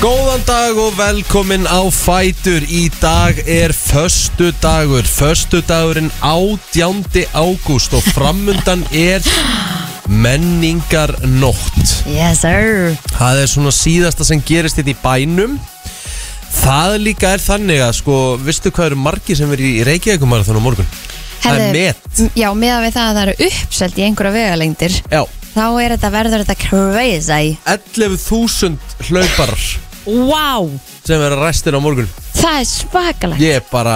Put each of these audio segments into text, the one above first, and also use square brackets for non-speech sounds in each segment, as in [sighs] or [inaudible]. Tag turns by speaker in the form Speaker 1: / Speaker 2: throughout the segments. Speaker 1: Góðan dag og velkomin á Fætur Í dag er föstu dagur Föstu dagurinn 18. ágúst Og framundan er menningar nótt
Speaker 2: Yes sir
Speaker 1: Það er svona síðasta sem gerist þetta í bænum Það líka er þannig að sko Vistu hvað eru margir sem eru í Reykjavíkumarathon á morgun? Það er
Speaker 2: Herðu,
Speaker 1: met
Speaker 2: m- Já, meðan við það að það eru uppselt í einhverja vegalengdir
Speaker 1: Já,
Speaker 2: Þá er þetta verður þetta crazy
Speaker 1: 11.000 hlauparar
Speaker 2: Wow
Speaker 1: sem eru ræstir á morgun
Speaker 2: Það er svakalegt
Speaker 1: Ég er bara,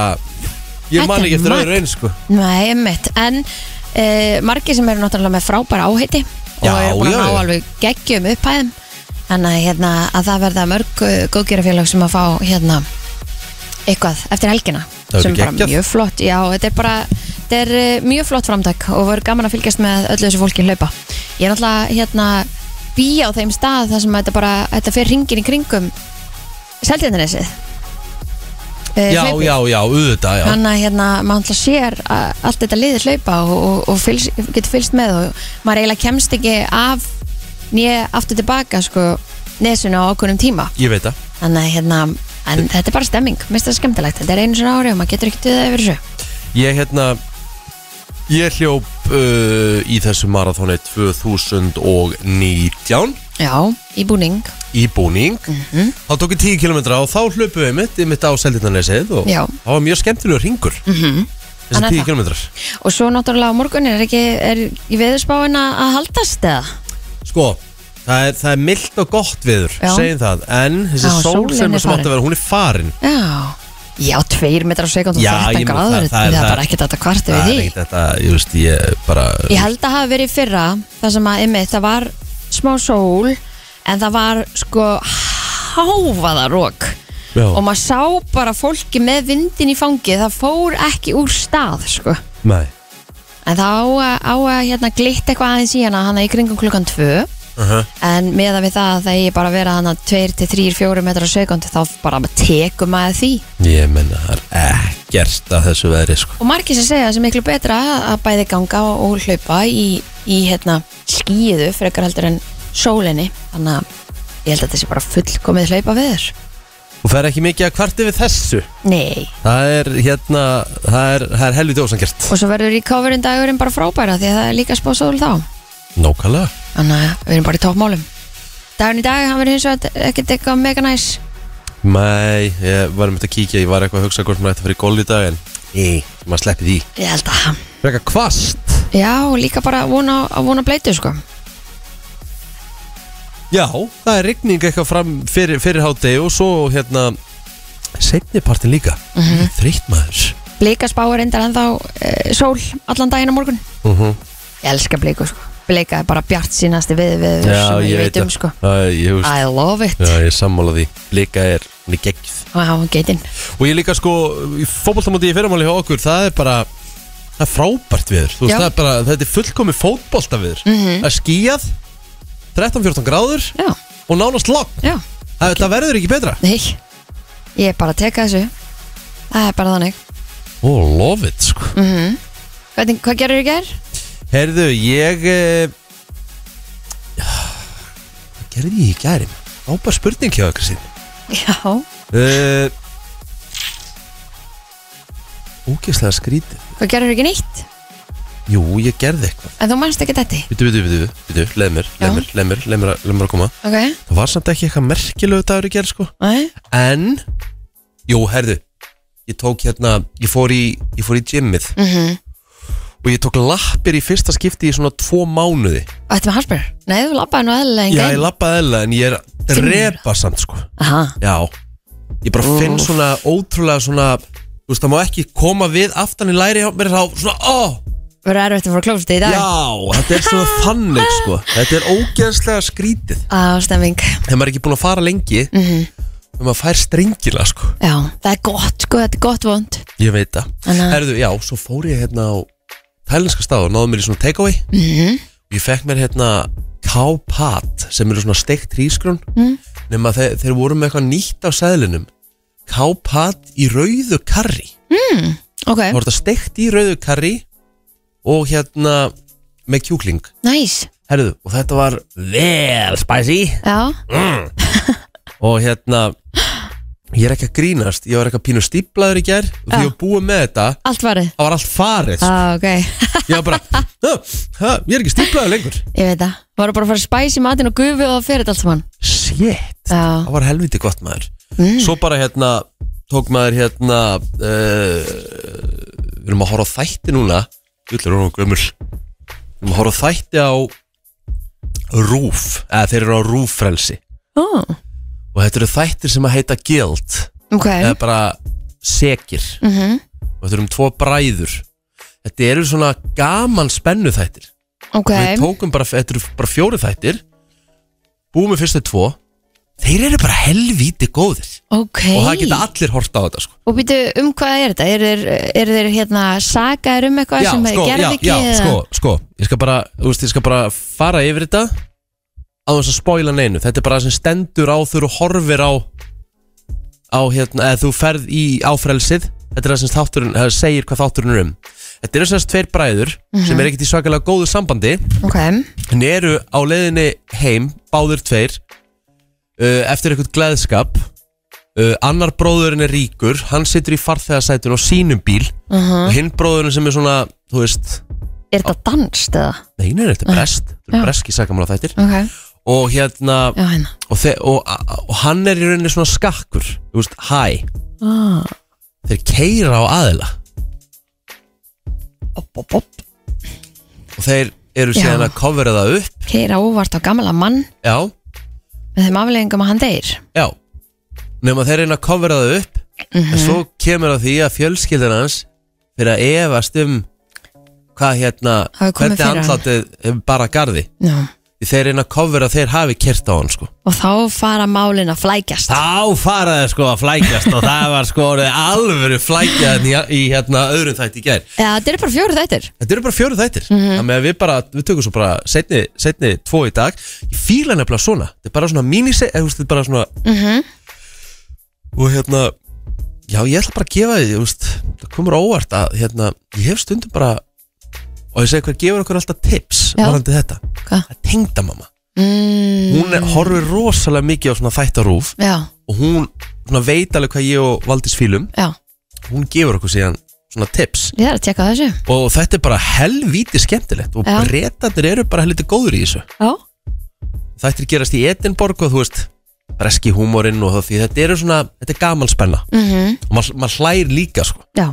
Speaker 1: ég
Speaker 2: Þetta
Speaker 1: man
Speaker 2: er
Speaker 1: ekki eftir
Speaker 2: magn.
Speaker 1: öðru eins sko
Speaker 2: Nei, mitt En uh, margir sem eru náttúrulega með frábæra áheiti
Speaker 1: Já,
Speaker 2: Og eru búin
Speaker 1: já, já.
Speaker 2: að ná alveg geggjum upphæðum Þannig að, hérna, að það verða mörg góðgerafélag sem að fá hérna, eitthvað eftir helgina
Speaker 1: Það verður
Speaker 2: sem er bara
Speaker 1: geggjað.
Speaker 2: mjög flott Já, þetta er bara þetta er, eh, mjög flott framtak og voru gaman að fylgjast með öllu þessu fólki hlaupa Ég er náttúrulega hérna, býja á þeim stað þar sem þetta, bara, þetta fer ringin í kringum Seltjarnanesið Eh,
Speaker 1: Já,
Speaker 2: hlaupið.
Speaker 1: já, já, auðvitað, já
Speaker 2: Þannig að hérna, maður alltaf sér að allt þetta liðir hlaupa og, og, og fylgst, getur fylgst með og maður eiginlega kemst ekki af nýja aftur tilbaka sko nesinu á okkurum tíma
Speaker 1: Ég veit það
Speaker 2: þannig að hérna, en þetta er bara stemming mist það skemmtilegt, þetta er einu sinna ári og maður getur ekki duðað yfir þessu
Speaker 1: Ég hérna Ég hljóp uh, í þessu marathóni 2019
Speaker 2: Já, í búning,
Speaker 1: í búning
Speaker 2: Mhm.
Speaker 1: Þá tók ég 10 km og þá hlöpum við mitt, mitt á Seldindanesið og
Speaker 2: Já.
Speaker 1: það var mjög skemmtilegur ringur mm -hmm.
Speaker 2: Hann er
Speaker 1: Þessi 10
Speaker 2: það.
Speaker 1: km
Speaker 2: og svo náttúrulega á morgun er ekki, er í veðurspáin að að haldast eða?
Speaker 1: Sko, það er, það er mildt og gott viður,
Speaker 2: Já.
Speaker 1: segjum það En þessi
Speaker 2: Já,
Speaker 1: sól
Speaker 2: sólin
Speaker 1: sem,
Speaker 2: er
Speaker 1: sem átti
Speaker 2: farin.
Speaker 1: að vera, hún er farin
Speaker 2: Já, já, tveir metrar á sekund og
Speaker 1: Já, ég
Speaker 2: 13
Speaker 1: meina,
Speaker 2: gráður,
Speaker 1: það- það er-
Speaker 2: það
Speaker 1: það
Speaker 2: er
Speaker 1: er-
Speaker 2: bara ekkert þetta kvart
Speaker 1: Það
Speaker 2: við
Speaker 1: er
Speaker 2: því
Speaker 1: ekkert þetta, ég veist, ég bara
Speaker 2: Ég held að hafa verið í fyrra þar sem að einmitt það var smá sól en það var sko háfaðarók
Speaker 1: Já.
Speaker 2: og maður sá bara fólki með vindin í fangið það fór ekki úr stað sko
Speaker 1: Nei
Speaker 2: en það á að, á að hérna glitt eitthvað aðeins í hana hana í kringum klukkan tvö
Speaker 1: uh
Speaker 2: Uh-huh.
Speaker 1: -huh.
Speaker 2: en meða við það að það ég bara að vera hana 2-3-4 metrar á sekund þá bara tekum maður því
Speaker 1: Ég menna, það er ekkert að þessu veðri, sko
Speaker 2: og margir sem segja að það sé miklu betra að bæði ganga og, og hlaupa í, í hérna, skíðu frekar heldur en sólinni þannig að ég held að þetta sé bara fullkomið hlaupa við þér
Speaker 1: Og það er ekki mikið að kvarti við þessu
Speaker 2: Nei,
Speaker 1: Það er hérna, það er, það er helviti ósangert
Speaker 2: og svo verður í coverin dagurinn bara frábæra því að það er líka spáð sól þá
Speaker 1: Nókala
Speaker 2: þannig að við erum bara í toppmálum Dagurinn í dag, hann verður hins vegar ekkert eitthvað mega næs
Speaker 1: Nei, ég var um þetta að kíkja, ég var eitthvað að hugsa hvort maður ætti að fara í golf í dag en Nei, maður sleppi því
Speaker 2: Ég held að
Speaker 1: Frekar kvast
Speaker 2: Já, og líka bara að vona, að vona bleitu sko
Speaker 1: Já, það er rigning eitthvað fram fyrir, fyrir hátegi og svo hérna Seinnipartin líka mm
Speaker 2: Mhm.
Speaker 1: -hmm. Þreytt maður
Speaker 2: Blika spáir endar ennþá e, sól allan daginn á morgun
Speaker 1: uh -huh.
Speaker 2: Ég elska bleiku sko Bleika er bara bjart sínasti við, við, við
Speaker 1: Já,
Speaker 2: sem
Speaker 1: ég veit
Speaker 2: veit um
Speaker 1: það.
Speaker 2: sko
Speaker 1: Æ, ég, veist,
Speaker 2: I love it
Speaker 1: já, ég er sammála því Líka er, hún er geggð
Speaker 2: Vá, geitinn
Speaker 1: Og ég líka sko, í fótboltamóti í fyrirmáli hjá okkur, það er bara það er frábært viður, þú veist,
Speaker 2: Já. Mhm.
Speaker 1: það er bara þetta er fullkomi fótbolta viður, mm -hmm. það er skíjað 13-14 gráður
Speaker 2: Já,
Speaker 1: og nánast logg,
Speaker 2: já,
Speaker 1: það, það verður ekki betra
Speaker 2: nei Ég er bara að teka þessu Það er bara þannig
Speaker 1: Oh, love it, sko
Speaker 2: Mhm. Hvernig, Hvað gerir þú ger?
Speaker 1: Herðu, ég eh, [sighs] hvað gerði ég í gæri? Ábar spurning hjá okkur sín
Speaker 2: Já
Speaker 1: uh, Úkislega skrítið
Speaker 2: Hvað gerir þú ekki nýtt?
Speaker 1: Jú, ég gerði eitthvað
Speaker 2: En þú manst ekki þetta
Speaker 1: Vitu, vitu, vitu, vitu, leið mér, leið
Speaker 2: Já.
Speaker 1: mér, leið mér, leið mér, að- leið mér að koma
Speaker 2: Ok
Speaker 1: Það var samt ekki eitthvað merkilegu dagur í gerð sko
Speaker 2: Nei
Speaker 1: En Jú, herðu Ég tók hérna Ég fór í, ég fór í gymmið
Speaker 2: Mhm.
Speaker 1: Og ég tók lappir í fyrsta skipti í svona tvo mánuði
Speaker 2: Þetta með halsbjör Nei, þú labbaði nú eðlilega en
Speaker 1: Já, ég
Speaker 2: grein.
Speaker 1: lappaði eðla en ég er að drepa samt sko
Speaker 2: Aha
Speaker 1: Já Ég bara finn svona ótrúlega svona Þú veist, það má ekki koma við aftan í læri hjá mér þá svona, ó,
Speaker 2: Verður erfitt að fara klófst í dag
Speaker 1: já, þetta er svona þannig, sko. Þetta er ógeðslega skrítið.
Speaker 2: Á, stemming
Speaker 1: Þegar maður er ekki búin að fara lengi,
Speaker 2: mm
Speaker 1: þegar maður fær strengila, sko.
Speaker 2: Já, það er gott sko, þetta er gott vond
Speaker 1: Ég veit það.
Speaker 2: Þannig að
Speaker 1: Herðu, já, svo fór ég hérna á tælenska stað og náðu mér í svona takeaway
Speaker 2: Mhm.
Speaker 1: Ég fekk mér hérna K-Pat sem eru svona steikt hrísgrón
Speaker 2: Mm.
Speaker 1: nema þeir, þeir voru með eitthvað nýtt á seðlinum K-Pat í rauðu karri
Speaker 2: Mm. Hmm. Ok,
Speaker 1: Það voru þetta steikt í rauðu karri og hérna með kjúkling
Speaker 2: næs nice. [laughs]
Speaker 1: Herðu, og þetta var vel spicy
Speaker 2: Já,
Speaker 1: Mm. og hérna ég er ekki að grínast, ég var eitthvað pínu stíplaður í gær og því
Speaker 2: Já.
Speaker 1: ég var búið með þetta
Speaker 2: Allt varðið
Speaker 1: það var allt farið
Speaker 2: ah, ok,
Speaker 1: ég var bara, "Hö, hö, ég er ekki stíplaður lengur
Speaker 2: ég veit það Varu bara að fara að spæsi matinn og gufu og það fer þetta allt saman
Speaker 1: shit,
Speaker 2: Já,
Speaker 1: það var helviti gott maður
Speaker 2: mm.
Speaker 1: svo bara hérna tók maður hérna uh, við erum að horfa á þætti núna Júlur og gömul við erum að horfa á þætti á rúf, eða þeir eru á rúffrelsi
Speaker 2: oh,
Speaker 1: og þetta eru þættir sem að heita guild
Speaker 2: ok
Speaker 1: eða bara sekir
Speaker 2: mm -hmm.
Speaker 1: og þetta eru um tvo bræður þetta eru svona gaman spennu þættir
Speaker 2: Ok,
Speaker 1: við tókum bara, þetta eru bara fjóri þættir búum við fyrstu tvo þeir eru bara helvíti góðir
Speaker 2: ok
Speaker 1: og það geta allir horta á þetta sko
Speaker 2: Og býtu, um hvað er þetta? Er þeir, er þeir hérna sagaðir um eitthvað sem þeir gerði
Speaker 1: já,
Speaker 2: ekki?
Speaker 1: já,
Speaker 2: eða-
Speaker 1: sko, sko ég skal bara, þú veist, ég skal bara fara yfir þetta á þess að spoila neinu þetta er bara það sem stendur á þegar þú horfir á á hérna, eða þú ferð í áfrelsið þetta er það sem þátturinn, eða segir hvað þátturinn er um þetta eru þess að tveir bræður
Speaker 2: Mhm.
Speaker 1: sem er ekkert í svakalega góðu sambandi
Speaker 2: Ok,
Speaker 1: en eru á leiðinni heim báður tveir uh, eftir eitthvað gleðskap uh, annar bróðurinn er ríkur hann situr í farþegasætun á sínum bíl
Speaker 2: uh
Speaker 1: og hinn bróðurinn sem er svona, þú veist
Speaker 2: er þetta danst eða?
Speaker 1: nei, nei, nei, þetta er brest, þetta
Speaker 2: Ah. Já.
Speaker 1: er breski sakamála þættir
Speaker 2: Ok,
Speaker 1: og hérna,
Speaker 2: já hérna
Speaker 1: og, þe- og, og hann er í rauninni svona skakkur, þú veist, hæ
Speaker 2: ah.
Speaker 1: þeir keira á aðila
Speaker 2: op, op, op.
Speaker 1: og þeir eru
Speaker 2: Já.
Speaker 1: síðan að covera það upp
Speaker 2: Keira óvart á gamla mann
Speaker 1: já,
Speaker 2: með þeim afleggingum að hann deyr
Speaker 1: já nema þeir reyna að covera það upp
Speaker 2: Mhm.
Speaker 1: en svo kemur að því að fjölskyldan hans fyrir að efast um hvað hérna,
Speaker 2: Hafi komið
Speaker 1: hvernig
Speaker 2: fyrir hann.
Speaker 1: andlátið er bara að garði,
Speaker 2: Já
Speaker 1: Því þeir reyna að covera að þeir hafi kert á hann sko
Speaker 2: Og þá fara málin að flækjast
Speaker 1: Þá faraði sko að flækjast og það var sko orðið alvöru flækjaðan í, í hérna öðrum þætti í gær
Speaker 2: Já, þetta er bara fjóru þættir
Speaker 1: Þetta eru bara fjóru þættir
Speaker 2: Mhm.
Speaker 1: Þannig að við bara, við tökum svo bara setni, setni tvo í dag Ég fíla nefnilega svona Þetta er bara svona mínise, eða þú veist, þetta er bara svona
Speaker 2: Mhm.
Speaker 1: Og hérna Já, ég ætla bara að gefa því, þú veist Það komur á óvart að, hérna Ég hef stundum bara Og ég segi hvað gefur okkur alltaf tips
Speaker 2: Já.
Speaker 1: Varandi þetta
Speaker 2: Hvað?
Speaker 1: Það er tengdamamma
Speaker 2: mm.
Speaker 1: Hún er, horfir rosalega mikið á svona þættarúf
Speaker 2: Já,
Speaker 1: Og hún svona, veit alveg hvað ég og Valdís fílum
Speaker 2: já,
Speaker 1: Hún gefur okkur síðan svona tips
Speaker 2: ég er að tjekka á þessu
Speaker 1: og þetta er bara helvíti skemmtilegt og
Speaker 2: Já.
Speaker 1: breytandir eru bara helviti góður í þessu
Speaker 2: Já,
Speaker 1: þættir gerast í Edinborg og þú veist breski húmorinn og það því þetta eru svona þetta er gaman spenna
Speaker 2: mm
Speaker 1: og maður mað hlær líka sko
Speaker 2: já,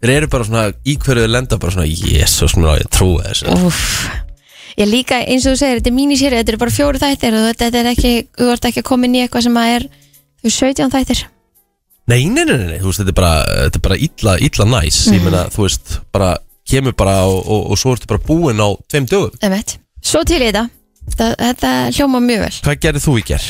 Speaker 1: þeir eru bara svona í hverju þeir lenda bara svona jésus mér á ég trúi þessu
Speaker 2: úff Ég líka, eins og þú segir, þetta er mínisýri Þetta er bara fjóru þættir og þetta, þetta er ekki Þú ert ekki að koma inn í eitthvað sem að er Þú veist, 17 þættir
Speaker 1: nei, nei, nei, nei, nei, þú veist þetta er bara, þetta er bara illa, illa næs
Speaker 2: Mm.
Speaker 1: ég meina þú veist bara kemur bara og, og, og svo ertu bara búinn á tveim dögum
Speaker 2: Emmett. Svo til í þetta Þetta, þetta hljóma mjög vel
Speaker 1: hvað gerðið þú í ger?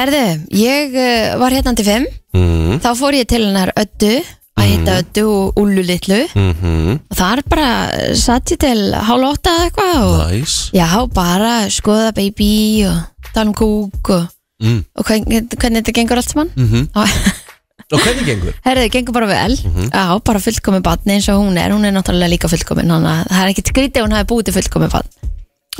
Speaker 2: Herðu, ég uh, var hérna til 5
Speaker 1: Mm,
Speaker 2: Þá fór ég til hennar öddu Að hitta öddu og Úllu litlu
Speaker 1: mm -hmm,
Speaker 2: Og þar bara eh, satt ég til hálf átta eða eitthvað og,
Speaker 1: nice.
Speaker 2: Já, bara skoða baby og tala um kúk og,
Speaker 1: mm,
Speaker 2: og hvernig, hvernig þetta gengur allt saman
Speaker 1: mm -hmm.
Speaker 2: Já.
Speaker 1: og hvernig gengur?
Speaker 2: Herðu, gengur bara vel
Speaker 1: Mhm.
Speaker 2: Já, bara fullkomin batni eins og hún er Hún er náttúrulega líka fullkomin Þannig að það er ekkert skrítið að hún hafi búið til fullkomin batn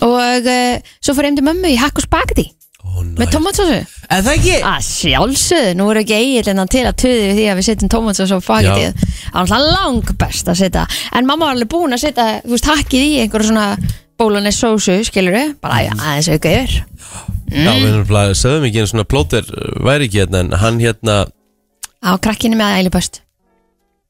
Speaker 2: Og uh, svo fór ég heim til mömmu í hakk og spagetti
Speaker 1: Ó,
Speaker 2: Með
Speaker 1: nice.
Speaker 2: tomatsósu
Speaker 1: Er það ekki?
Speaker 2: Að sjálfsögðu, nú eru ekki eiginlega til að töði við því að við setjum tómatsós á spagettið Það er alltaf lang best að setja En mamma var alveg búin að setja, þú veist, hakkið í einhverju svona bólunis sósu, skilur við Bara
Speaker 1: Mhm.
Speaker 2: já, aðeins auka yfir
Speaker 1: Já, við erum bara, sögum ekki einu svona plóter væri ekki hérna en hann hérna,
Speaker 2: Á krakkinu með eiliböst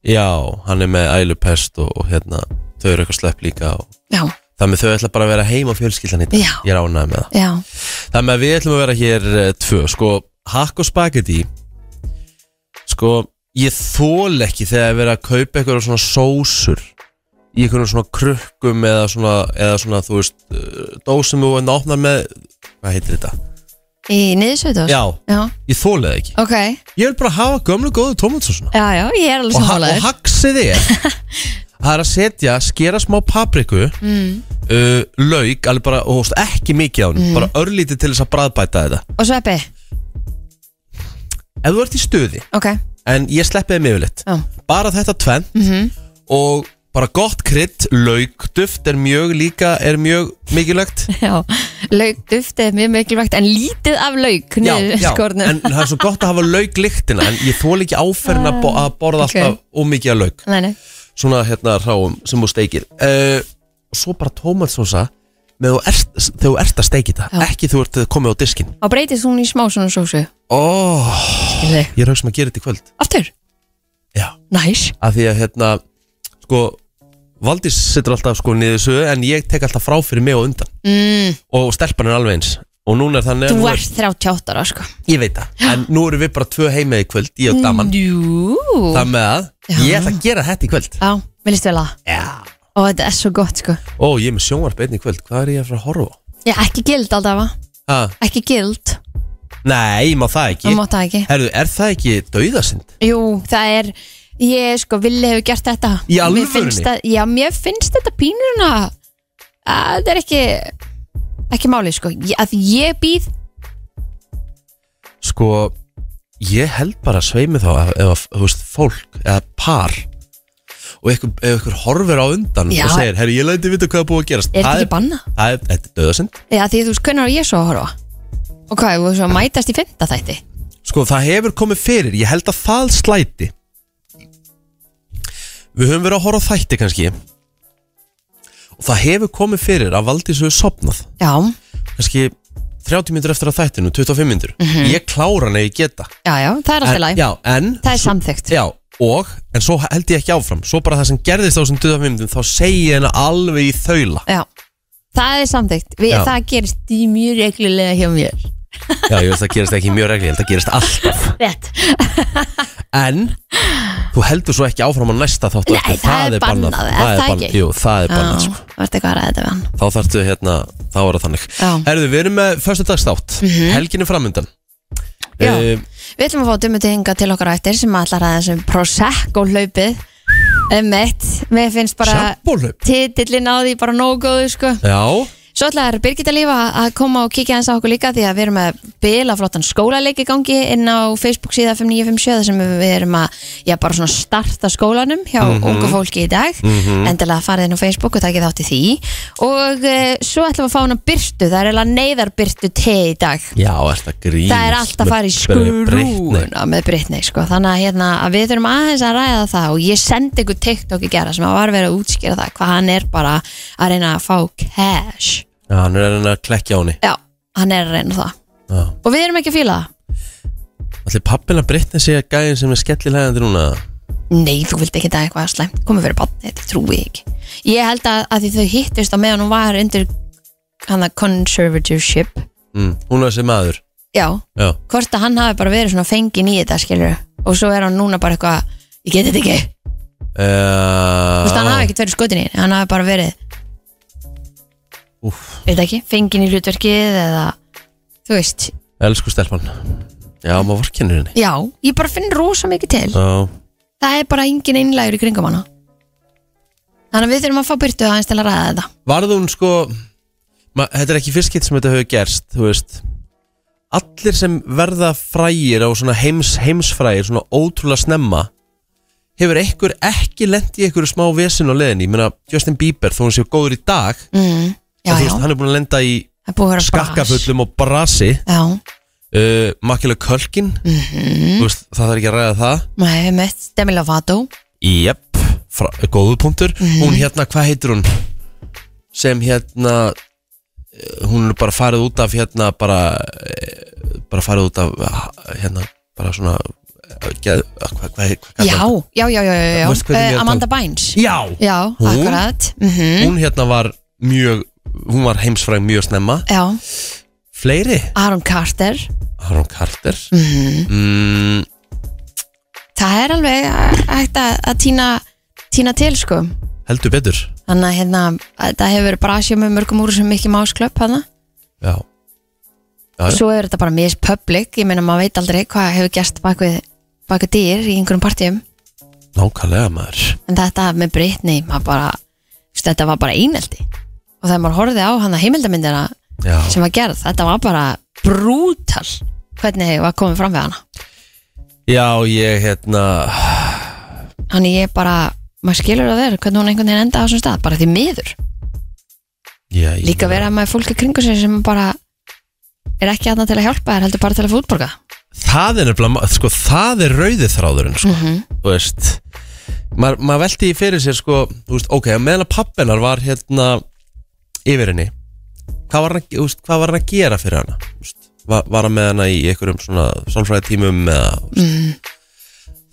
Speaker 1: já, hann er með ælupest og, og hérna, þau eru eitthvað slepp líka og
Speaker 2: Já,
Speaker 1: það með þau ætla bara að vera heima á fjölskyldan í dag,
Speaker 2: Já.
Speaker 1: ég er ánægð með það.
Speaker 2: já,
Speaker 1: Það með að við ætlum að vera hér eh, tvö, sko, hakk og spagetti, sko, ég þól ekki þegar að vera að kaupa eitthvað svona sósur í eitthvað svona krukkum eða svona, eða svona, þú veist, eh, dósum og að opna með, hvað heitir þetta?
Speaker 2: í niðursveitós
Speaker 1: Já,
Speaker 2: já,
Speaker 1: ég þólið ekki.
Speaker 2: ok,
Speaker 1: Ég vil bara hafa gömlu góðu tómatsósuna.
Speaker 2: já, já, ég er alveg
Speaker 1: og, ha
Speaker 2: sammálaður
Speaker 1: og haksið er
Speaker 2: [laughs]
Speaker 1: það er að setja, skera smá papriku mm. uh, lauk alveg bara, og hóst ekki mikið á
Speaker 2: Mm.
Speaker 1: hann bara örlítið til þess að bræðbæta þetta
Speaker 2: Og sveppi,
Speaker 1: ef þú ert í stuði,
Speaker 2: ok
Speaker 1: en ég sleppið þeim yfirleitt
Speaker 2: Já.
Speaker 1: bara þetta tvenn
Speaker 2: Mhm.
Speaker 1: og bara gott krydd, laukduft er mjög líka, er mjög mikilvægt
Speaker 2: Já, laukduft er mjög mikilvægt en lítið af lauk [laughs] niður skornum.
Speaker 1: en það er svo gott að hafa laukliktina en ég þól ekki áferðin að, bo að borða
Speaker 2: Ah, Ok.
Speaker 1: alltaf ómikið að lauk
Speaker 2: Nei, nei.
Speaker 1: svona hérna ráum sem þú steikir uh, og svo bara tómatsósa með þú ert, þegar þú ert að steiki það
Speaker 2: Já.
Speaker 1: ekki þú ert komið á diskin
Speaker 2: Og breytist hún í smá svona sósu.
Speaker 1: oh,
Speaker 2: Skilði.
Speaker 1: ég er haugstum að gera þetta í kvöld
Speaker 2: Aftur.
Speaker 1: já,
Speaker 2: Næs.
Speaker 1: af því að hérna sko, Valdís sittur alltaf sko niður þessu en ég tek alltaf frá fyrir mig og undan
Speaker 2: Mm,
Speaker 1: og stelpan er alveg eins og núna er þannig að
Speaker 2: þú
Speaker 1: nú er-
Speaker 2: ert 38 ára, sko.
Speaker 1: ég veit það, en nú eru við bara tvö heimið í kvöld, ég og daman
Speaker 2: Jú.
Speaker 1: það með að, ég ætla að gera þetta í kvöld
Speaker 2: Já, mér líst vel að. það.
Speaker 1: já,
Speaker 2: Og þetta er svo gott, sko.
Speaker 1: ó ég er með sjónvarp einn í kvöld hvað er ég að fara að horfa á?
Speaker 2: Já, ekki gild alltaf, va?
Speaker 1: Ha?
Speaker 2: ekki gild.
Speaker 1: Nei, má það ekki
Speaker 2: Það máta ekki.
Speaker 1: Herðu, er það ekki dauðasind?
Speaker 2: Jú, það er, ég sko, villi hefur gert þetta
Speaker 1: Í alvörunni?
Speaker 2: Mér finnst það- Já, mér finnst þetta pínurna að það er ekki ekki máli, sko, Ég- að ég býð
Speaker 1: Sko, ég held bara að sveimi þá ef, ef, þú veist, fólk eða par og ykkur, ef ykkur horfir á undan
Speaker 2: Já.
Speaker 1: og segir, herru, ég læti vita hvað er búið að gerast
Speaker 2: er þetta
Speaker 1: það
Speaker 2: ekki banna?
Speaker 1: það er, Þetta er dauðasind
Speaker 2: Já, því þú veist, hvernig er ég svo að horfa? Og hvað, ef þú svo mætast í fymta þætti?
Speaker 1: Sko, það hefur komið fyrir, ég held að það slæti Við höfum verið að horfa á þætti kannski og það hefur komið fyrir að Valdís hefur sopnað
Speaker 2: Já,
Speaker 1: kannski 30 myndur eftir að þættinu, 25 myndur Ég klára hann ef ég geta
Speaker 2: já, já, Mhm. það er alltaf
Speaker 1: en,
Speaker 2: læg
Speaker 1: já, en,
Speaker 2: Það er
Speaker 1: svo-
Speaker 2: samþykkt.
Speaker 1: já, og, en svo held ég ekki áfram Svo bara það sem gerðist á þessum 25 myndum Þá segi ég henni alveg í þaula
Speaker 2: Já, það er samþygt Við,
Speaker 1: Já.
Speaker 2: Það gerist í mjög reglulega hjá mér
Speaker 1: Já, ég veist það gerist ekki mjög regli Það gerist alltaf
Speaker 2: Rétt
Speaker 1: En, þú heldur svo ekki áfram á næsta þáttu
Speaker 2: Nei, það er bannað,
Speaker 1: Það
Speaker 2: er
Speaker 1: Sko, er
Speaker 2: það
Speaker 1: bannað,
Speaker 2: ekki?
Speaker 1: jú, það er
Speaker 2: Já,
Speaker 1: bannað sko.
Speaker 2: það ertu eitthvað að ræða þetta við hann
Speaker 1: Þá þarftu hérna, þá er það þannig
Speaker 2: Já. Mhm.
Speaker 1: Herðu, við erum með föstudagstátt mm -hmm. Helginu framöndan
Speaker 2: Já.
Speaker 1: Eh,
Speaker 2: Við ætlum að fá dumuti hinga til okkar á eftir sem allar að þessum Prosecco hlaupið um eitt, mér finnst bara
Speaker 1: Sjampólaup
Speaker 2: titillin á því bara nógu góðu sko
Speaker 1: Já,
Speaker 2: Svo ætlar Birgitta Lífa að koma og kíkja hans á okkur líka því að við erum með bilaflottan skólaleik í gangi inn á Facebook síða 5957 þar sem við erum að já, bara svona starta skólanum hjá ungu fólki í dag endilega farið inn á Facebook og takið þátt í því og e, svo ætlum við að fá hana byrtu, það er eiginlega neyðar byrtu te í dag
Speaker 1: já, er það grínast
Speaker 2: það er alltaf að fara í skrúna með Britney sko. þannig að, hérna, að við þurfum aðeins að ræða það og ég sendi ykkur TikTok í gera sem að var verið að útskýra það hvað hann er bara að reyna að fá cash
Speaker 1: Já, hann er að reyna að klekkja á henni
Speaker 2: já, hann er að reyna það
Speaker 1: Já
Speaker 2: og við erum ekki að fíla það
Speaker 1: Allir pappina Brittany sé að gæðin sem er skellilegandi núna
Speaker 2: nei, þú vilt ekki það eitthvað slæmt komið fyrir bann, þetta trúi ég ekki ég held að, að því þau hittist á meðan hún var undir hann að conservatorship
Speaker 1: mm. Hún er þessi maður
Speaker 2: já,
Speaker 1: Já,
Speaker 2: hvort að hann hafi bara verið svona fengin í þetta skilur og svo er hann núna bara eitthvað ég get þetta ekki
Speaker 1: uh,
Speaker 2: Þú veist, hann hafi ekkert verið skotin í henni, hann hafi bara verið
Speaker 1: Úff.
Speaker 2: Veit ekki, fengin í hlutverkið eða Þú veist,
Speaker 1: Elsku stelpan Já, maður vorkennir henni
Speaker 2: já, ég bara finn rosa mikið til
Speaker 1: Já,
Speaker 2: Það er bara engin einlægur í kringum hana Þannig að við þurfum að fá byrtu aðeins til að ræða þetta
Speaker 1: varð hún sko ma, Þetta er ekki fyrst skitt sem þetta hefur gerst Þú veist Allir sem verða frægir á svona heims, heimsfrægir Svona ótrúlega snemma Hefur einhver ekki lent í einhverju smá vesin á leðinni Ég meina Justin Bieber þó hún séu góður í dag
Speaker 2: mm,
Speaker 1: en
Speaker 2: Já,
Speaker 1: þú
Speaker 2: já,
Speaker 1: veist, Hann er búin að lenda í
Speaker 2: það er búið að vera bras.
Speaker 1: skakkafullum og brasi
Speaker 2: Já,
Speaker 1: uh, Makileg Kölkin mm
Speaker 2: Mhm.
Speaker 1: veist, Það þarf ekki að ræða það
Speaker 2: maður hefur mitt Demi Lovato
Speaker 1: Jep, frá, góðu punktur
Speaker 2: Mhm.
Speaker 1: Hún hérna, hvað heitir hún? Sem hérna eh, Hún er bara farið út af hérna bara, eh, bara farið út af eh, hérna, bara svona eh, geð, eh, hvað, hvað, hvað, hvað
Speaker 2: Já, já, já, já, já, já.
Speaker 1: Þú veist hvernig ég er
Speaker 2: Eh,
Speaker 1: að
Speaker 2: Amanda Bynes
Speaker 1: Já,
Speaker 2: Já,
Speaker 1: Hún?
Speaker 2: akkurat mm
Speaker 1: hún hérna var mjög hún var heimsfræg mjög snemma
Speaker 2: Já,
Speaker 1: Fleiri,
Speaker 2: Aaron Carter
Speaker 1: Aron Carter
Speaker 2: Mhm.
Speaker 1: mm,
Speaker 2: Það er alveg eh, hægt að, að týna, týna til sko
Speaker 1: Heldur betur
Speaker 2: Þannig að hérna, að þetta hefur verið brasja með mörgum úr sem mikið másklöpp hana.
Speaker 1: Já, Já,
Speaker 2: Og
Speaker 1: já.
Speaker 2: svo er þetta bara mis public, ég meina maður veit aldrei hvað hefur gerst bak við, bak við dýr í einhverjum partíum.
Speaker 1: nákvæmlega maður
Speaker 2: En þetta með Britney, maður bara, þú veist, þetta var bara eineldi. Og þegar maður horfið á hana heimildamindina
Speaker 1: Já.
Speaker 2: sem var gerð, þetta var bara brútal hvernig var komið fram við hana.
Speaker 1: Já, ég hérna
Speaker 2: Þannig ég bara, maður skilur að vera hvernig hún einhvern veginn enda á þessum stað, bara því miður
Speaker 1: Já, ég
Speaker 2: líka
Speaker 1: meina-
Speaker 2: vera með fólk í kringu sér sem bara er ekki aðna til að hjálpa þér heldur bara til að fá útborga
Speaker 1: það er nefnilega, ma- sko, það er rauði þráðurinn, sko,
Speaker 2: Mhm.
Speaker 1: þú veist maður ma velti í fyrir sér, sko þú veist, ok, meðan að pappinar var hérna yfir henni hvað var hann, að- þú veist, hvað var hann að gera fyrir hana Þú veist, var, var hann með hana í einhverjum svona sálfræði tímum eða, þú veist,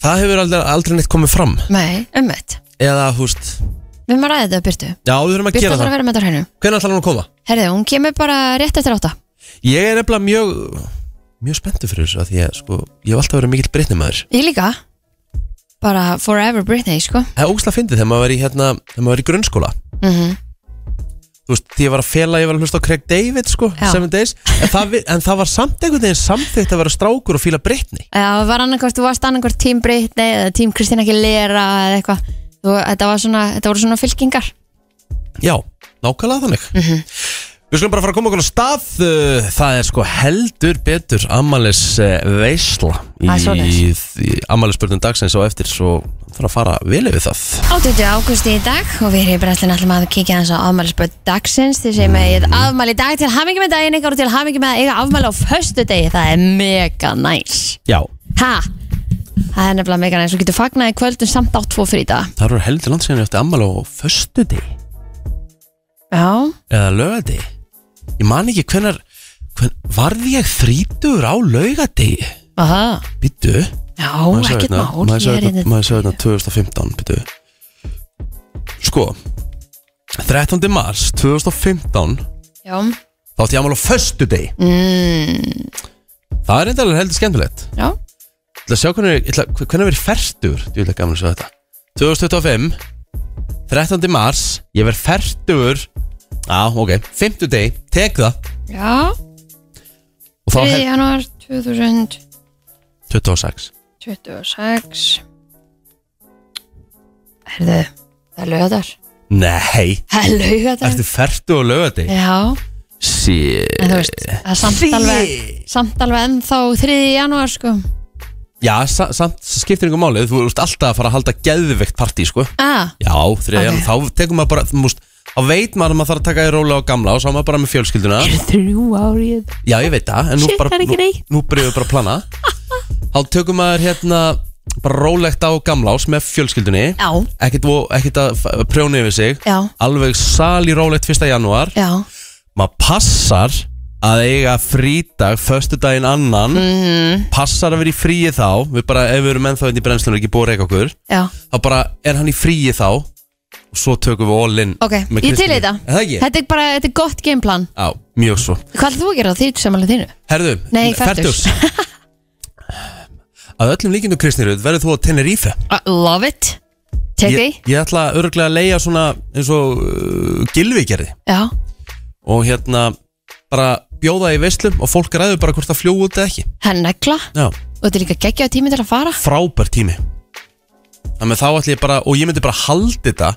Speaker 1: það hefur aldrei, aldrei neitt komið fram
Speaker 2: Nei, umveitt,
Speaker 1: eða, þú veist,
Speaker 2: við maður ræðið þetta Byrtu
Speaker 1: já, við þurfum að
Speaker 2: Byrtu
Speaker 1: gera
Speaker 2: ætlar að
Speaker 1: það
Speaker 2: vera með þetta á hreinu
Speaker 1: hvernig ætlar hann að koma?
Speaker 2: Herðið, hún kemur bara rétt eftir átta
Speaker 1: Ég er nefnilega mjög mjög spenntu fyrir þessu að því að sko, ég hef alltaf verið mikill brittnumæður
Speaker 2: Ég líka bara forever Britney, sko
Speaker 1: Það er ógslag fyndið þegar maður var í hérna þegar maður var í grunnskóla
Speaker 2: mm
Speaker 1: Þú veist, því ég var að fela, ég var að hlusta á Craig David sko,
Speaker 2: Já.
Speaker 1: Seven Days en það, vi- en það var samt einhvern veginn samþygt að vera strákur og fíla brittni
Speaker 2: Já, var annarkvort, þú varst annarkvort tím Britney eða tím Kristina Aguilera eða eitthvað Þú- þetta, var svona, þetta voru svona fylkingar
Speaker 1: Já, nákvæmlega þannig
Speaker 2: Mhm.
Speaker 1: Við skulum bara fara að koma okkur á stað uh, Það er sko heldur betur Amalis veisla í,
Speaker 2: Það er
Speaker 1: í,
Speaker 2: svoleiðis.
Speaker 1: í Amalis spurning dagsins og eftir svo þarf að fara vel yfir það
Speaker 2: 8. águsti í dag og við hér í Brestlinn ætlum að kíkja hans á afmælisböð dagsins því sem ég afmæli í dag til hamingi með daginn ykkar og til hamingi með að eiga afmæli á föstu degi það er mega næs
Speaker 1: Já,
Speaker 2: ha, það er nefnilega mega næs og getur fagnaði kvöldum samt átt tvo fyrir í dag
Speaker 1: það eru heldur langt síðan ég átti Amal á föstu
Speaker 2: já,
Speaker 1: eða lögadegi ég man ekki hvenar hvern, varð ég þrítur á lögadegi
Speaker 2: aha
Speaker 1: býtu
Speaker 2: já,
Speaker 1: maður sjá
Speaker 2: ekkert
Speaker 1: hérna-
Speaker 2: mál
Speaker 1: maður sjá
Speaker 2: ég er
Speaker 1: hérna-
Speaker 2: hérna-
Speaker 1: maður sjá hérna 2015 býtu sko 13. mars 2015
Speaker 2: já,
Speaker 1: þá átti ég amal á föstu
Speaker 2: mm,
Speaker 1: það er enda alveg heldur skemmtilegt
Speaker 2: já,
Speaker 1: ég ætla að sjá hvernig, ég ætla, hvernig verið færtur ég ætla gaman að sjá þetta 2025 13. mars ég verið færtur á ah, ok, 50 deg, tek það
Speaker 2: já
Speaker 1: og þá
Speaker 2: 3.
Speaker 1: held
Speaker 2: januar 2026
Speaker 1: 26
Speaker 2: herðu, það er lögadar
Speaker 1: nei
Speaker 2: það er lögadar
Speaker 1: Ertu færtu og lögati?
Speaker 2: já En
Speaker 1: Sí
Speaker 2: þú veist, það er samt
Speaker 1: Shit.
Speaker 2: alveg Samt alveg ennþá 3. janúar sko
Speaker 1: Já, sa samt skiptir yngur málið Þú ert alltaf að fara að halda geðveikt partí, sko
Speaker 2: ah,
Speaker 1: Já, þriðja,
Speaker 2: Ok.
Speaker 1: okay. þá tekur maður bara þú múst, Þá veit maður að maður þarf að taka í róla og gamla Og sá maður bara með fjölskylduna
Speaker 2: Þrjú árið
Speaker 1: Já, ég veit það En nú,
Speaker 2: Shit,
Speaker 1: bara,
Speaker 2: það er ekki
Speaker 1: nú,
Speaker 2: neitt.
Speaker 1: nú byrjuðum við bara að
Speaker 2: [laughs]
Speaker 1: plana Þá tökum maður hérna Bara rólegt á gamlás með fjölskyldunni
Speaker 2: Já,
Speaker 1: Ekkert, vo- ekkert að f- prjóna yfir sig
Speaker 2: já,
Speaker 1: Alveg sali rólegt 1. janúar
Speaker 2: já
Speaker 1: Maður passar að eiga frídag Föstudaginn annan
Speaker 2: mm,
Speaker 1: passar að vera í fríi þá við bara, ef við erum ennþá inn í brennslunum ekki búið að reyka okkur
Speaker 2: Já,
Speaker 1: þá bara er hann í fríi þá og svo tökum við all in
Speaker 2: ok,
Speaker 1: með
Speaker 2: ég til
Speaker 1: Kristínu.
Speaker 2: í þetta
Speaker 1: Er það ekki?
Speaker 2: Þetta er bara, þetta er gott gameplan
Speaker 1: Já, mjög svo
Speaker 2: Hvað er þú að gera á því sem alveg þínu?
Speaker 1: Herðu,
Speaker 2: Nei, fertugs. [laughs]
Speaker 1: Að öllum líkindum Kristnirud verður þú á Tenerife
Speaker 2: I Uh, love it Take
Speaker 1: ég, ég ætla örgulega að leia svona eins og uh, gilvi gerði
Speaker 2: því Já,
Speaker 1: og hérna bara bjóða í veislum og fólk ræður bara hvort það fljú út eða ekki
Speaker 2: henn negla
Speaker 1: Já,
Speaker 2: Og þetta er líka geggja tími til að fara
Speaker 1: frábær tími Þannig að þá ætla ég bara og ég myndi bara haldi þetta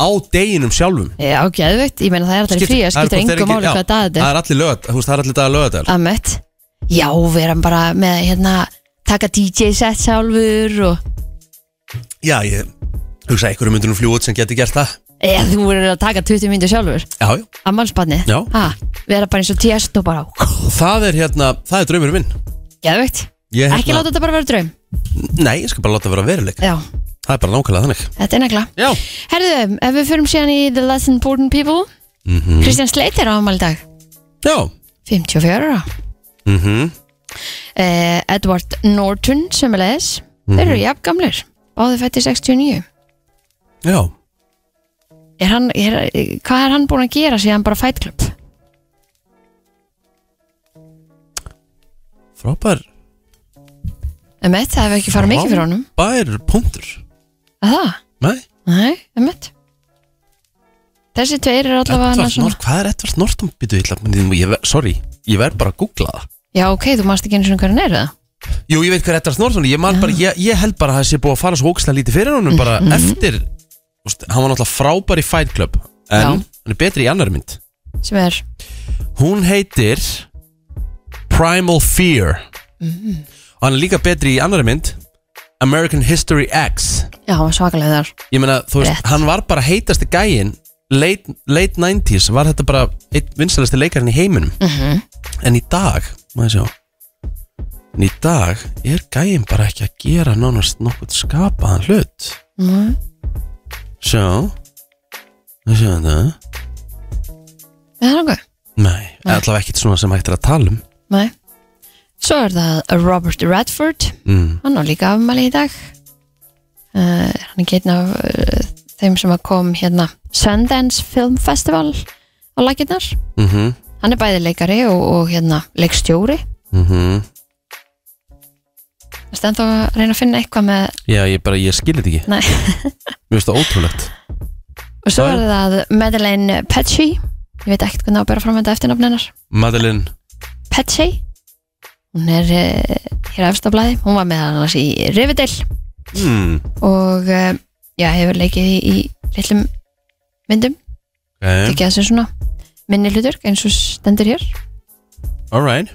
Speaker 1: á deginum sjálfum
Speaker 2: Já, geðveikt, ég meina það er alltaf í frí Það
Speaker 1: það er
Speaker 2: skiptir
Speaker 1: hvort
Speaker 2: engu
Speaker 1: þeir
Speaker 2: máli
Speaker 1: ekki-
Speaker 2: hvað
Speaker 1: já,
Speaker 2: dag þetta
Speaker 1: Það
Speaker 2: er Ah.
Speaker 1: er allir lögat, þú veist, það er allir dag lögat
Speaker 2: Ammett Já, við erum bara með hérna Taka DJ set sjálfur og
Speaker 1: Já, ég hugsa einhverju myndir nú fljú út sem geti gert það
Speaker 2: Eða þú verður að taka 20 myndir sjálfur
Speaker 1: Já, já,
Speaker 2: Ammalsbarni
Speaker 1: Já.
Speaker 2: Verða bara eins og tjast og bara
Speaker 1: það er hérna, það er draumur minn
Speaker 2: Geðveikt
Speaker 1: ég, hérna-
Speaker 2: Ekki láta þetta bara vera draum
Speaker 1: Nei, ég skal bara láta vera veruleik
Speaker 2: Já,
Speaker 1: Það er bara nákvæmlega þannig
Speaker 2: þetta er negla
Speaker 1: Já
Speaker 2: Herðu, ef við förum síðan í The Less Important People
Speaker 1: mm -hmm.
Speaker 2: Kristján Sleiter á ammali dag
Speaker 1: Já
Speaker 2: 54 ára
Speaker 1: mm -hmm.
Speaker 2: eh, Edward Norton sem er leðis Þeir eru jafn gamlir Báði fætti 69
Speaker 1: Já
Speaker 2: er hann, er, Hvað er hann búin að gera síðan bara Fight Club?
Speaker 1: Frábær
Speaker 2: Emmett, það hefur ekki farið mikið fyrir honum
Speaker 1: Bær punktur
Speaker 2: Að það?
Speaker 1: Nei
Speaker 2: Nei, emmett Þessi tveir eru allavega
Speaker 1: Edvard
Speaker 2: annars svona-
Speaker 1: Norton, hvað er Edvard Norton byttu illa? Ég, ver- sorry, ég verð bara að googla það
Speaker 2: Já, ok, þú mást ekki eins og hvernig er það
Speaker 1: Jú, ég veit hver Edvard Norton er. ég, man bara, ég, ég held bara að það sé búið að fara svo ógislega lítið fyrir honum bara
Speaker 2: Mhm.
Speaker 1: eftir úst, hann var náttúrulega frábær í Fight Club en
Speaker 2: Já.
Speaker 1: hann er betri í annar mynd
Speaker 2: sem er
Speaker 1: hún heitir
Speaker 2: Mhm.
Speaker 1: Primal Fear og hann er líka betri í annar mynd American History X
Speaker 2: Já, hann var svakalega þar
Speaker 1: Ég meina, þú veist,
Speaker 2: Rétt.
Speaker 1: hann var bara heitasti gæin late, late 90s var þetta bara einn vinsalasti leikarinn í heiminum
Speaker 2: Mhm.
Speaker 1: En í dag, maður sjá En í dag er gæin bara ekki að gera nánast nokkuð skapaðan hlut
Speaker 2: mm.
Speaker 1: Sjá Það sjá þetta
Speaker 2: Er það nokkuð?
Speaker 1: Nei,
Speaker 2: Nei.
Speaker 1: allavega ekkert svona sem hægt er að tala um
Speaker 2: Nei Svo er það Robert Redford
Speaker 1: mm.
Speaker 2: Hann var líka afmæli í dag uh, Hann er getna af uh, þeim sem að kom hérna Sundance Film Festival á lakinnar
Speaker 1: Mm -hmm.
Speaker 2: Hann er bæði leikari og, og hérna leikstjóri
Speaker 1: Mm
Speaker 2: Það stend þá að reyna að finna eitthvað með
Speaker 1: Já, ég bara, ég skil þetta ekki
Speaker 2: Nei.
Speaker 1: Mér finnst það ótrúlegt
Speaker 2: Og svo
Speaker 1: Já,
Speaker 2: er það Madeleine Petchy Ég veit ekkert hvernig á að bera fram þetta eftirnafn hennar
Speaker 1: Madeline
Speaker 2: Petchy Hún er uh, hér efst á blæði Hún var með hann í Riverdale
Speaker 1: mm.
Speaker 2: og eh, já, hefur leikið í, í litlum myndum
Speaker 1: okay.
Speaker 2: ekki að sem svona minni hlutur eins og stendur hér
Speaker 1: Alright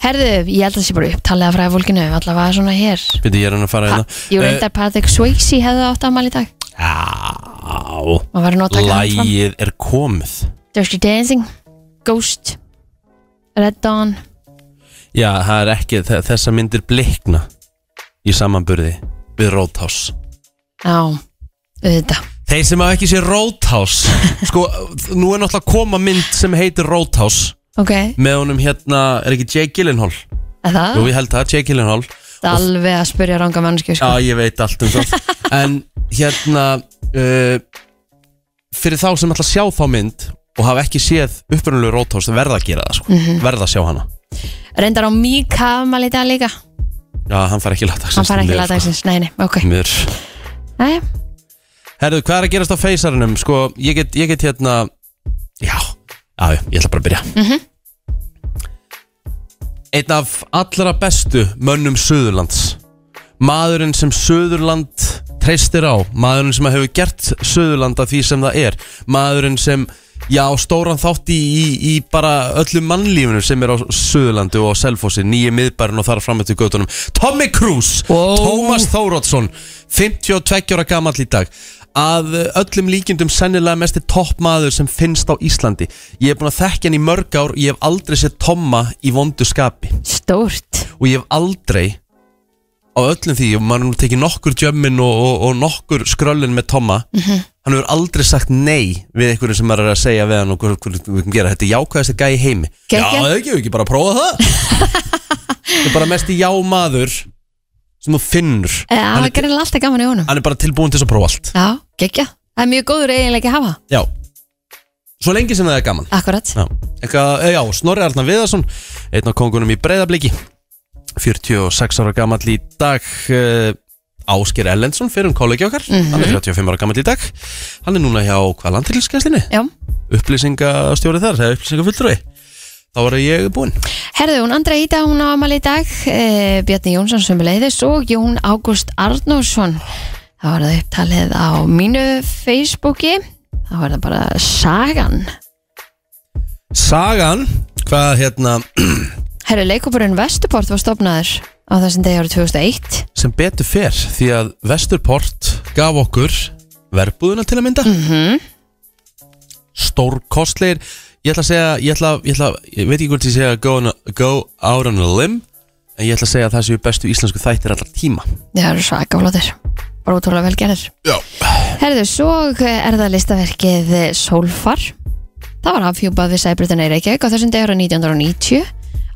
Speaker 2: Herðu, ég held að það sé bara upptalið að fræða fólkinu allavega svona hér
Speaker 1: Býtti ég er hann að fara
Speaker 2: Pa-
Speaker 1: hérna
Speaker 2: Jú,
Speaker 1: Eh,
Speaker 2: reyndar Patrick Swayze hefði átt afmæli í dag
Speaker 1: Já
Speaker 2: maður var að nota hann fram
Speaker 1: Lægið er komið
Speaker 2: Dirty Dancing, Ghost Red Dawn
Speaker 1: Já, það er ekki, þe- þessar myndir blikna í samanburði við Roadhouse
Speaker 2: Já, auðvitað
Speaker 1: Þeir sem hafa ekki sé
Speaker 2: [laughs]
Speaker 1: Roadhouse Sko, nú er náttúrulega að koma mynd sem heitir Roadhouse
Speaker 2: Ok,
Speaker 1: með honum hérna, er ekki Jake Gyllenhaal
Speaker 2: er það?
Speaker 1: Jú, ég held það, Jake Gyllenhaal
Speaker 2: það er alveg að spyrja ranga mannskju sko.
Speaker 1: Já, ég veit allt um
Speaker 2: [laughs]
Speaker 1: það En hérna uh, Fyrir þá sem ætla að sjá þá mynd Og hafa ekki séð upprunalegu Róthás Verða að gera það sko,
Speaker 2: Mhm.
Speaker 1: verða að sjá hana
Speaker 2: Reyndar á Mika afmæli í dag líka
Speaker 1: Já, hann fær ekki lagdagsins
Speaker 2: Hann fær
Speaker 1: því
Speaker 2: ekki
Speaker 1: miður,
Speaker 2: lagdagsins, nei, nei, ok
Speaker 1: sko, því miður.
Speaker 2: Næja,
Speaker 1: Herðu, hvað er að gerast á feysarinum? Sko, ég get, ég get hérna Já, já, já, ég ætla bara að byrja Einn af allra bestu mönnum Suðurlands Maðurinn sem Suðurland treystir á Maðurinn sem hefur gert Suðurland að því sem það er Maðurinn sem, já, stóran þátt í, í, í bara öllu mannlífinu sem er á Suðurlandu og á Selfossi Nýju miðbærin og þar fram eftir götunum Tommy Cruise,
Speaker 2: Wow.
Speaker 1: Tómas Þórótsson 52 ára gamall í dag að eh, öllum líkindum sennilega mesti toppmaður sem finnst á Íslandi ég hef búin að þekkja hann í mörg ár ég hef aldrei séð Tomma í vondu skapi
Speaker 2: stórt
Speaker 1: og ég hef aldrei á öllum því, og maður nú tekið nokkur djömmin og, og, og nokkur skröllin með Tomma
Speaker 3: Mhm.
Speaker 1: hann hefur aldrei sagt nei við einhverjum sem maður er að segja við hann og hvað við gera, þetta er jákvæðast að gæja í heimi
Speaker 2: Geggjað.
Speaker 1: Já, það er ekki, við ekki bara að prófa það Þetta er bara mest í jámaður sem þú finnur
Speaker 2: Já,
Speaker 1: hann,
Speaker 2: það
Speaker 1: er,
Speaker 2: gerir alltaf gaman í honum
Speaker 1: hann er bara tilbúin til þess að prófa allt
Speaker 2: Já, geggja Það er mjög góður eiginlega að hafa
Speaker 1: Já, svo lengi sem það er gaman
Speaker 2: Akkurat
Speaker 1: Já, Eitthvað, eh, já Snorri Arnar Viðarsson einn af kongunum í breyðabliki 46 ára gamall í dag eh, Ásker Ellensson fyrir um kollegi okkar, hann er 35 ára gamall í dag hann er núna hjá hvað landtilskjæslinni
Speaker 2: Já
Speaker 1: upplýsingastjórið þar, það er upplýsingafulltrúi þá var ég búinn
Speaker 2: Herðu, hún Andra Ída, hún á amal í dag e, Bjarni Jónsson sem leiðis og Jón Ágúst Arnórsson Það var það upptalið á mínu Facebooki Það var það bara sagan
Speaker 1: Sagan, hvað hérna [clears throat]
Speaker 2: Herðu, leikupurinn Vestuport var stopnaður á þessum degi árið 2001
Speaker 1: sem betur fer því að Vesturport gaf okkur verbúðuna til að mynda mm -hmm. stórkostleir ég ætla að segja ég, ætla, ég, ætla, ég veit ekki hvort ég segja go, on a, go out on a limb en ég ætla að segja að það séu bestu íslensku þættir allar tíma
Speaker 2: Það eru svaka flottir Bara útrúlega vel gerðir
Speaker 1: Já.
Speaker 2: Herðu, svo er það listaverkið Sólfar. Það var afhjúpað við sæbrutina í Reykjavík á þessum degur á 1990.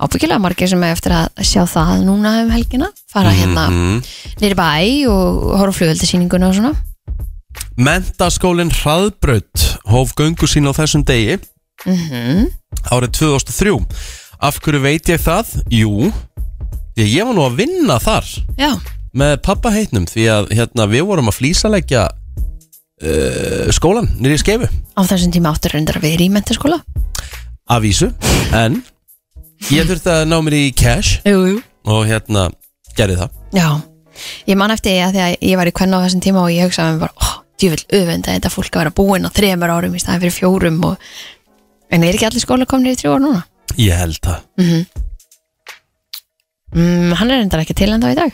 Speaker 2: Ábyggilega margir sem er eftir að sjá það núna um helgina. Fara hérna mm
Speaker 1: mm.
Speaker 2: nýri bæ og horfa flugöldasýninguna og svona.
Speaker 1: Mentaskólin Hraðbraut hóf göngu sín á þessum degi
Speaker 2: Mm
Speaker 1: árið 2003 af hverju veit ég það? Jú, því að ég var nú að vinna þar
Speaker 2: Já,
Speaker 1: með pappa heitnum því að hérna, við vorum að flýsaleggja uh, skólan nýri í skeifu
Speaker 2: á þessum tíma áttur reyndar að við erum í mentaskóla.
Speaker 1: af vísu en ég þurfti að ná mér í cash
Speaker 2: Jú, jú.
Speaker 1: og hérna gerði það
Speaker 2: Já, ég man eftir að því að ég var í kvenna á þessum tíma og ég hugsaði mér bara, oh, djúvill öfund að þetta fólk að vera búin á þremur árum í staðan fyrir fjórum og... En er ekki allir skóla komnir í þrjú ár núna?
Speaker 1: ég held það
Speaker 2: Mhm. mm, Hann er reyndar ekki til enda í dag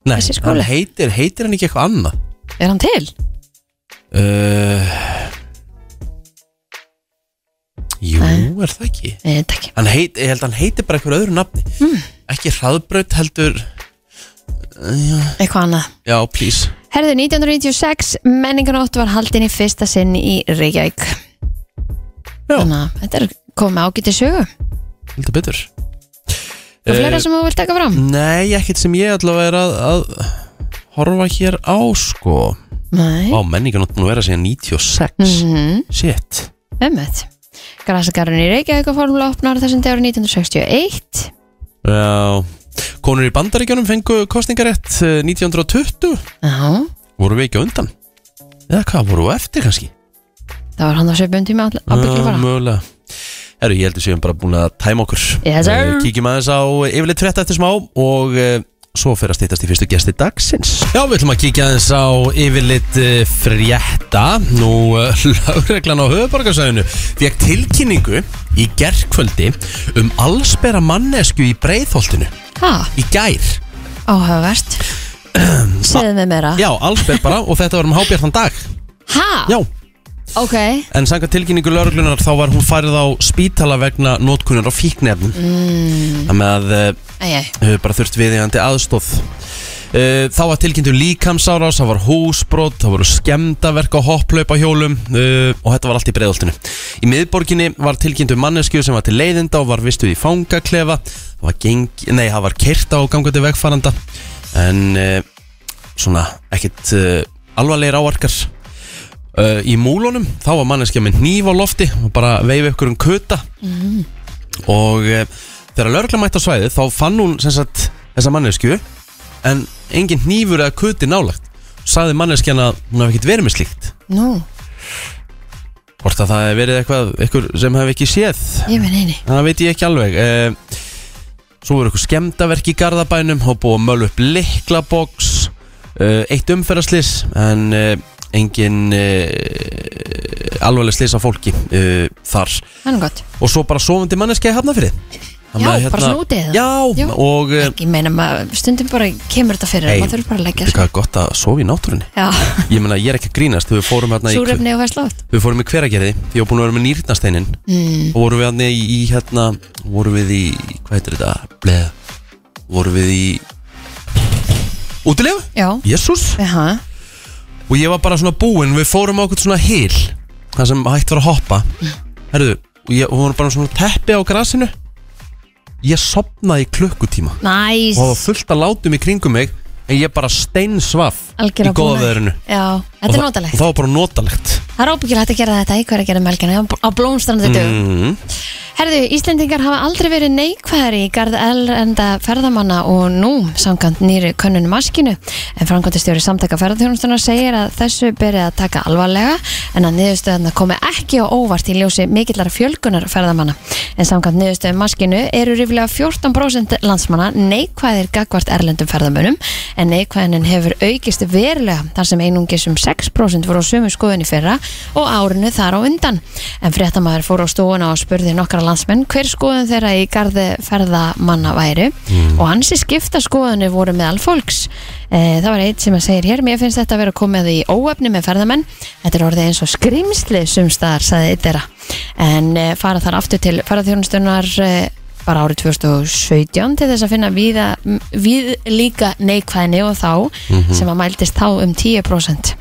Speaker 1: Nei,
Speaker 2: Þessi skóli.
Speaker 1: hann heitir, heitir hann ekki eitthvað annað
Speaker 2: Er hann til?
Speaker 1: uh, Jú,
Speaker 2: Nei.
Speaker 1: er það ekki
Speaker 2: Nei, þetta ekki Hmm.
Speaker 1: hann heit, Ég held að hann heiti bara eitthvað öðru nafni Ekki hraðbraut heldur uh,
Speaker 2: Eitthvað annað
Speaker 1: Já, please
Speaker 2: Herðu, 1996 menninganótt var haldin í fyrsta sinn í Reykjavík
Speaker 1: Já.
Speaker 2: Þannig að þetta er komið ágæti sögu
Speaker 1: Heldur betur
Speaker 2: Og
Speaker 1: Eh,
Speaker 2: fleira sem þú vilt taka fram
Speaker 1: Nei, ekkert sem ég allavega er að, að horfa hér á sko
Speaker 2: Nei,
Speaker 1: Vá, menningan átt búin að vera síðan 96
Speaker 2: Mhm.
Speaker 1: Shit
Speaker 2: ömmið Grasagarinn í Reykjavík og formúla opnar þessum dagur 1961
Speaker 1: Já Konur í bandaríkjunum fengu kostningarétt eh, 1920
Speaker 2: Já,
Speaker 1: Voru við ekki á undan? Eða hvað, voru við á eftir kannski?
Speaker 2: það var hann á sveipum tíma að byggja bara
Speaker 1: Mögulega Herru, ég heldur séum bara búin að tæma okkur
Speaker 2: Yes, sir.
Speaker 1: Eh, Kíkjum aðeins á yfirleitt frétta eftir smá Og eh, svo fyrir að stýttast í fyrstu gesti dagsins Já, við ætlum að kíkja aðeins á yfirleitt eh, frétta Nú, eh, lögreglan á höfuborgarsæðinu Fekk tilkynningu í gerkvöldi Um allsbera mannesku í breiðholtinu
Speaker 2: Ha,
Speaker 1: Í gær [clears throat]
Speaker 2: áhugavert Segðu mig meira
Speaker 1: Já, allsber bara Og þetta var um hábjartan dag
Speaker 2: Ha,
Speaker 1: Já,
Speaker 2: ok
Speaker 1: En sanga tilkynningu lauruglunar þá var hún farið á spítala vegna nótkunar á fíknefnum mm. Þannig að eh,
Speaker 2: Æ, æ,
Speaker 1: hefur bara þurft viðjandi aðstóð Eh, Þá var tilkynntu líkamsárás, það var húsbrot, það voru skemdaverk á hopplaupa hjólum eh, og þetta var allt í breiðoltinu. Í miðborginni var tilkynntu manneskju sem var til leiðinda og var vistuð í fangaklefa, það var, geng, nei, það var kerta á gangandi vegfaranda en eh, svona ekkit eh, alvarlegir áarkar. Eh, Í múlunum þá var manneskja með hníf á lofti og bara veifið ykkur um köta og e, þegar lörgla mætt á svæðið þá fann hún sem sagt þessa mannesku en engin hnífur eða kuti nálagt sagði manneskjan að hún hafði ekkert verið með slíkt
Speaker 2: nú,
Speaker 1: hvort að það hefði verið eitthvað ykkur sem hefði ekki séð
Speaker 2: ég minn eini
Speaker 1: það veit ég ekki alveg e, svo voru ykkur skemdaverk í gardabænum og búið að mölu upp liklaboks e, eitt umferðaslis en e, engin e, alvarleg slis á fólki e, þar
Speaker 2: Það er nú gott
Speaker 1: og svo bara sofandi manneskja í hafnafyrði
Speaker 2: Já,
Speaker 1: hérna-
Speaker 2: bara svona úti eða?
Speaker 1: Já,
Speaker 2: Já.
Speaker 1: og eh,
Speaker 2: Ég meina, maður- stundum bara kemur þetta fyrir
Speaker 1: Hey,
Speaker 2: maður þurfur bara að leggja
Speaker 1: Veitu
Speaker 2: sig
Speaker 1: hvað er gott að sofa í náttúrunni
Speaker 2: Já,
Speaker 1: Ég meina, ég er ekki að grínast Við fórum hérna í,
Speaker 2: súrefni og verslótt
Speaker 1: við fórum í hveragerði Því ég var búin að vera með nýrnasteinin
Speaker 2: mm.
Speaker 1: Og vorum við hérna í, í hérna Vorum við í, hvað heitir þetta? Bleð Vorum við í Útilefu?
Speaker 2: Já,
Speaker 1: Jésús
Speaker 2: aha,
Speaker 1: Og ég var bara svona búinn Við fórum á okkur svona hil Það sem hægt var að hoppa Herðu, og ég og vorum bara svona teppi á grasinu Ég sopnaði í klukkutíma
Speaker 2: næs
Speaker 1: Og það var fullt að látum í kringum mig En ég bara steinsvaf
Speaker 2: Algjörlega
Speaker 1: Í góða
Speaker 2: búin að-
Speaker 1: veðrinu
Speaker 2: Já, þetta er
Speaker 1: Og það-
Speaker 2: notalegt
Speaker 1: Og það var bara notalegt
Speaker 2: Það er óbyggjulegt að gera þetta í hverja gera melgina á blómstrandi dögum.
Speaker 1: mm.
Speaker 2: Herðu, Íslendingar hafa aldrei verið neikvæðar í garð elrenda ferðamanna og nú samkant nýri könnun maskinu. En framkvæmdastjóri samtaka ferðarþjónustunar segir að þessu berið að taka alvarlega en að niðurstöðuna komi ekki á óvart í ljósi mikillar fjölgunar ferðamanna. En samkant niðurstöðu maskinu eru ríflega 14% landsmanna neikvæðir gagvart erlendum ferðamönnum en neikvæðinin hefur aukist verulega þar sem einungis um 6% voru á sömu skoðun í fyrra og árinu þar á undan. En fréttamaður fór á stúuna og spurði nokkra landsmenn hver skoðun þeirra í garði ferðamanna væri
Speaker 4: Mm.
Speaker 1: Mm.
Speaker 2: og hansi skipta skoðunir voru meðal fólks. E, það var eitt sem að segir hér, mér finnst þetta að vera komið í óöfni með ferðamenn. Þetta er orðið eins og skrimsli sumstaðar, sagði eitt þeirra. En e, fara þar aftur til ferðarþjónustunar e, bara árið 2017 til þess að finna víða, víð líka neikvæðni og þá sem að mæltist þá um 10%.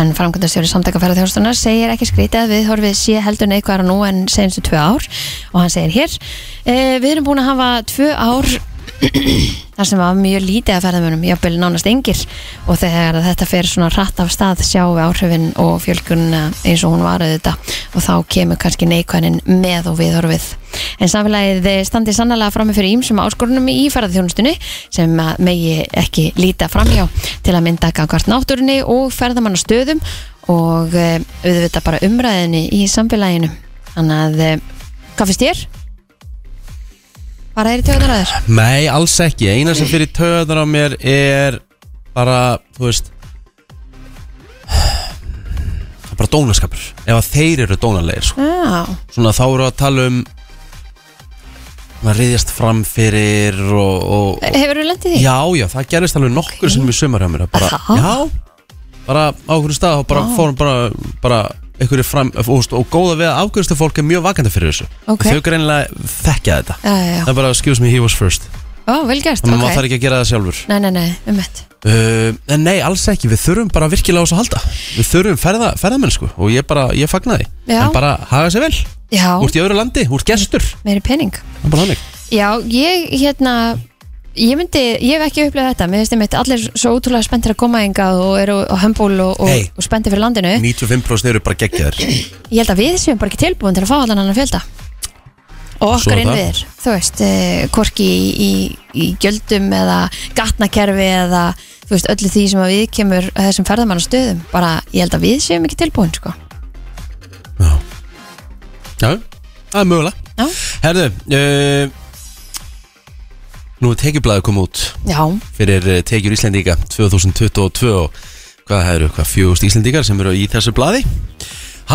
Speaker 2: En framkvæmdastjóri samtaka ferðarþjóðstunar segir ekki skrítið að við horfið sé heldur neikvæðara nú en senstu tvö ár og hann segir hér e, Við erum búin að hafa tvö ár þar sem var mjög lítið að ferðamönum jafnvel nánast engil og þegar þetta fer svona rætt af stað sjáum við áhrifin og fjölgun eins og hún var auðvitað og þá kemur kannski neikvæðin með og við horfið En samfélagið standi sannlega frammi fyrir ímsum áskorunum í ferðarþjónustunni sem að megi ekki líta framhjá til að mynda gangvart náttúrunni og ferðamannastöðum og eh, auðvitað bara umræðinni í samfélaginu. Þannig að, eh, hvað finnst þér? Bara er í tjóðunar að þér?
Speaker 1: Nei, alls ekki Eina sem fyrir töðan á mér er Bara, þú veist Það er bara dónaskapur Ef að þeir eru dónalegir sko.
Speaker 2: Já,
Speaker 1: Svona þá eru að tala um maður riðjast fram fyrir og, og, og
Speaker 2: Hefur þú lendið því?
Speaker 1: já, já, það gerist alveg nokkur sem í sumar hjá mér að bara,
Speaker 2: Aha.
Speaker 1: já, bara á okkur stað og bara
Speaker 2: Vá.
Speaker 1: fórum bara, bara einhverju fram, og, veist, og góða við að afgjörstu fólk er mjög vakandi fyrir þessu
Speaker 2: Ok.
Speaker 1: þau greinlega þekkja þetta
Speaker 2: Já, já,
Speaker 1: það er bara, excuse me, he was first
Speaker 2: já, vel gert,
Speaker 1: þannig að maður
Speaker 2: ok
Speaker 1: þarf ekki að gera það sjálfur
Speaker 2: Nei, nei, nei, um mitt
Speaker 1: Uh, en nei, alls ekki, við þurfum bara virkilega á þess að halda Við þurfum ferða, ferðamennsku og ég bara, ég fagna því
Speaker 2: Já.
Speaker 1: En bara haga sér vel,
Speaker 2: Já,
Speaker 1: úr í öðru landi, úr gestur Það
Speaker 2: meiri pening
Speaker 1: er bara þannig
Speaker 2: Já, ég hérna Ég myndi, ég hef ekki upplifað þetta Mér finnst einmitt allir svo útrúlega spenntir að koma engað og eru á hömbúl og, og,
Speaker 1: Hey.
Speaker 2: og spenntir fyrir landinu
Speaker 1: 95% eru bara geggjaður
Speaker 2: Ég held að við séum bara ekki tilbúin til að fá allan annan fjölda og
Speaker 1: Svo
Speaker 2: okkar
Speaker 1: er það.
Speaker 2: innviðir þú veist, eh, hvorki í, í, í gjöldum eða gatnakerfi eða þú veist, öllu því sem að við kemur þessum ferðamannastöðum, bara ég held að við séum ekki tilbúin, sko
Speaker 1: Já, Já, það er mögulega
Speaker 2: Já,
Speaker 1: Herðu, uh, nú er tekjublaðið kom út
Speaker 2: já,
Speaker 1: fyrir eh, tekjur Íslendinga 2022 og hvað það eru, hvað fjögust Íslendingar sem eru í þessu blaði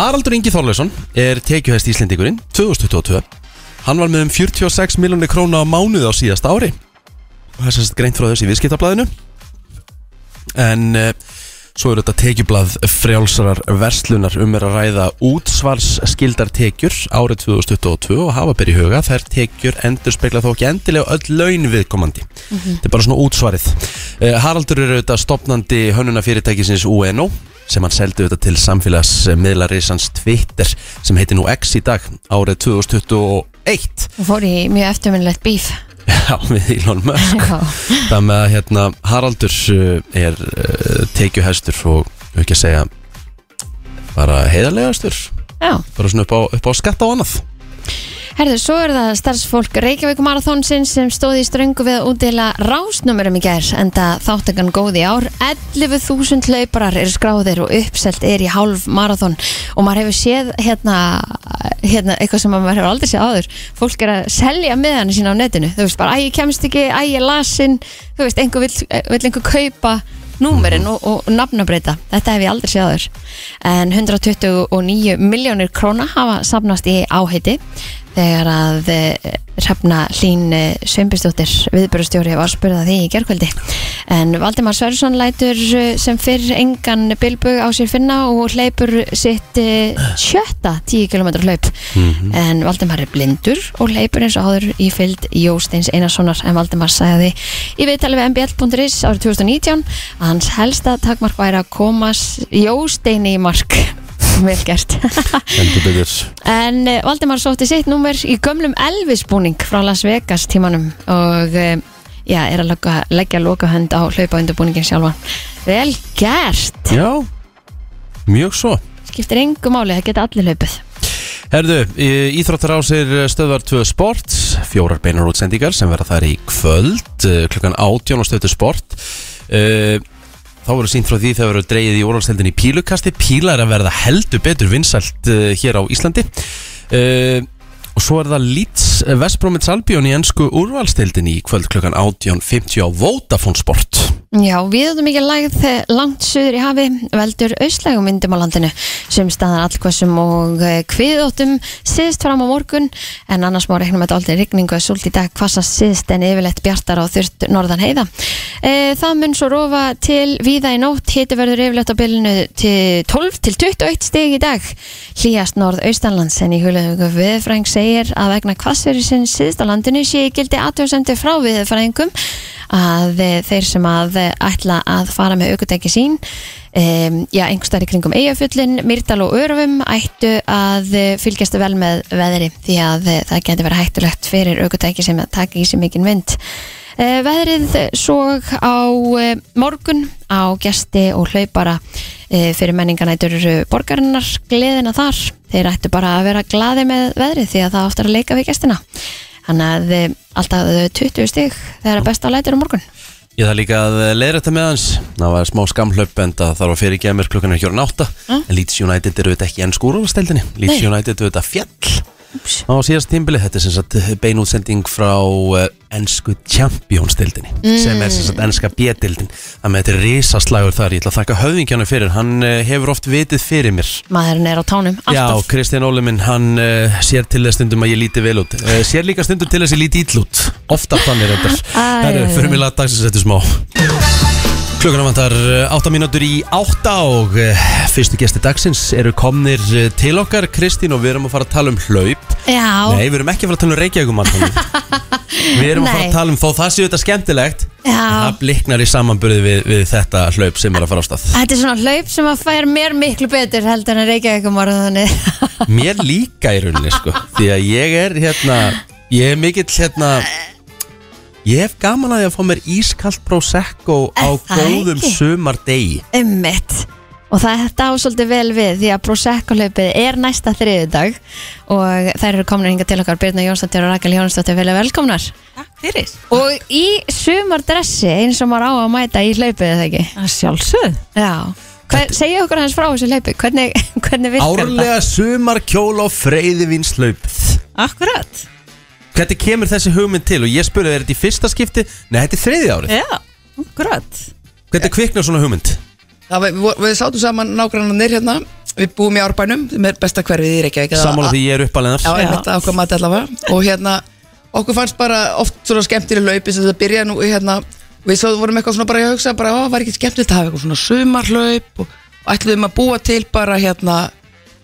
Speaker 1: Haraldur Ingi Þorleifsson er tekjuhest Íslendingurinn 2022 Hann var með um 46 miljónir króna á mánuði á síðasta ári og það er sérst greint frá þessi viðskiptablaðinu en uh, svo eru þetta tekjublað frjálsarar verslunar um er að ræða útsvarsskildar tekjur árið 2022 og hafa byrja í huga þær tekjur endur spekla þó ekki endilega öll laun viðkomandi þetta er bara svona útsvarið uh, Haraldur eru þetta stopnandi hönnuna fyrirtækisins UNO sem hann seldi þetta til samfélagsmiðlarisans Twitter sem heitir nú X í dag árið 2021
Speaker 2: og fór í mjög eftirminnlegt bíf
Speaker 1: [laughs] Já, við Elon Musk
Speaker 2: Já,
Speaker 1: Það með að hérna, Haraldur uh, er uh, tekjuhestur og ekki að segja bara heiðarlegastur
Speaker 2: já
Speaker 1: bara svona upp á, upp á skatt á annað
Speaker 2: Herður, svo er það starfsfólk Reykjavík Marathonsins sem stóði í ströngu við að útdela rásnumurum í gær en það þáttakann góð í ár 11.000 lauparar eru skráðir og uppselt er í hálf marathon og maður hefur séð hérna, hérna eitthvað sem maður hefur aldrei séð áður fólk er að selja meðan sína á netinu þú veist bara, æ, ég kemst ekki, æ, ég er lasin þú veist, einhver vill, eh, vill einhver kaupa númerinn og, og nafnabreita þetta hef ég aldrei séð áður en 129 miljónir króna hafa safnast í áheiti þegar að eh, Hrefna Hlín eh, Sveinbjörnsdóttir viðbjörnstjóri var spurða því í gerkvöldi en Valdimar Sverrisson lætur eh, sem fyrr engan bilbug á sér finna og hleypur sitt eh, sjötta 10 km hlaup en Valdimar er blindur og hleypur eins og áður í fylgd Jósteins Einarssonar en Valdimar sagði í viðtali við mbl.is árið 2019 að hans helsta takmark væri að komast Jósteini í mark [laughs] vel gert [laughs]
Speaker 1: Endur byggur
Speaker 2: En eh, Valdimar sótti sitt númer í gömlum Elvis-búning frá Las Vegas tímanum og eh, já, er að leggja, leggja lokahönd á hlaupa undirbúningin sjálfan. Vel gert!
Speaker 1: Já, mjög svo
Speaker 2: Skiptir engu máli, það geta allir hlaupið.
Speaker 1: Herðu, í- Íþróttar ásir stöðvar 2 Sport, fjórar beinar útsendingar sem verða þar í kvöld, eh, klukkan 18 á stöðu Sport. Eh, Þá verður sínt frá því þegar verður dreigið í úrvalstendin í pílukasti. Píla er að verða heldur betur vinsælt eh, hér á Íslandi. Eh, Og svo er það Leeds Vestbrómits Albion í ennsku úrvalstildin í kvöld klukkan 18.50 á Vodafone Sport.
Speaker 2: Já, við höfum ekki lagð eh, langt suður í hafi veldur auslægum vindum á landinu sem staðar allkvæsum og kviðóttum síðst fram á morgun en annars má reikna með dálítið rigningu að súlt í dag hvassast síðst en yfirleitt bjartar á þurft norðan heiða. Eh, Það mun svo rofa til víða í nótt, hiti verður yfirleitt á bylunu til 12 til 21 stig í dag. Hlýjast norðaustanlands en í hulöðungu viðfræng segir að vegna hvassverið sinn síðst á landinu sé í gildi aðtjóðsendu frá viðfrængum að eh, þeir sem að eh, ætla að fara með aukutæki sín um, já, einhverstaðar í kringum Eyjafjöllin, Myrdal og Örufum ættu að eh, fylgjast vel með veðri því að eh, það getur verið hættulegt fyrir aukutæki sem að taka í sig mikinn vind uh, Veðrið svo á uh, morgun á gesti og hlaupara uh, fyrir menninganætur borgarinnar gleðina þar, þeir ættu bara að vera glaði með veðrið því að það oftar að leika við gestina Þannig að eh, alltaf eh, 20 stig þegar er best á lætur á morgun.
Speaker 1: Ég þarf líka að eh, leiðra þetta með hans Það var smá skamhlaup en það þarf að fyrir ekki að mér klukkan er hjá átta
Speaker 2: Mm.
Speaker 1: En Leeds United eru þetta ekki enn skúrúlastældinni Leeds
Speaker 2: Nei.
Speaker 1: United eru þetta fjall á síðast tímbili þetta er sem sagt beinútsending frá uh, ennsku Champions-dildinni
Speaker 2: Mm.
Speaker 1: sem er sem sagt ennska B-dildin þannig að þetta er risaslagur þar, ég ætla að þakka höfðingjanum fyrir hann uh, hefur oft vitið fyrir mér
Speaker 2: Maðurinn er á tánum,
Speaker 1: Já,
Speaker 2: alltaf
Speaker 1: Kristján Óli minn, hann uh, sér til þess stundum að ég líti vel út uh, Sér líka stundum til þess að ég líti ill út Ofta þannig reyndar
Speaker 2: Æ,
Speaker 1: Það
Speaker 2: æ,
Speaker 1: eru
Speaker 2: æ.
Speaker 1: förmulega dagsins eftir smá Klukkan vantar 8 mínútur í 8 og uh, fyrstu gesti dagsins eru komnir eh, til okkar Kristín og við erum að fara að tala um hlaup
Speaker 2: Já,
Speaker 1: Nei, við erum ekki að fara að tala um reykjaugumann
Speaker 2: [laughs]
Speaker 1: Við erum að fara
Speaker 2: Nei.
Speaker 1: að tala um þó það séu þetta skemmtilegt
Speaker 2: Já.
Speaker 1: en Það bliknar í samanburði við, við þetta hlaup sem er að fara á stað
Speaker 2: þetta er svona hlaup sem að fær mér miklu betur heldur en Reykjavík um orðunni [laughs]
Speaker 1: Mér líka í rauninni sko Því að ég er hérna Ég er mikill hérna Ég hef gaman að ég að fá mér ískalt prosecco á
Speaker 2: Er það
Speaker 1: góðum
Speaker 2: ekki?
Speaker 1: sumardegi
Speaker 2: Ummitt Og það þetta á svolítið vel við því að Prosecco-hlaupið er næsta þriðudag og þær eru komnar hinga til okkar Birna Jónsdóttir og Rakel Jónsdóttir vel velkomnar
Speaker 5: Takk fyrir.
Speaker 2: og í sumardressi eins og maður á að mæta í hlaupið eða ekki
Speaker 5: Að sjálfsögð.
Speaker 2: Já, Hver, segja okkur hans frá þessu hlaupi hvernig, hvernig virkar
Speaker 1: Árlega sumarkjól og freyðivínslaup
Speaker 5: Ah. Akkurat.
Speaker 1: Hvernig kemur þessi hugmynd til? Og ég spurði, er þetta í fyrsta skipti? Nei, þetta er þriði árið
Speaker 5: Já, akkurat.
Speaker 1: Hvernig kviknar svona hugmynd?
Speaker 6: Það var, við, við sátum saman nágrannanir hérna Við búum í Árbænum sem er besta hverfið í Reykjavík eða-
Speaker 1: Samála því ég er
Speaker 6: Já,
Speaker 1: uppalenar
Speaker 6: einmitt að okkar mati allavega Og hérna, okkur fannst bara oft svona skemmtileg laupi sem það byrja nú hérna Við svo vorum eitthvað svona bara að hugsa bara, ó, var ekki skemmtilegt að hafa eitthvað svona sumarlaup og, og ætluðum að búa til bara hérna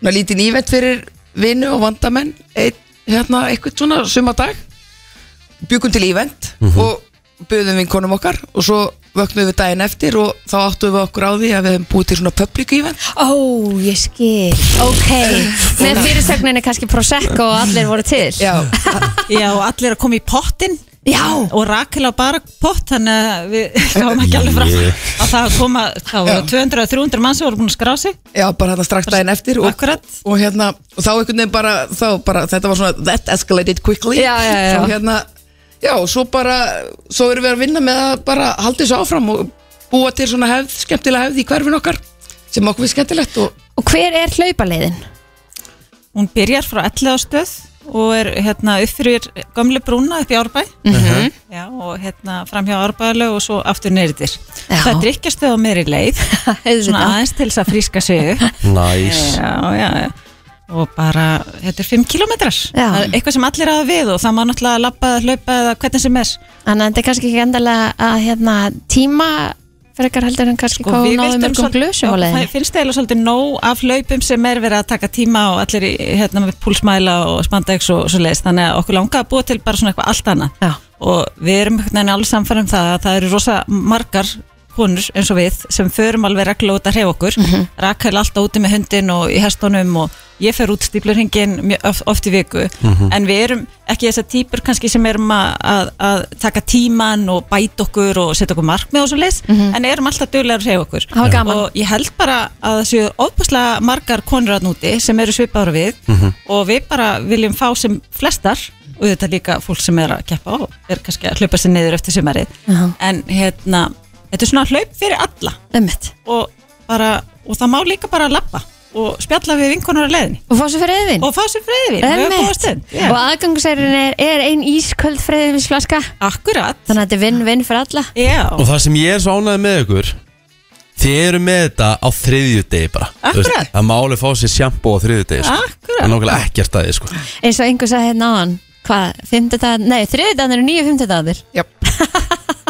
Speaker 6: svona lítinn ívent fyrir vinnu og vandamenn eitt, hérna, eitthvað svona sumardag byggum til ívent og byggðum vinkonum okkar og svo vöknum við daginn eftir og þá áttum við okkur á því að við hefum búið til svona public event
Speaker 2: Ó, ég skil Ok, með fyrirsögninni kannski Prosecco og allir voru til [laughs]
Speaker 6: Já,
Speaker 5: Já, og allir að koma í pottin.
Speaker 2: Já.
Speaker 5: Og Rakel á bara pott, þannig að við [laughs] fáum ekki alveg fram
Speaker 1: Yeah.
Speaker 5: að það að koma, þá voru 200-300 mann sem voru búin að skrá sig.
Speaker 6: já, bara hérna strax daginn eftir og,
Speaker 5: Akkurat.
Speaker 6: og hérna, og þá einhvern veginn bara, þá bara, þetta var svona that escalated quickly
Speaker 2: Já, já, já.
Speaker 6: Þá hérna, já, og svo bara svo erum við að vinna með að bara halda þessu áfram og búa til svona hefð, skemmtilega hefð í hverfin okkar sem okkur við skemmtilegt og
Speaker 2: Og hver er hlaupaleiðin?
Speaker 5: Hún byrjar frá 11 stöð og er hérna upp fyrir gömlu brúna upp í Árbæ.
Speaker 2: Mhm.
Speaker 5: Já, og hérna framhjá Árbælu og svo aftur neyriðir.
Speaker 2: Já.
Speaker 5: Það drikkja stöð á meðri leið, svona
Speaker 2: [laughs] Auðvitað.
Speaker 5: aðeins til þess að fríska sig upp.
Speaker 1: Næs
Speaker 5: já, já, já. og bara, þetta er 5 kilometrar
Speaker 2: Já.
Speaker 5: Það er eitthvað sem allir hafa við og það má náttúrulega lappa eða hlaupa eða hvernig sem er
Speaker 2: Þannig að þetta er kannski ekki endalega að hérna, tíma frekar heldur en kannski
Speaker 5: Sko,
Speaker 2: hvað hún náði mörgum glösum á
Speaker 5: það
Speaker 2: leiðinni.
Speaker 5: finnst eiginlega svolítið nóg af hlaupum sem er verið að taka tíma og allir í, hérna með púlsmæla og spandex og svo leiðist, þannig að okkur langa að búa til bara svona eitthvað allt annað
Speaker 2: Já.
Speaker 5: og við erum einhvern veginn alveg samfærum það að það eru rosa margar konur eins og við sem förum alveg regla út að hrefa okkur mm
Speaker 2: Mhm.
Speaker 5: -hmm. Rakel alltaf úti með hundin og í hestunum og ég fer út stíplurhingin mjög oft, oft í viku en við erum ekki þessar típur kannski sem erum að, að, að taka tíman og bæta okkur og setja okkur markmið og svo leis en erum alltaf duglega að hrefa okkur
Speaker 2: Hafa Mhm. gaman.
Speaker 5: og ég held bara að það séu ofbúslega margar konur að núti sem eru svipaður við og við bara viljum fá sem flestar og þetta er líka fólk sem er að keppa og er kannski að hlaupa sér niður eftir sumarið
Speaker 2: Já.
Speaker 5: en hérna, þetta er svona hlaup fyrir alla
Speaker 2: Ummitt.
Speaker 5: og, bara, og það má líka bara lappa og spjalla við vinkonur á leiðinni
Speaker 2: Og fá svo fyrir eðin.
Speaker 5: og fá sér freyðin, við höfum góða stund
Speaker 2: Og aðgangsærin er, er ein ísköld freyðinsflaska.
Speaker 5: Akkurat,
Speaker 2: Þannig að þetta er vinn-vinn fyrir alla.
Speaker 5: já
Speaker 1: Og það sem ég er svo ánægð með ykkur Þið eru með þetta á þriðju degi bara Þú
Speaker 5: Akkurat.
Speaker 1: Það má alveg fá sér sjampo á þriðju degi sko.
Speaker 5: Akkurat.
Speaker 1: Það er nákvæmlega ekkert að þið sko.
Speaker 2: Eins og einhver sagði hérna áðan, hvað, fimmtudagarnir, nei, þriðudagarnir eru nýju fimmtudagarnir.
Speaker 6: já,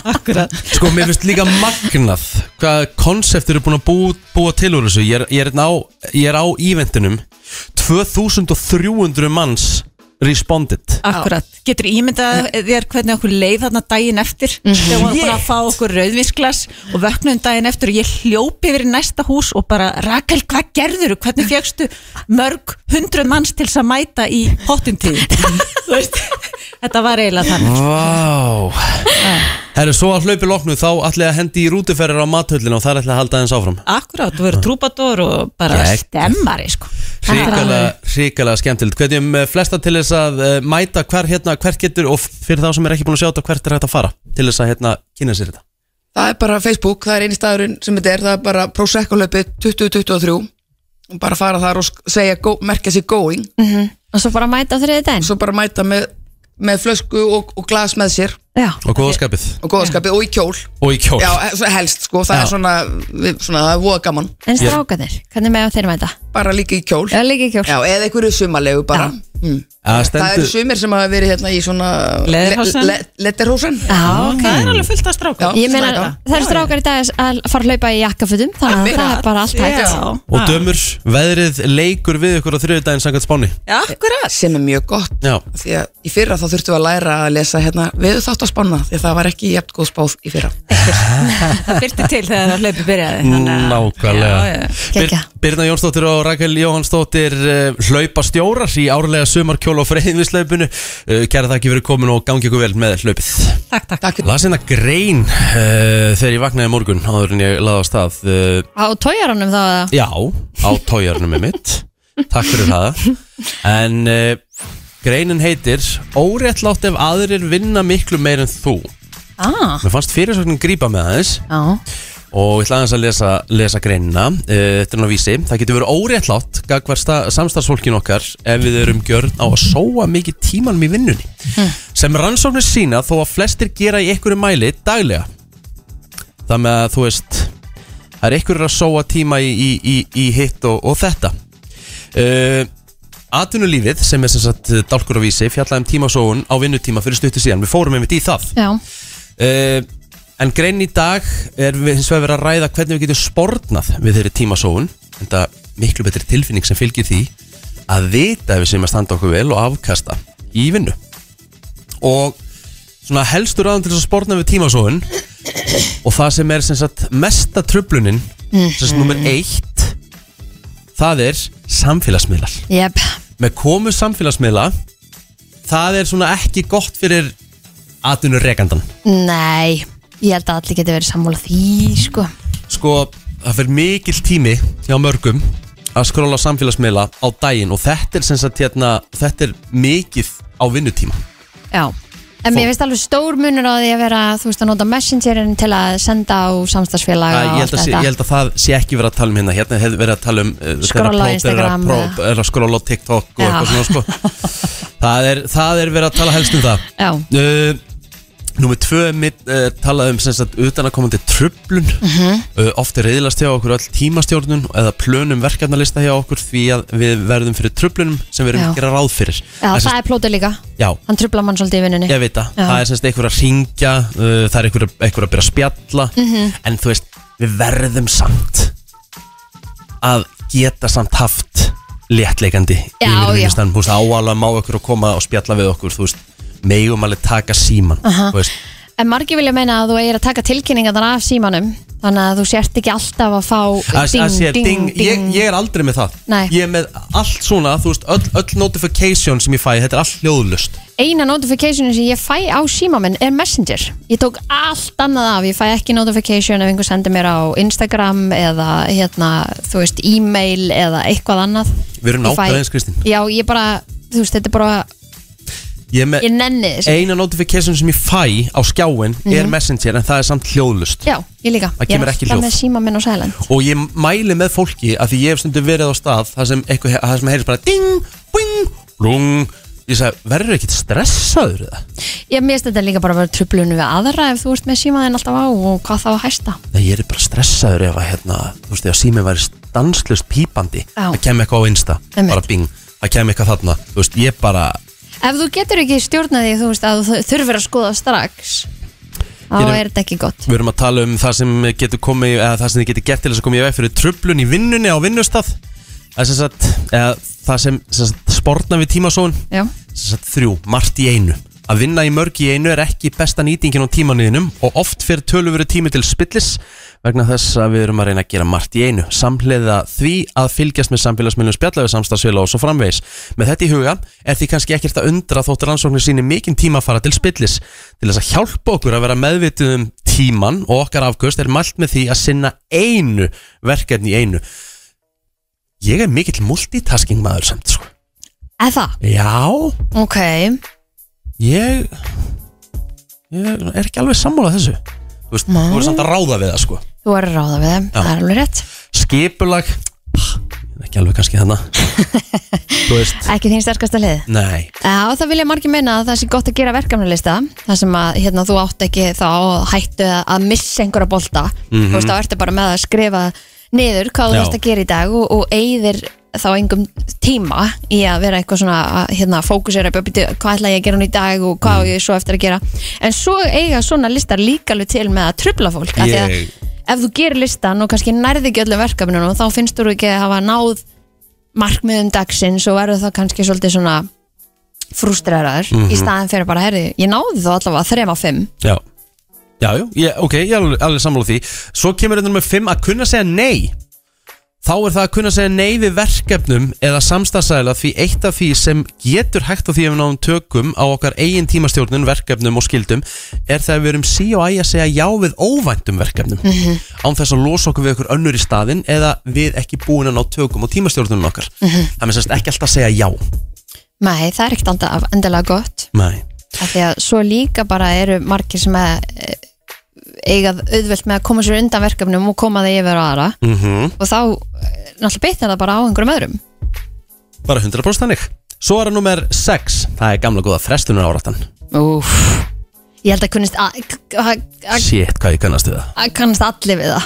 Speaker 5: akkurat
Speaker 1: sko, mér finnst líka magnað Hvað konsept eru búin að bú, búa til úr þessu Ég er, ég er, hérna á, ég er á íventinum 2300 manns responded
Speaker 5: Akkurat, getur ímyndað þér hvernig okkur leið þarna daginn eftir þegar hún var búin að fá okkur rauðvinsglas og vöknum daginn eftir og ég hljópi yfir í næsta hús og bara Rakel, hvað gerður hvernig fegstu mörg hundruð manns til þess að mæta í pottin tíð [laughs] Þú veist, þetta var eiginlega þannig
Speaker 1: Vá
Speaker 5: Ah.
Speaker 1: Herru, svo að hlaupi loknu þá ætla ég að hendi í rútuferðir á mathöllinu og þar ætla ég að halda aðeins áfram
Speaker 5: Akkurat, þú verður trúbator og bara
Speaker 1: Gegn.
Speaker 5: stemmari sko Það er
Speaker 1: Ríkala,
Speaker 5: alveg-
Speaker 1: ríkala skemmtilegt Hvernig um flesta til þess að eh, mæta hver hérna, hvert getur og fyrir þá sem er ekki búin að sjá þetta hvert er hægt að fara til þess að hérna kynna sér þetta
Speaker 6: það er bara Facebook, það er eini staðurinn sem þetta er, það er bara Prosecco löpið 2023 og bara fara þar og sk- segja go, merkja sér going
Speaker 2: Mhm. og svo bara mæta þriði daginn
Speaker 6: svo bara mæta með, með flösku og, og glas með sér
Speaker 2: já,
Speaker 1: Og góðaskapið
Speaker 6: og góðaskapið og í kjól
Speaker 1: Og í kjól
Speaker 6: já, he- helst sko, það
Speaker 1: Já.
Speaker 6: er svona, við- svona það er voða gaman,
Speaker 2: en strákanir, hvernig með þeir mæta?
Speaker 6: bara líka í kjól
Speaker 2: Já, líka í kjól
Speaker 6: já, eða einhverju sumarlegu bara mm.
Speaker 1: Það
Speaker 6: það eru
Speaker 1: stendur
Speaker 6: sumir sem hafa verið hérna í svona
Speaker 5: Leðurhosen?
Speaker 6: letterhosen
Speaker 2: Já,
Speaker 5: Ah,
Speaker 2: ok.
Speaker 5: Það
Speaker 1: Mm.
Speaker 5: er alveg fullt af strákum
Speaker 6: Já.
Speaker 2: Ég meina,
Speaker 6: Smæta.
Speaker 2: það er strákar í dag að fara að hlaupa í jakkafutum þannig að það er bara allt hægt
Speaker 6: Ah.
Speaker 1: Og dömur, veðrið leikur við ykkur á þriðudaginn sangat spáni
Speaker 5: Já, akkurat
Speaker 6: sem er mjög gott
Speaker 1: Já,
Speaker 6: því að í fyrra þá þurftum við að læra að lesa hérna, veðu þátt að spanna því að það var ekki jæft góð spáð í fyrra
Speaker 5: Það byrti til þegar hlaupi
Speaker 6: eh,
Speaker 5: byrjaði þannig að-
Speaker 1: nákvæmlega
Speaker 5: Mm. Já, já.
Speaker 1: Bir,
Speaker 2: Geggjað.
Speaker 1: Birna Jónsdóttir og Rakel Jóhansdóttir uh, hlaupa stjórar í árlega sumarkjól og freyðinvislaupinu uh, Kæra það ekki verið komin og gangi ykkur vel með hlaupið
Speaker 5: Takk, takk
Speaker 6: Takk fyrir
Speaker 1: Las hérna grein uh, þegar ég vaknaði í morgun áður en ég laði á stað uh,
Speaker 2: Á tójaranum þá að
Speaker 1: Já, á tójarnum er mitt Takk fyrir það En uh, greinin heitir Óréttlátt ef aðrir vinna miklu meir en þú
Speaker 2: ah,
Speaker 1: Mér fannst fyrirsögnin grípa með aðeins
Speaker 2: Já,
Speaker 1: Og ég ætla aðeins að lesa, lesa greinina uh, Þetta er nú vísi Það getur verið óréttlátt Gagvart samstarfsfólkin okkar Ef við erum gjörn á að sóa mikið tímanum í vinnunni Sem rannsóknir sína Þó að flestir gera í einhverju mæli daglega Það með að þú veist Það er einhverjur að sóa tíma í, í, í, í hitt og, og þetta uh, Atvinnulífið sem er sem sagt eh, dálkur á vísi fjallaði um tímasóun á vinnutíma fyrir stuttu síðan Við fórum einmitt í það
Speaker 2: já,
Speaker 1: uh, En grein í dag er við hins vegar verið að ræða hvernig við getum spornað við þeirri tímasóun en það miklu betri tilfinning sem fylgir því að vita ef við sem að standa okkur vel og afkasta í vinnu og svona helstu ráðum til þess að sporna við tímasóun og það sem er sem sagt mesta tröflunin sem sagt nummer eitt það er samfélagsmiðlar
Speaker 2: jep
Speaker 1: með komu samfélagsmiðla það er svona ekki gott fyrir atvinnur rekandan
Speaker 2: Nei, ég held að allir geti verið sammála því, sko
Speaker 1: sko, það fyrir mikill tími hjá mörgum að skróla samfélagsmiðla á daginn og þetta er sem sagt hérna, þetta er mikið á vinnutíma.
Speaker 2: Já, en mér finnst alveg stór munur á því að vera, þú veist, að nota messengerin til að senda á
Speaker 1: Æ,
Speaker 2: samstagsfélag og
Speaker 1: ég, held að
Speaker 2: allt
Speaker 1: sé,
Speaker 2: þetta.
Speaker 1: ég held að það sé ekki verið að tala um hérna, hérna hefði verið að tala um uh, þegar
Speaker 2: Skrolla á
Speaker 1: plóter
Speaker 2: Instagram
Speaker 1: er að, pró, er að skróla á TikTok og
Speaker 2: Já.
Speaker 1: eitthvað
Speaker 2: [laughs]
Speaker 1: svona sko. það, er, það er verið að tala helst um það.
Speaker 2: Já,
Speaker 1: Uh, Númer tvö mitt uh, talaði um sem sagt utanakomandi tröflun
Speaker 2: Mhm.
Speaker 1: uh, oft er reyðlast hjá okkur öll tímastjórnun eða plönum verkefnalista hjá okkur því að við verðum fyrir tröflunum sem við erum
Speaker 2: Já.
Speaker 1: að gera ráð fyrir
Speaker 2: já
Speaker 1: Það er sem
Speaker 2: það er plótið líka
Speaker 1: Já,
Speaker 2: Hann trublar mann svolítið í vinnunni
Speaker 1: ég veit það,
Speaker 2: Já.
Speaker 1: það er sem sagt einhver að ringja uh, það er einhver, einhver að byrja að spjalla
Speaker 2: Mhm.
Speaker 1: en þú veist, við verðum samt að geta samt haft léttleikandi
Speaker 2: Já, já.
Speaker 1: yfir vinnustanum, þú veist, áalega má okkur að koma og spjalla við okkur, þú veist megum alveg taka síman, þú veist
Speaker 2: En margir vilja meina að þú eigir að taka tilkynninga þannig af símanum Þannig að þú sért ekki alltaf að fá
Speaker 1: Að- að sé, ding, Ég, ég er aldrei með það
Speaker 2: Nei.
Speaker 1: Ég er með allt svona, þú veist, öll, öll notification sem ég fæ, þetta er allt hljóðlust
Speaker 2: Eina notificationin sem ég fæ á símamin er Messenger Ég tók allt annað af, ég fæ ekki notification ef einhver sendir mér á Instagram eða hérna, þú veist, e-mail eða eitthvað annað
Speaker 1: Við erum
Speaker 2: Ég fæ-
Speaker 1: nákvæmlega eins, Kristín.
Speaker 2: Já, ég bara, þú veist, þetta er bara,
Speaker 1: Ég er með
Speaker 2: ég nenni þessu Mhm.
Speaker 1: eina notification sem ég fæ á skjáin er messenger en það er samt hljóðlust
Speaker 2: Já, ég líka,
Speaker 1: Það
Speaker 2: ég
Speaker 1: kemur
Speaker 2: er
Speaker 1: ekki
Speaker 2: alltaf
Speaker 1: hljóð.
Speaker 2: með símamin á silent
Speaker 1: og ég mæli með fólki að því ég hef stundum verið á stað það sem, eitthvað, það sem heyrðis bara ding, bing, blung Ég sagði, verður ekkert stressaður það?
Speaker 2: Ég mist þetta líka bara að vera trublun við aðra ef þú ert með símaðin alltaf á og hvað þá að hæsta
Speaker 1: Nei, ég er bara stressaður ef að hérna, þú veist, ef símið væri stanslust pípandi
Speaker 2: Já.
Speaker 1: það kemur eitthvað á insta,
Speaker 2: Einmitt.
Speaker 1: bara bing það kemur eitthvað þarna, þú veist, ég bara
Speaker 2: Ef þú getur ekki stjórnað því þú veist að þú þurfir að skoða strax þá
Speaker 1: Gerum-
Speaker 2: er þetta ekki gott
Speaker 1: Við erum að tala um það sem getur komið eða það sem þið getur gert til þess að komið í veg fyrir trublun í vinnunni á vinnustaf það sem, sagt, eða, það sem, sem sagt, sportna við tímasón
Speaker 2: Já,
Speaker 1: sem sagt, þrjú, margt í einu að vinna í mörg í einu er ekki besta nýtingin á tímanuðinum og oft fyrir töluveri tími til spillis vegna þess að við erum að reyna að gera margt í einu samhliða því að fylgjast með samfélagsmiðlum spjalla við samstagsfélag og svo framvegis með þetta í huga er því kannski ekkert að undra þótt rannsóknir síni mikinn tíma að fara til spillis til þess að hjálpa okkur að vera meðvitið um tíman og okkar afgöst er mælt með því að sinna einu verkefni í einu ég er mikill multitasking maður samt sko.
Speaker 2: eða það,
Speaker 1: já
Speaker 2: ok
Speaker 1: Ég Ég er ekki alveg sammála þessu Þú veist,
Speaker 2: Nei.
Speaker 1: þú er samt að ráða við það sko
Speaker 2: Þú er að ráða við þeim,
Speaker 1: Já.
Speaker 2: það er alveg rétt
Speaker 1: Skipulag ah, ekki alveg kannski [laughs] þannig Þú veist,
Speaker 2: Ekki þín sterkasta hlið
Speaker 1: nei
Speaker 2: Já, það vil ég margir minna að það sé gott að gera verkefnulista þar sem að hérna, þú átt ekki þá að hættu að missa einhverja bolta þú veist, þá ertu bara með að skrifa niður hvað þú
Speaker 1: Mhm. Já.
Speaker 2: veist að gera í dag og, og eigðir þá engum tíma í að vera eitthvað svona að hérna, fókusera upp, "Bíddu, hvað ætla ég að gera hún í dag og
Speaker 1: Mhm.
Speaker 2: hvað á ég svo eftir að gera en svo eiga svona listar líka alveg til með að trubla fólk af því að
Speaker 1: Ég-
Speaker 2: ef þú gerir listan og kannski nærði ekki öllum verkefnunum þá finnst þú ekki að hafa náð markmiðum dagsins og verður það kannski svolítið svona frústreraður í staðin fyrir bara, herri, ég náði þá allavega þrema fimm
Speaker 1: Já, já, já ég, ok, ég er alveg, alveg sammála því Svo kemur þetta með 5 að kunna segja nei Þá er það að kunna segja nei við verkefnum eða samstagsæla því eitt af því sem getur hægt á því ef við náum tökum á okkar eigin tímastjórnun, verkefnum og skildum er þegar við erum sí og æg að segja já við óvæntum verkefnum
Speaker 2: Mhm,
Speaker 1: án þess að losa okkur við okkur önnur í staðinn eða við ekki búin að ná tökum á tímastjórnunum okkar
Speaker 2: mhm.
Speaker 1: Það með sérst ekki alltaf að segja já
Speaker 2: Nei, það er ekkert anda- endilega gott
Speaker 1: Nei,
Speaker 2: af því að svo líka bara eru margir sem að eh, eiga auðvelt með að koma sér undan verkefnum og koma þeir yfir á aðra
Speaker 1: mm
Speaker 2: og þá eh, náttúrulega bitnar það bara á einhverjum öðrum
Speaker 1: bara 100% þannig Svo er það nummer 6, það er gamla góða frestunar
Speaker 2: Úf Ég held að kunnist að- að- að-
Speaker 1: Shit, hvað ég kannast við það
Speaker 2: að kannast allir við það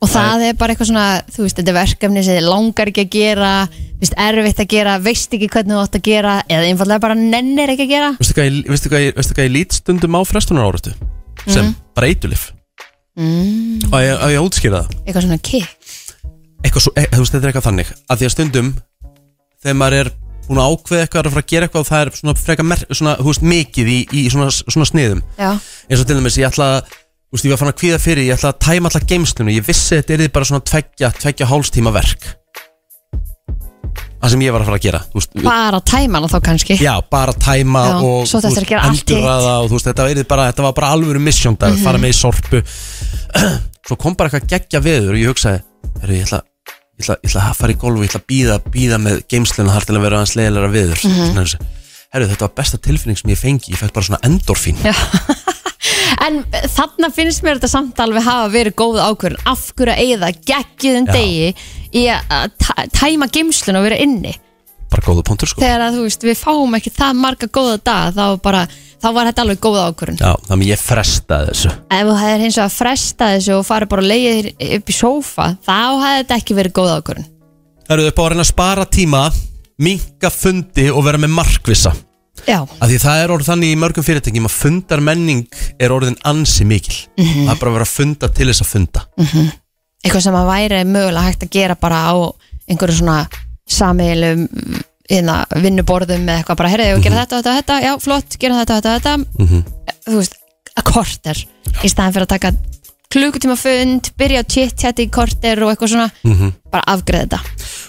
Speaker 2: og það er bara eitthvað svona þú veist, þetta er verkefni sem þið langar ekki að gera þú veist, erfitt að gera, veist ekki hvernig þú átt að gera eða einfallega bara nennir ekki að gera
Speaker 1: Veistu hvað ég, veistu hvað ég, veistu hvað ég lít stundum á frestunar Sem breytulif mm. Og ég, að ég útskýra það
Speaker 2: eitthvað svona kikk
Speaker 1: eitthvað svo, e, Þú veist, þetta er eitthvað þannig Að því að stundum Þegar maður er búin að ákveða eitthvað er að fara að gera eitthvað og Það er svona freka mer, svona, þú veist, mikið í, í svona, svona sniðum
Speaker 2: Já,
Speaker 1: eins og til dæmis ég ætla að Þú veist, ég var fann að kvíða fyrir, ég ætla að tæma alltaf geimslunum Ég vissi að þetta er bara svona tveggja, tveggja hálstíma verk Það sem ég var að fara að gera Þú veist,
Speaker 2: bara tæman og þá kannski
Speaker 1: Já, bara tæma
Speaker 2: Já,
Speaker 1: og
Speaker 2: svo þetta
Speaker 1: þú
Speaker 2: er að gera allt Mhm. hitt.
Speaker 1: endurraða og þú veist, þetta, yrði bara, þetta var bara alvöru misjón dag, fara með í sorpu [clears throat] Svo kom bara eitthvað geggja veður og ég hugsaði, herru, ég ætla ég ætla, ég ætla að fara í golf og ég ætla að býða, býða með geimsluna þar til að vera aðeins leiðilega veður mm
Speaker 2: Mhm.
Speaker 1: -hmm. Herru, þetta var besta tilfinning sem ég fengi, ég fekk bara svona endorfín
Speaker 2: En þarna finnst mér þetta samt alveg hafa verið góð ákvörðin af hverju að eigða geggiðum
Speaker 1: Já.
Speaker 2: degi í að tæ- tæma geimslun og vera inni
Speaker 1: Bara góðu punktur sko
Speaker 2: þegar að þú veist, við fáum ekki það marga góða dag þá, bara, þá var þetta alveg góð ákvörðin
Speaker 1: Já, þannig ég frestaði þessu
Speaker 2: ef þú hefðir hins vegar að fresta þessu og farið bara að leiða þér upp í sófa þá hefði þetta ekki verið góð ákvörðun
Speaker 1: Herru, upp á að reyna að spara tíma, minka fundi og vera með markvissa
Speaker 2: já,
Speaker 1: að því það er orðið þannig í mörgum fyrirtækjum að fundar menning er orðin ansi mikil það er bara að vera að funda til þess að funda
Speaker 2: Mhm. eitthvað sem að væri mögulega hægt að gera bara á einhverju svona samilum inna, vinnuborðum eða eitthvað bara, heyrðu, mm -hmm. gera þetta, þetta, þetta, já, flott gera þetta, þetta, þetta þú veist, að korter í staðan fyrir að taka klukkutíma fund byrja að chit-chat í korter og eitthvað svona bara afgreða þetta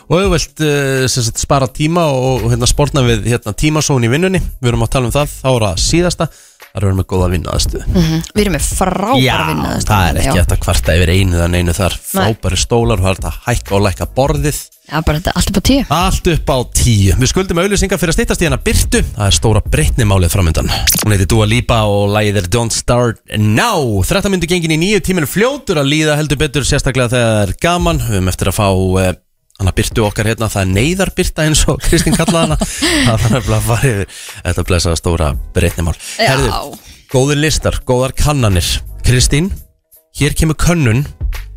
Speaker 1: og ef þú vilt uh, sem sagt, spara tíma og og, hérna, spórna við hérna, tímasón í vinnunni við erum að tala um það, þá er það síðasta það er að vera með góða vinnaðastu
Speaker 2: við erum með frábæra vinna
Speaker 1: það er ekki hægt að kvarta yfir einu eða neinu þar
Speaker 2: Nei.
Speaker 1: frábæri stólar, það er hægt að hækka og lækka borðið
Speaker 2: Já, bara þetta, allt upp á tíu
Speaker 1: allt upp á tíu við skuldum auðlýsingar fyrir að stýttast í hana Byrtu það er stóra breytnimálið framöndan hún heitir Dua Lipa og lagið er Don't Start Now 13 myndu gengin í nýju tíminu fljótur að líða heldur betur sérstaklega þegar það er gaman við höfum eftir að fá eh, hana Byrtu okkar hérna það er neyðar Byrta eins og Kristín kallaði hana það þarf nefnilega að fara yfir þetta blessaða stóra breytnimál
Speaker 2: Já.
Speaker 1: góðir listar, góðar kannanir Kristín, hér kemur könnun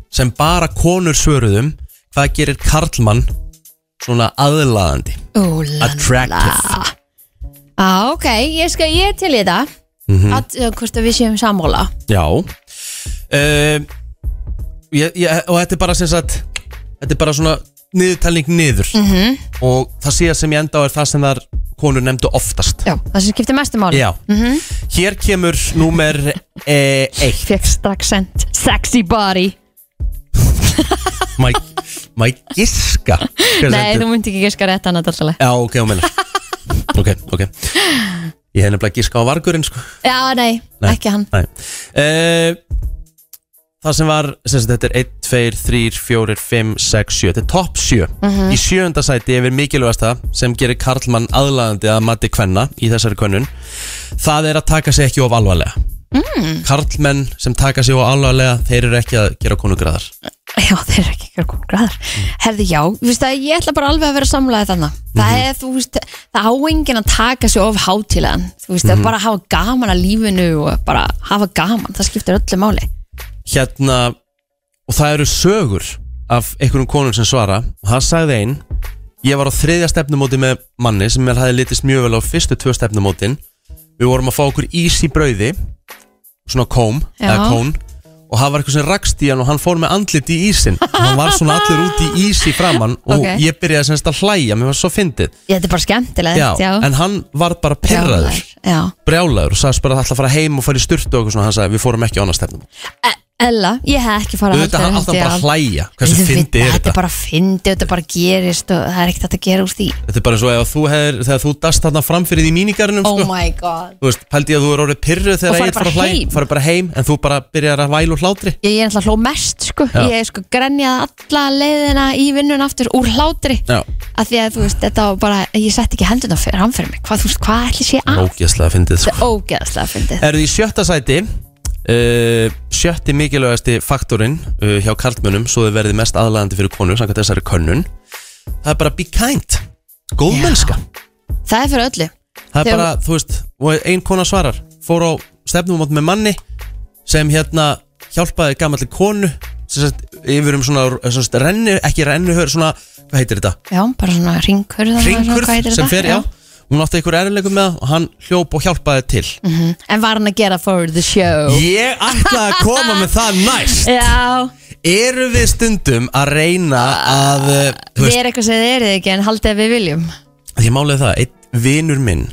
Speaker 1: sem bara konur svöruðum hvað gerir karlmann svona aðlaðandi
Speaker 2: Ú, la,
Speaker 1: Attractive.
Speaker 2: Á, ok, ég skal ég er til í þetta
Speaker 1: Mm.
Speaker 2: að, uh, Hvort að við séum sammála
Speaker 1: Mhm, Já uh, ég, ég, Og þetta er bara sem sagt Þetta er bara svona niðurtalning niður -hmm. Og það síðast sem ég enda á er það sem þar konur nefndu oftast
Speaker 2: Já, það sem skiptir mestu máli Mhm.
Speaker 1: Já Hér kemur númer e, eitt
Speaker 2: Fekk strax sent Sexy body
Speaker 1: Mæ, mæ giska Hver
Speaker 2: Nei,
Speaker 1: sendir-
Speaker 2: þú myndi ekki giska rétt annað alltaf
Speaker 1: Já, ok, hún minna Ok, ok Ég hef nefnilega giska á vargurinn sko
Speaker 2: Já, nei,
Speaker 1: Nei.
Speaker 2: ekki hann
Speaker 1: Nei. Eh, það sem var, sem sagt, þetta er 1, 2, 3, 4, 5, 6, 7 Þetta er topp 7
Speaker 2: Mhm.
Speaker 1: Í sjöunda sæti yfir mikilvægasta sem gerir Karlmann aðlaðandi að mati kvenna í þessari kvennun Það er að taka sig ekki of Mhm. alvarlega mm. Karlmenn sem taka sig of alvarlega þeir eru ekki að gera konugraðar
Speaker 2: Já, þeir eru ekki ekki að koma græðar Herði, já, þú veist að ég ætla bara alveg að vera samlaðið þannig Það
Speaker 1: Mhm.
Speaker 2: er, þú veist, það á enginn að taka sig of hátílegan Þú veist,
Speaker 1: Mhm.
Speaker 2: að bara hafa gaman að lífinu og bara hafa gaman, það skiptir öllu máli
Speaker 1: hérna og það eru sögur af einhverjum konum sem svara og það sagði ein ég var á þriðja stefnumóti með manni sem mér hafði litist mjög vel á fyrstu tvö stefnumótin við vorum að fá okkur ís í brauði svona kóm
Speaker 2: Já.
Speaker 1: eða kón og það var eitthvað sem rakst í hann og hann fór með andlit í ísin og hann var svona allur út í ís í framann og
Speaker 2: Ok.
Speaker 1: ég byrjaði semst að hlæja, mér var svo fyndið
Speaker 2: Ég, þetta er bara skemmtilegt, já,
Speaker 1: en hann var bara pirraður
Speaker 2: Brjálaður, Já,
Speaker 1: brjálaður og sagðist bara að ætla að fara heim og fara í styrtu og eitthvað svona, hann sagði við fórum ekki á annað stefnum
Speaker 2: E- Ella, ég hef ekki farað
Speaker 1: auðvitað hann átti hann bara að hlæja hversu fyndi er
Speaker 2: Þetta
Speaker 1: þetta
Speaker 2: er bara fyndi, þetta bara gerist og það er ekkert hægt að gera úr því
Speaker 1: þetta er bara eins og ef þú hefur, þegar þú dast þarna fram fyrir því mínigarnum
Speaker 2: Oh
Speaker 1: sko.
Speaker 2: my god
Speaker 1: þú veist, pældi ég að þú er orðið pyrruð
Speaker 2: Og
Speaker 1: þegar
Speaker 2: farið
Speaker 1: Egill fór
Speaker 2: bara
Speaker 1: að hlæja-
Speaker 2: heim.
Speaker 1: farið bara heim en þú bara byrjar að væla úr hlátri
Speaker 2: Ég, ég er alltaf hló mest sko
Speaker 1: Já.
Speaker 2: Ég sko grenjaði alla leiðina í vinnun aftur úr hlátri
Speaker 1: Já.
Speaker 2: Af því að þú veist, þetta var bara Ég sett ekki hendurna fyrir hann fyrir mig Hvað, þú veist, hvað ætli sé að?
Speaker 1: ógeðslega fyndið
Speaker 2: Þetta
Speaker 1: sko.
Speaker 2: er ógeðslega fyndið
Speaker 1: Eruð í sjötta sæti uh, sjötti mikilvægasti faktorinn uh, hjá karlmönnum svo þau verði mest aðlæðandi fyrir konur samkvæmt þessari könnun það er bara be kind góðmennska
Speaker 2: Það er fyrir öllu
Speaker 1: það er
Speaker 2: Þegar-
Speaker 1: bara, þú veist, og ein kona svarar fór á stefnumót með manni sem hérna hjálpaði gamalli konu sem sagt, yfir um svona, sem sagt, renni, ekki renni svona, hvað heitir þetta?
Speaker 2: Já, bara svona ringkurð
Speaker 1: Ringkurð sem fer, já hún átti einhver erfileikum með það og hann hljóp og hjálpaði til
Speaker 2: Mhm. En var hann að gera for the show
Speaker 1: ég ætla að koma með það næst
Speaker 2: [laughs] Já,
Speaker 1: eru við stundum að reyna að uh, þú
Speaker 2: þið
Speaker 1: veist,
Speaker 2: er eitthvað sem þið eruð ekki En haldið að við viljum
Speaker 1: ég málið það, einn vinur minn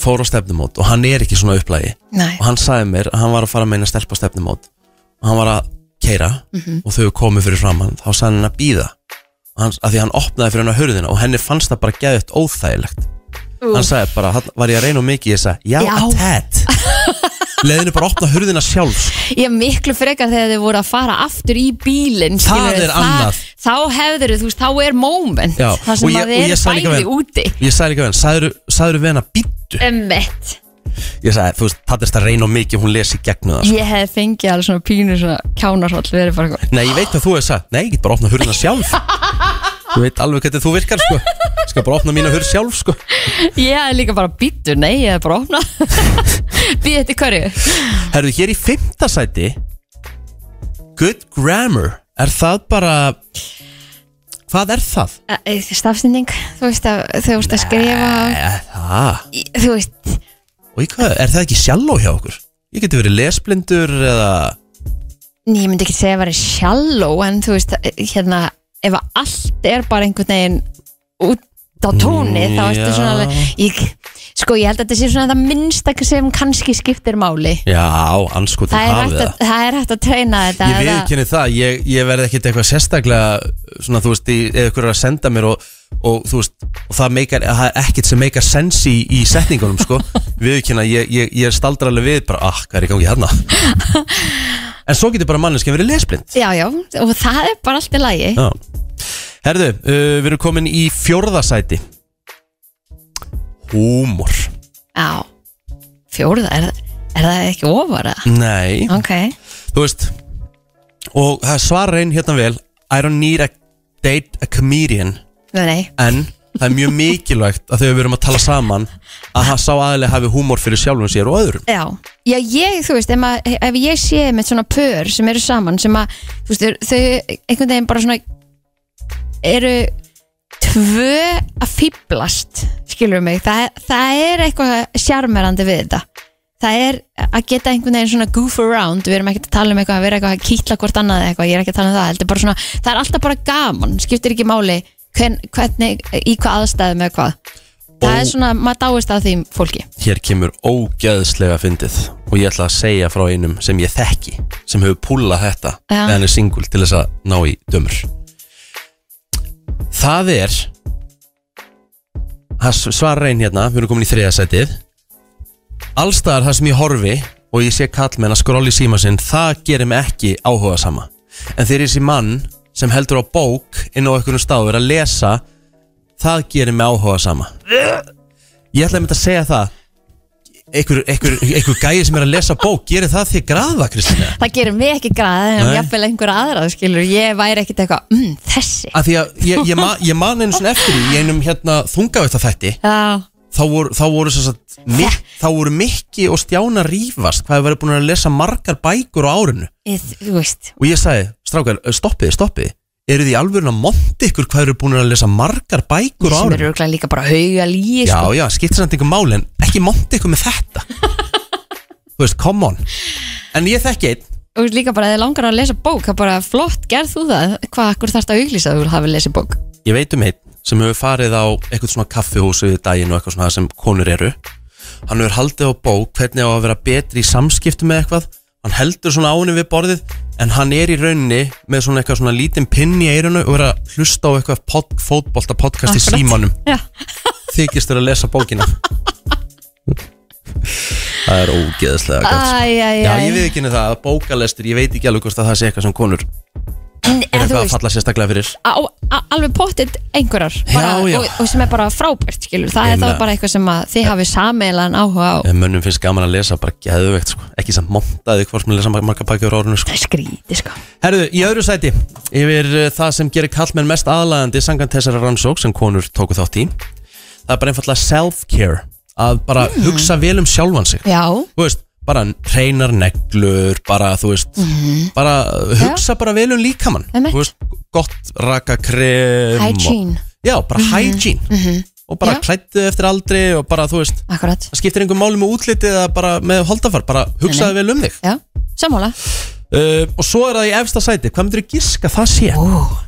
Speaker 1: fór á stefnumót og hann er ekki svona upplægi
Speaker 2: Nei,
Speaker 1: og hann sagði mér að hann var að fara með eina stelpa á stefnumót og hann var að keira og þau komið fyrir fram hann þá sagði hann að býða að því hann opnaði fyrir hann að hurðina og henni fannst það bara geðut óþægilegt hann sagði bara, hann var ég að reyna of mikið ég sagði, já,
Speaker 2: Já.
Speaker 1: að tett leiðinu bara að opna hurðina sjálf sko.
Speaker 2: ég er miklu frekar þegar þið voru að fara aftur í bílinn
Speaker 1: Það
Speaker 2: skilurðu,
Speaker 1: er annað.
Speaker 2: Þá hefður þú veist, þá er moment
Speaker 1: Já,
Speaker 2: Það
Speaker 1: og
Speaker 2: sem
Speaker 1: ég- og
Speaker 2: að þið
Speaker 1: ég sagði
Speaker 2: eru
Speaker 1: líka
Speaker 2: bæði
Speaker 1: við-
Speaker 2: úti
Speaker 1: ég sagði líka við hann, sagður, sagður við hann að býttu
Speaker 2: Emmett
Speaker 1: ég sagði, þú veist, það er að reyna of mikið hún lesi gegnum það sko.
Speaker 2: Ég hef fengið alveg svona pínu svona kjánarhóll Við erum bara eitthvað [laughs]
Speaker 1: nei, ég veit að þú hefði sagt, nei, ég get bara að opna hurðina sjálf ég veit alveg hvernig þú virkar sko. Ég skal bara opna mína hurð sjálf sko.
Speaker 2: Ég hef líka bara býttu, nei, ég hef bara [laughs] opna Býð eftir hverju
Speaker 1: Herðu, hér í fymta sæti Good grammar Er það bara Hvað er það?
Speaker 2: Stafsending, þú veist að þú veist að skrifa
Speaker 1: Er Eh, það?
Speaker 2: í- Þú veist,
Speaker 1: Og í hvað? Er það ekki sjálf hjá okkur? Ég geti verið lesblindur eða
Speaker 2: ný, ég myndi ekki segja að vera shallow En þú veist, hérna, ef að allt er bara einhvern veginn út á tóni Þá ertu
Speaker 1: já.
Speaker 2: svona alveg ég, Sko, ég held að þetta sé svona það minnsta sem kannski skiptir máli
Speaker 1: Já, anskotin
Speaker 2: Það er,
Speaker 1: hafið
Speaker 2: hægt
Speaker 1: það
Speaker 2: að, það er hægt að treyna þetta
Speaker 1: Ég
Speaker 2: eða-
Speaker 1: viðkynni það, ég, ég verði ekkit eitthvað sérstaklega svona þú veist, í- eða ykkur er að senda mér og, og þú veist, og það, meikar, það er ekkit sem meikar sens í, í setningunum
Speaker 2: [laughs]
Speaker 1: sko, viðkynna, ég, ég, ég staldra alveg við bara, ah, hvað er í gangi
Speaker 2: [laughs]
Speaker 1: hérna En svo getur bara manneskja verið lesblind
Speaker 2: Já, já, og það er bara allt í lagi
Speaker 1: Já. Herðu, uh, við erum komin í fjórðasæti Húmor
Speaker 2: Já, fjórða, er, er það ekki ofar eða?
Speaker 1: Nei,
Speaker 2: Ok,
Speaker 1: þú veist Og það svarar einn hérna vel I don't need a date a comedian
Speaker 2: nei, nei,
Speaker 1: En það er mjög mikilvægt að þegar við erum að tala saman að það sá aðlega hafi húmor fyrir sjálfum sér og öðrum
Speaker 2: já Já, ég, þú veist, ef, mað, ef ég sé með svona pör sem eru saman sem að, þú veist, þau- þau einhvern veginn bara svona eru tvö að fýblast, skilur mig það, það er eitthvað sjarmerandi við þetta það er að geta einhvern veginn svona goof around, við erum ekkert að tala um eitthvað að vera eitthvað að kýtla hvort annað eða eitthvað, ég er ekki að tala um það heldur bara svona, það er alltaf bara gaman, skiptir ekki máli hvern, hvernig, í hvað aðstæðum eða hvað það
Speaker 1: Ó.
Speaker 2: er svona, maður dáist að því fólki
Speaker 1: Hér kemur ógæðslega fyndið og ég ætla að segja frá einum sem ég þekki sem hefur púlað þetta
Speaker 2: Já.
Speaker 1: eða hann er singul til þess að ná í dömur Það er það svarar einn hérna við erum komin í þriðasætið Allstaðar það sem ég horfi og ég sé kallmenn að skróli síma sinn það gerir mig ekki áhuga sama en þegar ég sé mann sem heldur á bók inn á einhvern staður að lesa það gerir mig áhuga sama Ég ætla að mynda að segja það einhver, einhver, einhver gæi sem er að lesa bók gerir það því grafa, Kristina
Speaker 2: Það gerir mig ekki græð en
Speaker 1: Nei.
Speaker 2: jáfnvel einhverja aðra skilur Ég væri ekkit eitthvað, mm, þessi
Speaker 1: að því að ég, ég, ma, ég man einu svona eftir því í einum hérna þungavæsta þætti
Speaker 2: Já,
Speaker 1: þá voru, þá voru sem sagt mik, þá voru Mikki og Stjána rífast hvað hefur verið búin að lesa margar bækur á árinu
Speaker 2: ég, þú veist
Speaker 1: og ég sagði, strákar, stoppið, stoppið eru þið í alvörun að monta ykkur hvað eru búin að lesa margar bækur á
Speaker 2: Sem
Speaker 1: árinu
Speaker 2: eru örugglega líka bara hauga líi
Speaker 1: já,
Speaker 2: sko.
Speaker 1: já, skiptir samt ykkur máli en ekki monta ykkur með þetta þú veist, come on en ég þekki einn
Speaker 2: Og líka bara að þið langar að lesa bók Það er bara flott, gerð þú það Hvað, akkur þarfst að auglýsa að þú hafi lesið bók
Speaker 1: Ég veit um einn sem hefur farið á eitthvað svona kaffihús við daginn og eitthvað svona sem konur eru Hann hefur haldið á bók hvernig á að vera betri í samskiptum með eitthvað Hann heldur svona áinu við borðið en hann er í rauninni með svona eitthvað svona lítinn pinn í eirunu og er að hlusta á eitthvað pod, fótbolta podcast í
Speaker 2: Akkurat.
Speaker 1: símanum
Speaker 2: Já,
Speaker 1: þykist þér að lesa bókina Það er ógeðslega gott sko.
Speaker 2: æj, æj,
Speaker 1: Já,
Speaker 2: æj.
Speaker 1: ég við ekki það að bókalestur, ég veit ekki alveg hvort að það sé eitthvað sem konur
Speaker 2: En-
Speaker 1: er eitthvað
Speaker 2: en þú
Speaker 1: að
Speaker 2: veist,
Speaker 1: falla sérstaklega fyrir
Speaker 2: á, á, alveg pottitt einhverjar bara,
Speaker 1: Já, já.
Speaker 2: Og, og sem er bara frábært skilur Það
Speaker 1: Ég
Speaker 2: er þá
Speaker 1: meina-
Speaker 2: bara eitthvað sem að þið hafi sameilan áhuga á
Speaker 1: Ef mönnum finnst gaman að lesa, bara geðveikt sko. Ekki samt montaði hvort maður lesa mar- margar bækur á árunum sko.
Speaker 2: Það er skrítið sko
Speaker 1: Herðu, í öðru sæti Yfir eh, það sem gerir kallmenn mest aðlagandi Sangan þessara rannsók sem konur tóku þátt í Það er bara einfallega self-care Að bara hugsa vel um sjálfan sig
Speaker 2: Mm. Já,
Speaker 1: Þú veist, bara hreinar neglur Bara, þú veist
Speaker 2: Mhm.
Speaker 1: Bara eh, hugsa bara vel um líkamann
Speaker 2: Einmitt.
Speaker 1: Þú veist, gott rakakrem um og-
Speaker 2: Hygiene.
Speaker 1: Já, bara hygiene Og bara
Speaker 2: Já.
Speaker 1: klættu eftir aldri Og bara, þú veist
Speaker 2: akkurat
Speaker 1: það skiptir einhver máli með útlitið eða bara með holdafar, bara hugsaði vel um þig
Speaker 2: Já, sammála
Speaker 1: uh, og svo er það í efsta sæti, hvað myndir þú giska það sé?
Speaker 2: Ó,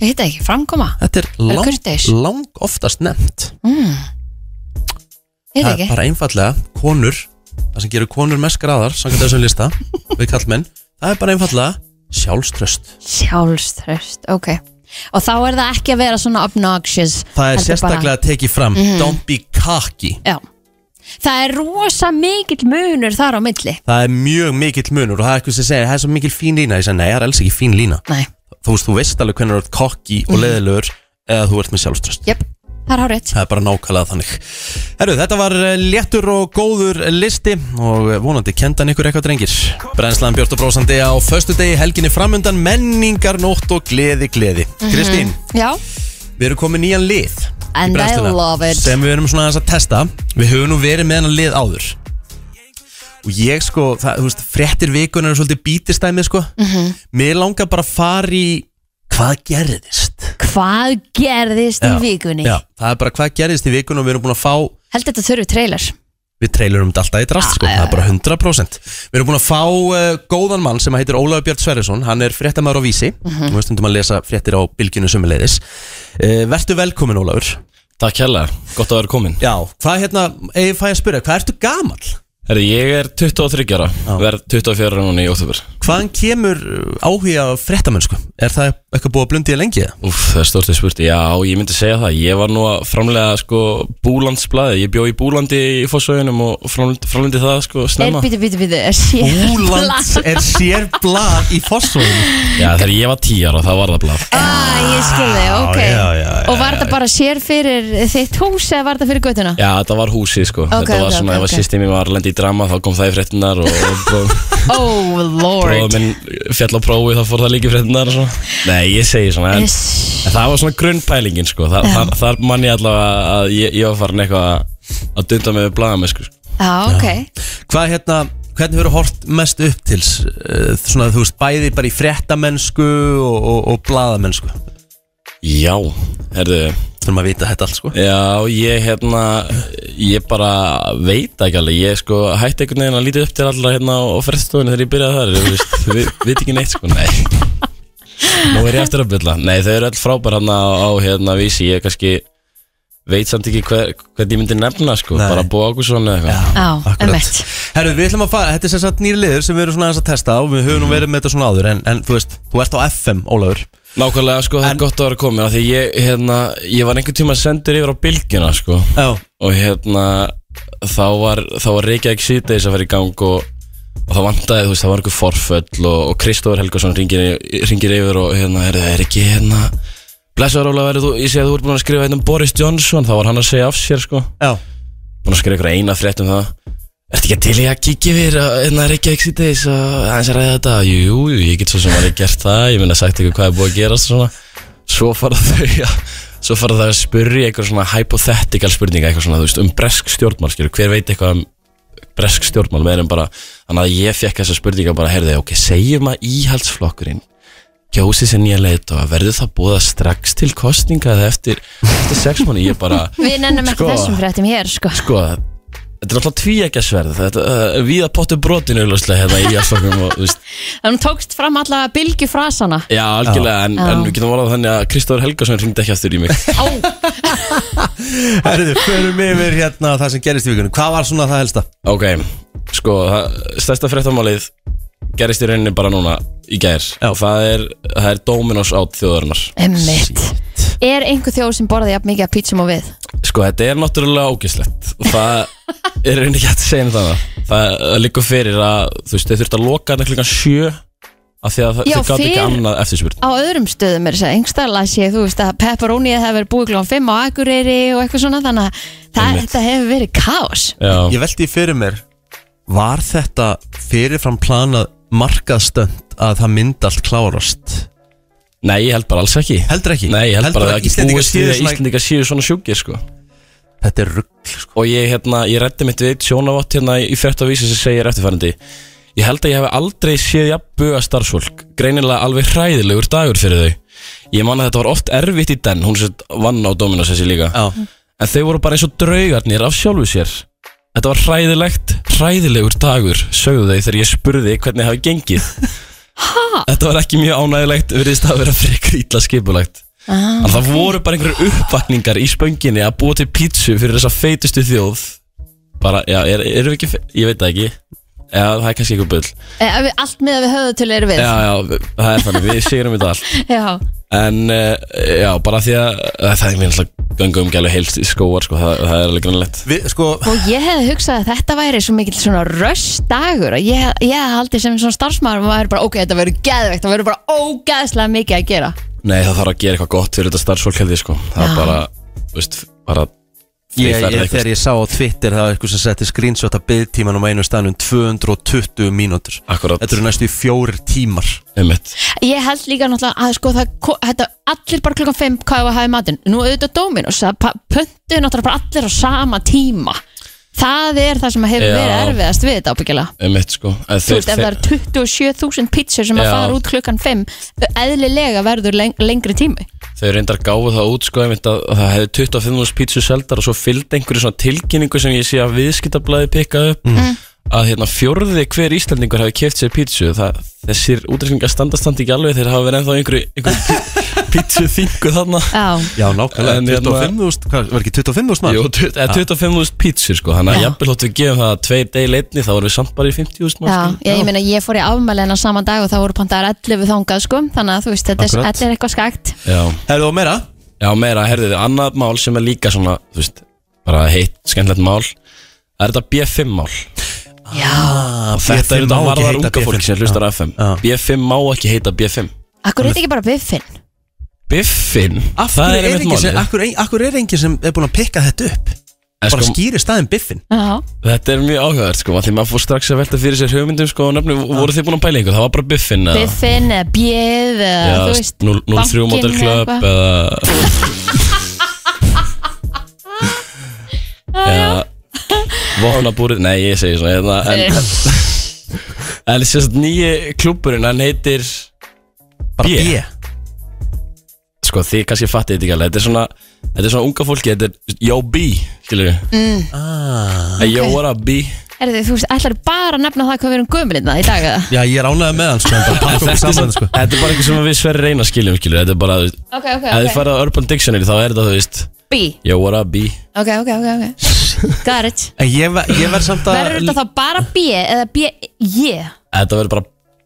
Speaker 2: ég hitta ekki, framkoma
Speaker 1: Þetta er lang,
Speaker 2: kurteis?
Speaker 1: lang oftast nefnt
Speaker 2: Mhm. Ég
Speaker 1: það
Speaker 2: hitta
Speaker 1: er
Speaker 2: ekki
Speaker 1: bara einfallega konur það sem gerur konur mest graðar samkvæmt þessum
Speaker 2: [laughs]
Speaker 1: lista, við kallmenn það er bara einfallega sjálfströst
Speaker 2: Sjálfströst, ok Og þá er það ekki að vera svona obnoxious
Speaker 1: það er
Speaker 2: heldur Mhm.
Speaker 1: sérstaklega tekið fram don't be cocky
Speaker 2: bara, Já Það er rosa mikill munur þar á milli
Speaker 1: það er mjög mikill munur og það er eitthvað sem segir, það er svo mikil fín lína ég segi, nei, það er alls ekki fín lína
Speaker 2: Nei,
Speaker 1: þú veist, þú veist alveg hvernig þú ert cocky og leðilegur eða þú ert með sjálfströst
Speaker 2: jöp, það er hárétt
Speaker 1: Það er bara nákvæmlega þannig Herru, þetta var eh, léttur og góður listi og eh, vonandi kendan ykkur eitthvað drengir Brennslan Björn og Brósandi á föstu degi helginni framundan menningar, nótt og gleði, gleði Mhm.
Speaker 2: Mhm.
Speaker 1: Kristín,
Speaker 2: Já,
Speaker 1: við erum komið nýjan lið í
Speaker 2: And I
Speaker 1: brennsluna
Speaker 2: love it.
Speaker 1: sem við erum svona aðeins að testa Við höfum nú verið með hennar lið áður og ég sko, það, þú veist, fréttir vikunar er svolítið bítistæmið sko Mér langar bara að fara í hvað gerðist
Speaker 2: hvað gerðist
Speaker 1: Já,
Speaker 2: í vikunni?
Speaker 1: Já, það er bara hvað gerðist í vikunni og við erum búin að fá
Speaker 2: Held þetta þurfi trailer
Speaker 1: við trailerum þetta alltaf í drast sko, það er bara 100% Við erum búin að fá uh, góðan mann sem heitir Ólafur Björn Sverjesson, hann er fréttamaður á Vísi mm -hmm. og við stundum að lesa fréttir á Bilginu sumuleiðis uh, Vertu velkomin Ólafur
Speaker 3: Takk hérlega, gott að vera komin
Speaker 1: Já, hvað hérna, ef ég fæ að spyrja, hvað ertu gamal?
Speaker 3: Herri, ég er 23 ára,
Speaker 1: Já.
Speaker 3: verð 24 ára núna í óttúber
Speaker 1: Hvaðan kemur uh, áhugi á fréttamennsku? Er það eitthvað búið að blundi í lengi? eða?
Speaker 3: Úf, það er stórtið spurt, já, ég myndi segja það Ég var nú að framlega, sko, búlandsblæði Ég bjó í búlandi í fósauðunum og framlendi, framlendi það, sko,
Speaker 2: Er
Speaker 3: snemma
Speaker 2: býtu, býtu, býtu, er sér [laughs]
Speaker 1: Búlands er sér blað í fósfóðum
Speaker 3: Já, þegar ég var 10 ára, það var það blæð
Speaker 2: Ah, ég skilði, ok
Speaker 1: já, já, já,
Speaker 2: Og var þetta bara sér fyrir þitt hús eða var þetta fyrir göttuna?
Speaker 3: Já, þetta var húsið, sko Þetta var
Speaker 2: ok,
Speaker 3: svona,
Speaker 2: ok,
Speaker 3: ef að
Speaker 2: ok.
Speaker 3: sýsti mér var að lendi í drama Þá kom það í fréttinar og, og
Speaker 2: [laughs] Oh
Speaker 3: bróða
Speaker 2: lord
Speaker 3: minn fjall á prófi Þá fór það líka í fréttinar og svona Nei, ég segi svona, en
Speaker 2: Yes.
Speaker 3: En það var svona grunnpælingin sko Þa, þar, þar man ég allavega að ég, ég var farin eitthvað að- að dunda mig við blaðamessku sko.
Speaker 2: Já, ok
Speaker 1: Hvað hérna, hvernig verður hort mest upp til uh, svona þú veist, bæði bara í fréttamennsku og, og, og blaðamennsku?
Speaker 3: Já, herðu
Speaker 1: Þurfum að vita þetta allt sko
Speaker 3: Já, ég hérna Ég bara veit ekki alveg Ég sko hætti einhvern veginn að lítið upp til allra hérna á fyrststofunni þegar ég byrjaði þar þú
Speaker 1: [laughs]
Speaker 3: veist, við, við ekki neitt sko, nei Nú er ég eftir að byrja Nei, þau eru öll frábær hann á, á hérna vísi Ég kannski veit samt ekki hver, hvernig ég myndi nefna sko
Speaker 1: Nei.
Speaker 3: Bara búa okkur svona eitthvað
Speaker 2: Já, emmitt
Speaker 1: Herru, við ætlum að fara, þetta er sem sagt nýri liður sem við erum svona aðeins að testa og við höfum
Speaker 3: Mhm.
Speaker 1: nú verið með þetta svona áður en, en þú veist, þú ert á FM, Ólafur
Speaker 3: Nákvæmlega sko, það
Speaker 1: En-
Speaker 3: er gott að vera komin af Því ég, hérna, ég var einhvern tíma sendur yfir á bylgjuna sko
Speaker 1: Já,
Speaker 3: Og hérna, þá var, þá var Reykjavík síðdeis að fara í gang og, og það vantaði, þú veist, það var einhver forföll Og, og Kristófur Helgason ringir, ringir yfir og hérna, er, er ekki hérna Blessaður Óla, verður þú, ég segi að þú ert búin að skrifa hérna um Boris Johnson Þá var hann að segja af sér sko
Speaker 1: já,
Speaker 3: Búin að skrifa einhver eina frétt um það Ertu ekki til í að kíkja yfir að hérna, Reykjavík síðdeis og aðeins að ræða þetta? Jú, jú, jú, ég get svo sem að gert það, ég meina sagt ykkur hvað er búið að gerast og svona. Svo fara þau [laughs] að, svo fara þau að spyrja eitthvað svona hypothetical spurninga, eitthvað svona, þú veist, um bresk stjórnmál, skilur, hver veit eitthvað um bresk stjórnmál, meður en bara, þannig að ég fekk þessa spurninga bara, heyrðu, ok, segjum að íhaldsflokkurinn kjósi sér nýja leitt og verður það búið strax til kostninga eða eftir, eftir sex mánu, ég bara,
Speaker 2: Við nennum ekki
Speaker 3: Sko.
Speaker 2: þessum fréttum hér sko
Speaker 3: Sko, þetta er alltaf tvíækjasverð Þetta uh, viða pottu brotinu auðvitað hérna í afslokkum og, þú veist,
Speaker 2: Þannig tókst fram alla bylgi frasana
Speaker 3: Já, algjörlega, en,
Speaker 2: Já.
Speaker 3: en við getum orðað þannig að Kristóður Helgason hringdi ekki aftur í mig
Speaker 2: Á,
Speaker 1: Herðu, förum yfir hérna það sem gerist í vikunum Hvað var svona það helsta?
Speaker 3: Ok, sko, það, stærsta fréttamálið gerist í rauninni bara núna í gær
Speaker 1: Já.
Speaker 3: og það er, það er Dominos átt þjóðarinnar
Speaker 2: emmitt Er einhver þjóð sem borði jafn mikið að pítsum og við?
Speaker 3: Sko, þetta er náttúrulega ógislegt og það er rauninni ekki hægt að segja um það Það það liggur fyrir að, þú veist, þau þurft að loka þetta klukkan sjö af því að það-
Speaker 2: Já,
Speaker 3: þau gátt ekki
Speaker 2: fyrir-
Speaker 3: annað eftirspurn
Speaker 2: Á öðrum stöðum er þess að einstæðla sé þú veist að pepperónið hefur verið búið klón 5 á Akureyri og eitthvað svona þannig að það,
Speaker 3: Einmitt.
Speaker 2: þetta hefur verið kaos
Speaker 3: Já.
Speaker 1: Ég veldi fyrir mér Var þetta fyrirfram planað markaðstönd að það mynd allt klárast?
Speaker 3: Nei, ég held bara alls ekki
Speaker 1: Heldur ekki?
Speaker 3: Nei, ég held bara
Speaker 1: Heldurðu
Speaker 3: að ekki
Speaker 1: Íslendingar
Speaker 3: búist í
Speaker 1: séu
Speaker 3: að
Speaker 1: svona-
Speaker 3: Íslendingar séu svona sjúkir sko.
Speaker 1: Þetta er rugg sko.
Speaker 3: Og ég, hérna, ég reddi mitt við eitt sjónavott hérna í frétt á vísi sem segir eftirfærandi Ég held að ég hef aldrei séð jafnbuga starfsfólk Greinilega alveg hræðilegur dagur fyrir þau Ég man að þetta var oft erfitt í den Hún sem vann á Dominos þessi líka
Speaker 1: Já,
Speaker 3: En þau voru bara eins og draugarnir af sjálfu sér Þetta var hræðilegt, hræðilegur dagur Sögðu þau þegar ég spurði hvernig hafi gengið Þetta var ekki mjög ánægilegt Virðist að vera frekar illa skipulagt
Speaker 2: ah,
Speaker 3: En það voru bara einhverju uppvakningar í spönginni að búa til pítsu fyrir þessa feitustu þjóð Bara, já, er- erum við ekki, fe- ég veit það ekki Já, það er kannski eitthvað bull
Speaker 2: eh, við- Allt með að við höfðu til eru við
Speaker 3: Já, já, við- það er þannig, við sigurum þetta allt
Speaker 2: Já.
Speaker 3: En, eh, já, bara því að eh, það er mér alltaf ganga um gælu heilst í skóar, sko, það, það er alveg grannlegt
Speaker 1: við, sko
Speaker 2: Og ég hefði hugsað að þetta væri svo mikill svona röstdagur og ég, ég hefði haldið sem svona starfsmaður og maður bara ok, þetta verður geðveikt, það verður bara ógeðslega mikið að gera
Speaker 3: Nei, það þarf að gera eitthvað gott fyrir þetta starfsfólk heldig, sko Það
Speaker 2: Já.
Speaker 3: er bara, þú veist, bara
Speaker 1: Ég,
Speaker 3: Þeir ferðu
Speaker 1: ég,
Speaker 3: eitthvað.
Speaker 1: þegar ég sá á Twitter það var eitthvað sem setti screenshot að byggtímanum á einu stanum 220 mínútur
Speaker 3: Akkurat,
Speaker 1: Þetta eru næstu í fjórir tímar
Speaker 3: einmitt
Speaker 2: Ég held líka náttúrulega að sko það ko- þetta, allir bara klukkan 5 hvað við hafið matinn nú auðvitað Dominos, það pa- pöntuðu náttúrulega bara allir á sama tíma það er það sem hefur
Speaker 3: Já.
Speaker 2: verið erfiðast við þetta ábyggilega
Speaker 3: Einmitt, sko En
Speaker 2: Þú
Speaker 3: þeir-
Speaker 2: veist, ef það
Speaker 3: þeir-
Speaker 2: eru 27.000 pizzur sem að
Speaker 3: Já.
Speaker 2: fara út klukkan 5 eðlilega verður leng lengri tími
Speaker 3: Þau reyndar gáðu það út sko einmitt að að það hefði 25.000 pítsu seldar og svo fylgdi einhverju svona tilkynningu sem ég sé að viðskiptablaði pikkað upp
Speaker 1: Mm.
Speaker 2: Mm.
Speaker 3: að hérna fjórði hver Íslandingur hefði keft sér pítsu það, þessir útrýsningar standastand ekki alveg þeir hafa verið ennþá einhverju,
Speaker 2: [laughs]
Speaker 3: einhverju pítsu þingu þarna
Speaker 2: Já,
Speaker 1: Já, nákvæmlega,
Speaker 3: En hérna-
Speaker 1: 25.000, hvað, var ekki 25.000
Speaker 3: Jú,
Speaker 1: maður?
Speaker 3: tut- eða 25.000 pítsur sko þannig að
Speaker 2: Já.
Speaker 3: jafnvel hóttu við gefum það tvei degi leitni þá vorum við samt bara í 50.000
Speaker 2: já,
Speaker 3: manns, sko.
Speaker 2: ég, ég meina ég fór í afmæliðina sama dag og það voru pantaðar 11 þangað sko þannig að þú veist, þetta er,
Speaker 1: Akkurat.
Speaker 2: þetta er eitthvað skakt
Speaker 3: Já.
Speaker 1: Herðu og meira?
Speaker 3: Já, meira, herðið, annað mál sem er líka svona, þú veist, bara heitt, skemmtilegt mál Það er þetta B5 mál
Speaker 2: Já,
Speaker 1: Ah,
Speaker 3: Þetta er þetta varðar unga fólk sem hlustar á FM
Speaker 1: Já.
Speaker 3: B5 má ekki heita B5
Speaker 2: akkur er þetta ekki bara biffin
Speaker 3: Biffin, það er einmitt málið
Speaker 1: Akkur, ein- akkur er enginn sem er búin að pikka þetta upp
Speaker 3: En
Speaker 1: Bara
Speaker 3: sko,
Speaker 1: skýri staðin biffin
Speaker 2: Já,
Speaker 3: Þetta er mjög áhugavert sko, af því maður fór strax að velta fyrir sér hugmyndum sko, og nöfnum, voru þið búin að pæla ykkur, það var bara Biffin eða-
Speaker 2: biffin eða bjöð eða þú
Speaker 3: Já,
Speaker 2: veist,
Speaker 3: 03 Model
Speaker 2: bankinn
Speaker 3: Club
Speaker 2: eitthvað. [laughs]
Speaker 3: eða Já Vopnabúrið, nei ég segi svona hérna, En, [laughs] en sérst nýji klúburinn hann heitir
Speaker 1: Bara
Speaker 3: B.
Speaker 1: B
Speaker 3: Sko þið kannski fattið þetta ekki alveg Þetta er svona, þetta er svona unga fólki Þetta er Yo B, skilur við
Speaker 2: Mm.
Speaker 1: ah.
Speaker 3: okay. Yo what up B
Speaker 2: Erðu, þú veist, ætlar bara að nefna það hvað við erum gömulinna í dag eða?
Speaker 1: Já, ég er ánægð með hann sko en bara
Speaker 3: [laughs]
Speaker 1: pakka okkur saman sko
Speaker 3: Þetta er bara eitthvað sem við sverri reyna skiljum skilur við, Þetta er bara, þú veist,
Speaker 2: Ok, ok,
Speaker 3: ef þið farið á Urban Dictionary Þá er þetta þú veist
Speaker 2: B
Speaker 3: Yo what up B
Speaker 2: Ok, ok, ok, ok Got it
Speaker 1: En ég, ver, ég verð samt að
Speaker 2: Verður þetta þá bara B eða B, yeah
Speaker 3: Þetta verður bara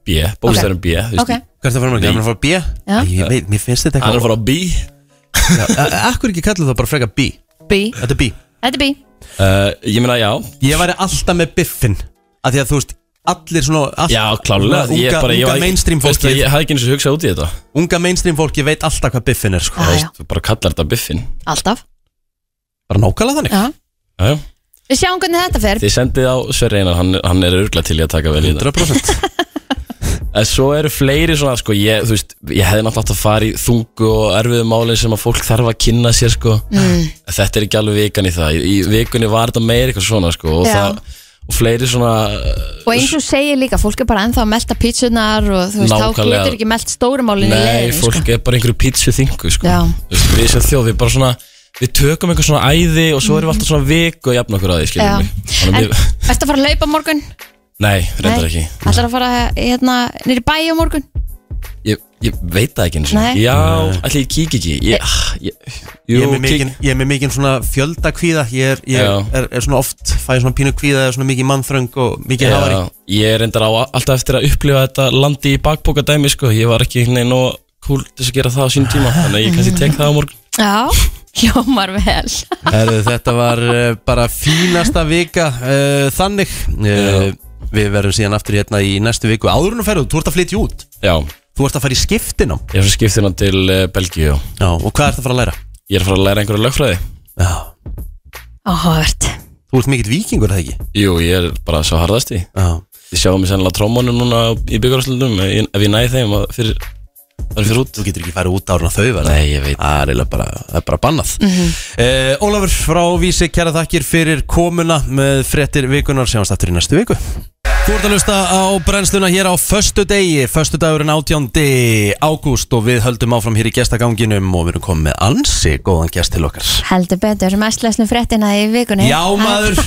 Speaker 3: B, bókstæðurinn B þú veist,
Speaker 2: Ok,
Speaker 1: Hvað er það að fara með? Ég verð að fara B
Speaker 2: Já.
Speaker 1: Æ, Ég veit, mér finnst þetta
Speaker 3: Hann er að
Speaker 1: eitthvað
Speaker 3: fara á B
Speaker 1: Já, a- Akkur ekki kallu það bara freka B
Speaker 2: B
Speaker 1: Þetta er B
Speaker 2: Þetta er B
Speaker 3: uh, Ég meina já
Speaker 1: Ég væri alltaf með biffin Af því að þú veist Allir svona all,
Speaker 3: Já klálega
Speaker 1: Unga,
Speaker 3: ég bara, ég
Speaker 1: unga
Speaker 3: var-
Speaker 1: mainstream
Speaker 3: veist
Speaker 1: fólki
Speaker 3: það, Ég hafði ekki eins og hugsað út í þetta
Speaker 1: Unga mainstream fólki veit alltaf hvað biffin er sko
Speaker 2: Já, já,
Speaker 3: Þú bara kallar þetta biffin
Speaker 2: alltaf
Speaker 1: Bara nákvæmlega þannig
Speaker 2: Já,
Speaker 3: Já, já
Speaker 2: Við sjáum hvernig þetta fer
Speaker 3: Þið sendið á Sverre Einar, hann, hann er örgla til í að taka vel í þetta
Speaker 1: 100%
Speaker 3: En svo eru fleiri svona, sko, ég, þú veist, ég hefði náttúrulega átt að fara í þungu og erfiðu málin sem að fólk þarf að kynna sér, sko. Mm. Þetta er ekki alveg vikan í það. Í, í vikunni var þetta meir eitthvað svona, sko, og,
Speaker 2: Já.
Speaker 3: það, og fleiri svona...
Speaker 2: Og eins og þú segir líka, fólk er bara ennþá að melta pítsunar og þú veist, þá
Speaker 3: Nákvæmlega.
Speaker 2: getur ekki melt stórumálin í
Speaker 3: Nei,
Speaker 2: leiðin
Speaker 3: fólk
Speaker 2: sko.
Speaker 3: er bara einhverju pítsu þingu, sko.
Speaker 2: Já.
Speaker 3: Þú veist, við sem þjóð, við bara svona, við tökum einhver svona æði og svo erum við alltaf svona viku að jafna okkur að því,
Speaker 2: Já.
Speaker 3: skiljum mig.
Speaker 2: En
Speaker 3: Þannig að við...
Speaker 2: ertu að fara að laupa morgun?
Speaker 3: Nei, reyndar ekki.
Speaker 2: Ætlar að fara hérna nýri bæ á morgun?
Speaker 3: Ég, ég veit það ekki eins og
Speaker 2: Nei.
Speaker 3: Já, allir ég kík ekki ég, ah, ég,
Speaker 1: Ég er
Speaker 3: jú,
Speaker 1: með mikinn, ég er með mikinn svona fjöldakvíða Ég, er, ég
Speaker 3: Já.
Speaker 1: er, er svona oft, fæ ég svona pínu kvíða eða svona mikið mannþröng og mikið hafari
Speaker 3: já, Ég er reyndar á alltaf eftir að upplifa þetta landi í bakbóka dæmi sko. Ég var ekki neina og cool til þess að gera það á sín
Speaker 1: Ah.
Speaker 3: tíma Þannig að ég kannski tek það á morgun
Speaker 2: Já, hljómar vel
Speaker 1: Herðu, þetta var uh, bara fínasta vika uh, þannig uh, Við verðum síðan aftur hérna í næstu viku Áður en að ferðu, þú ert að flytja út
Speaker 3: Já,
Speaker 1: Þú ert að fara í skiptinám
Speaker 3: ég er svo skiptina til eh, Belgíu og
Speaker 1: Já, og hvað ert að fara að læra?
Speaker 3: Ég er að fara að læra einhverja lögfræði
Speaker 1: Já,
Speaker 2: Áhört
Speaker 1: þú ert mikill vikingur, er það ekki?
Speaker 3: Jú, ég er bara svo harðast í
Speaker 1: Já,
Speaker 3: Ég sjáum mig sennilega á trómunum núna í byggaráslutum Ef ég- ef ég næði þeim að fyrir, það er fyrir út
Speaker 1: þú getur ekki farið út ára þau verða
Speaker 3: Nei, ég veit
Speaker 1: Það er eiginlega bara, það er bara bannað mm Ólafur frá Vísi, kæra þakkir fyrir komuna með frettir vikunar sjáumst aftur í næstu viku Þú ert að lusta á brennsluna hér á föstu degi, föstu dagurinn 18. ágúst og við höldum áfram hér í gestaganginum og við erum komið með ansi góðan gest til okkar
Speaker 2: Heldur betur, mest lesnum fréttina í vikunni
Speaker 1: Já maður,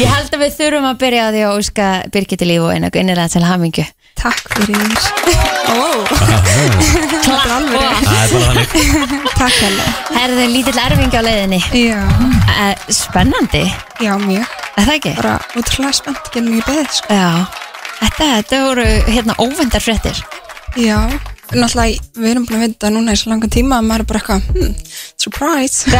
Speaker 2: Ég held að við þurfum að byrja á því að óska Birgitti líf og einu innilega til hamingju
Speaker 7: Takk fyrir,
Speaker 2: Klapp og
Speaker 1: það er bara þannig
Speaker 7: takk hella
Speaker 2: Herðu lítill erfingi á leiðinni
Speaker 7: Já,
Speaker 2: Eh, Spennandi,
Speaker 7: já mjög,
Speaker 2: er það ekki?
Speaker 7: bara útrúlega spennt getum ég beðið sko
Speaker 2: Já, þetta, þetta voru hérna óvendar fréttir
Speaker 7: Já, náttúrulega við erum búin að vita núna í svo langan tíma að maður er bara eitthvað, hmm, surprise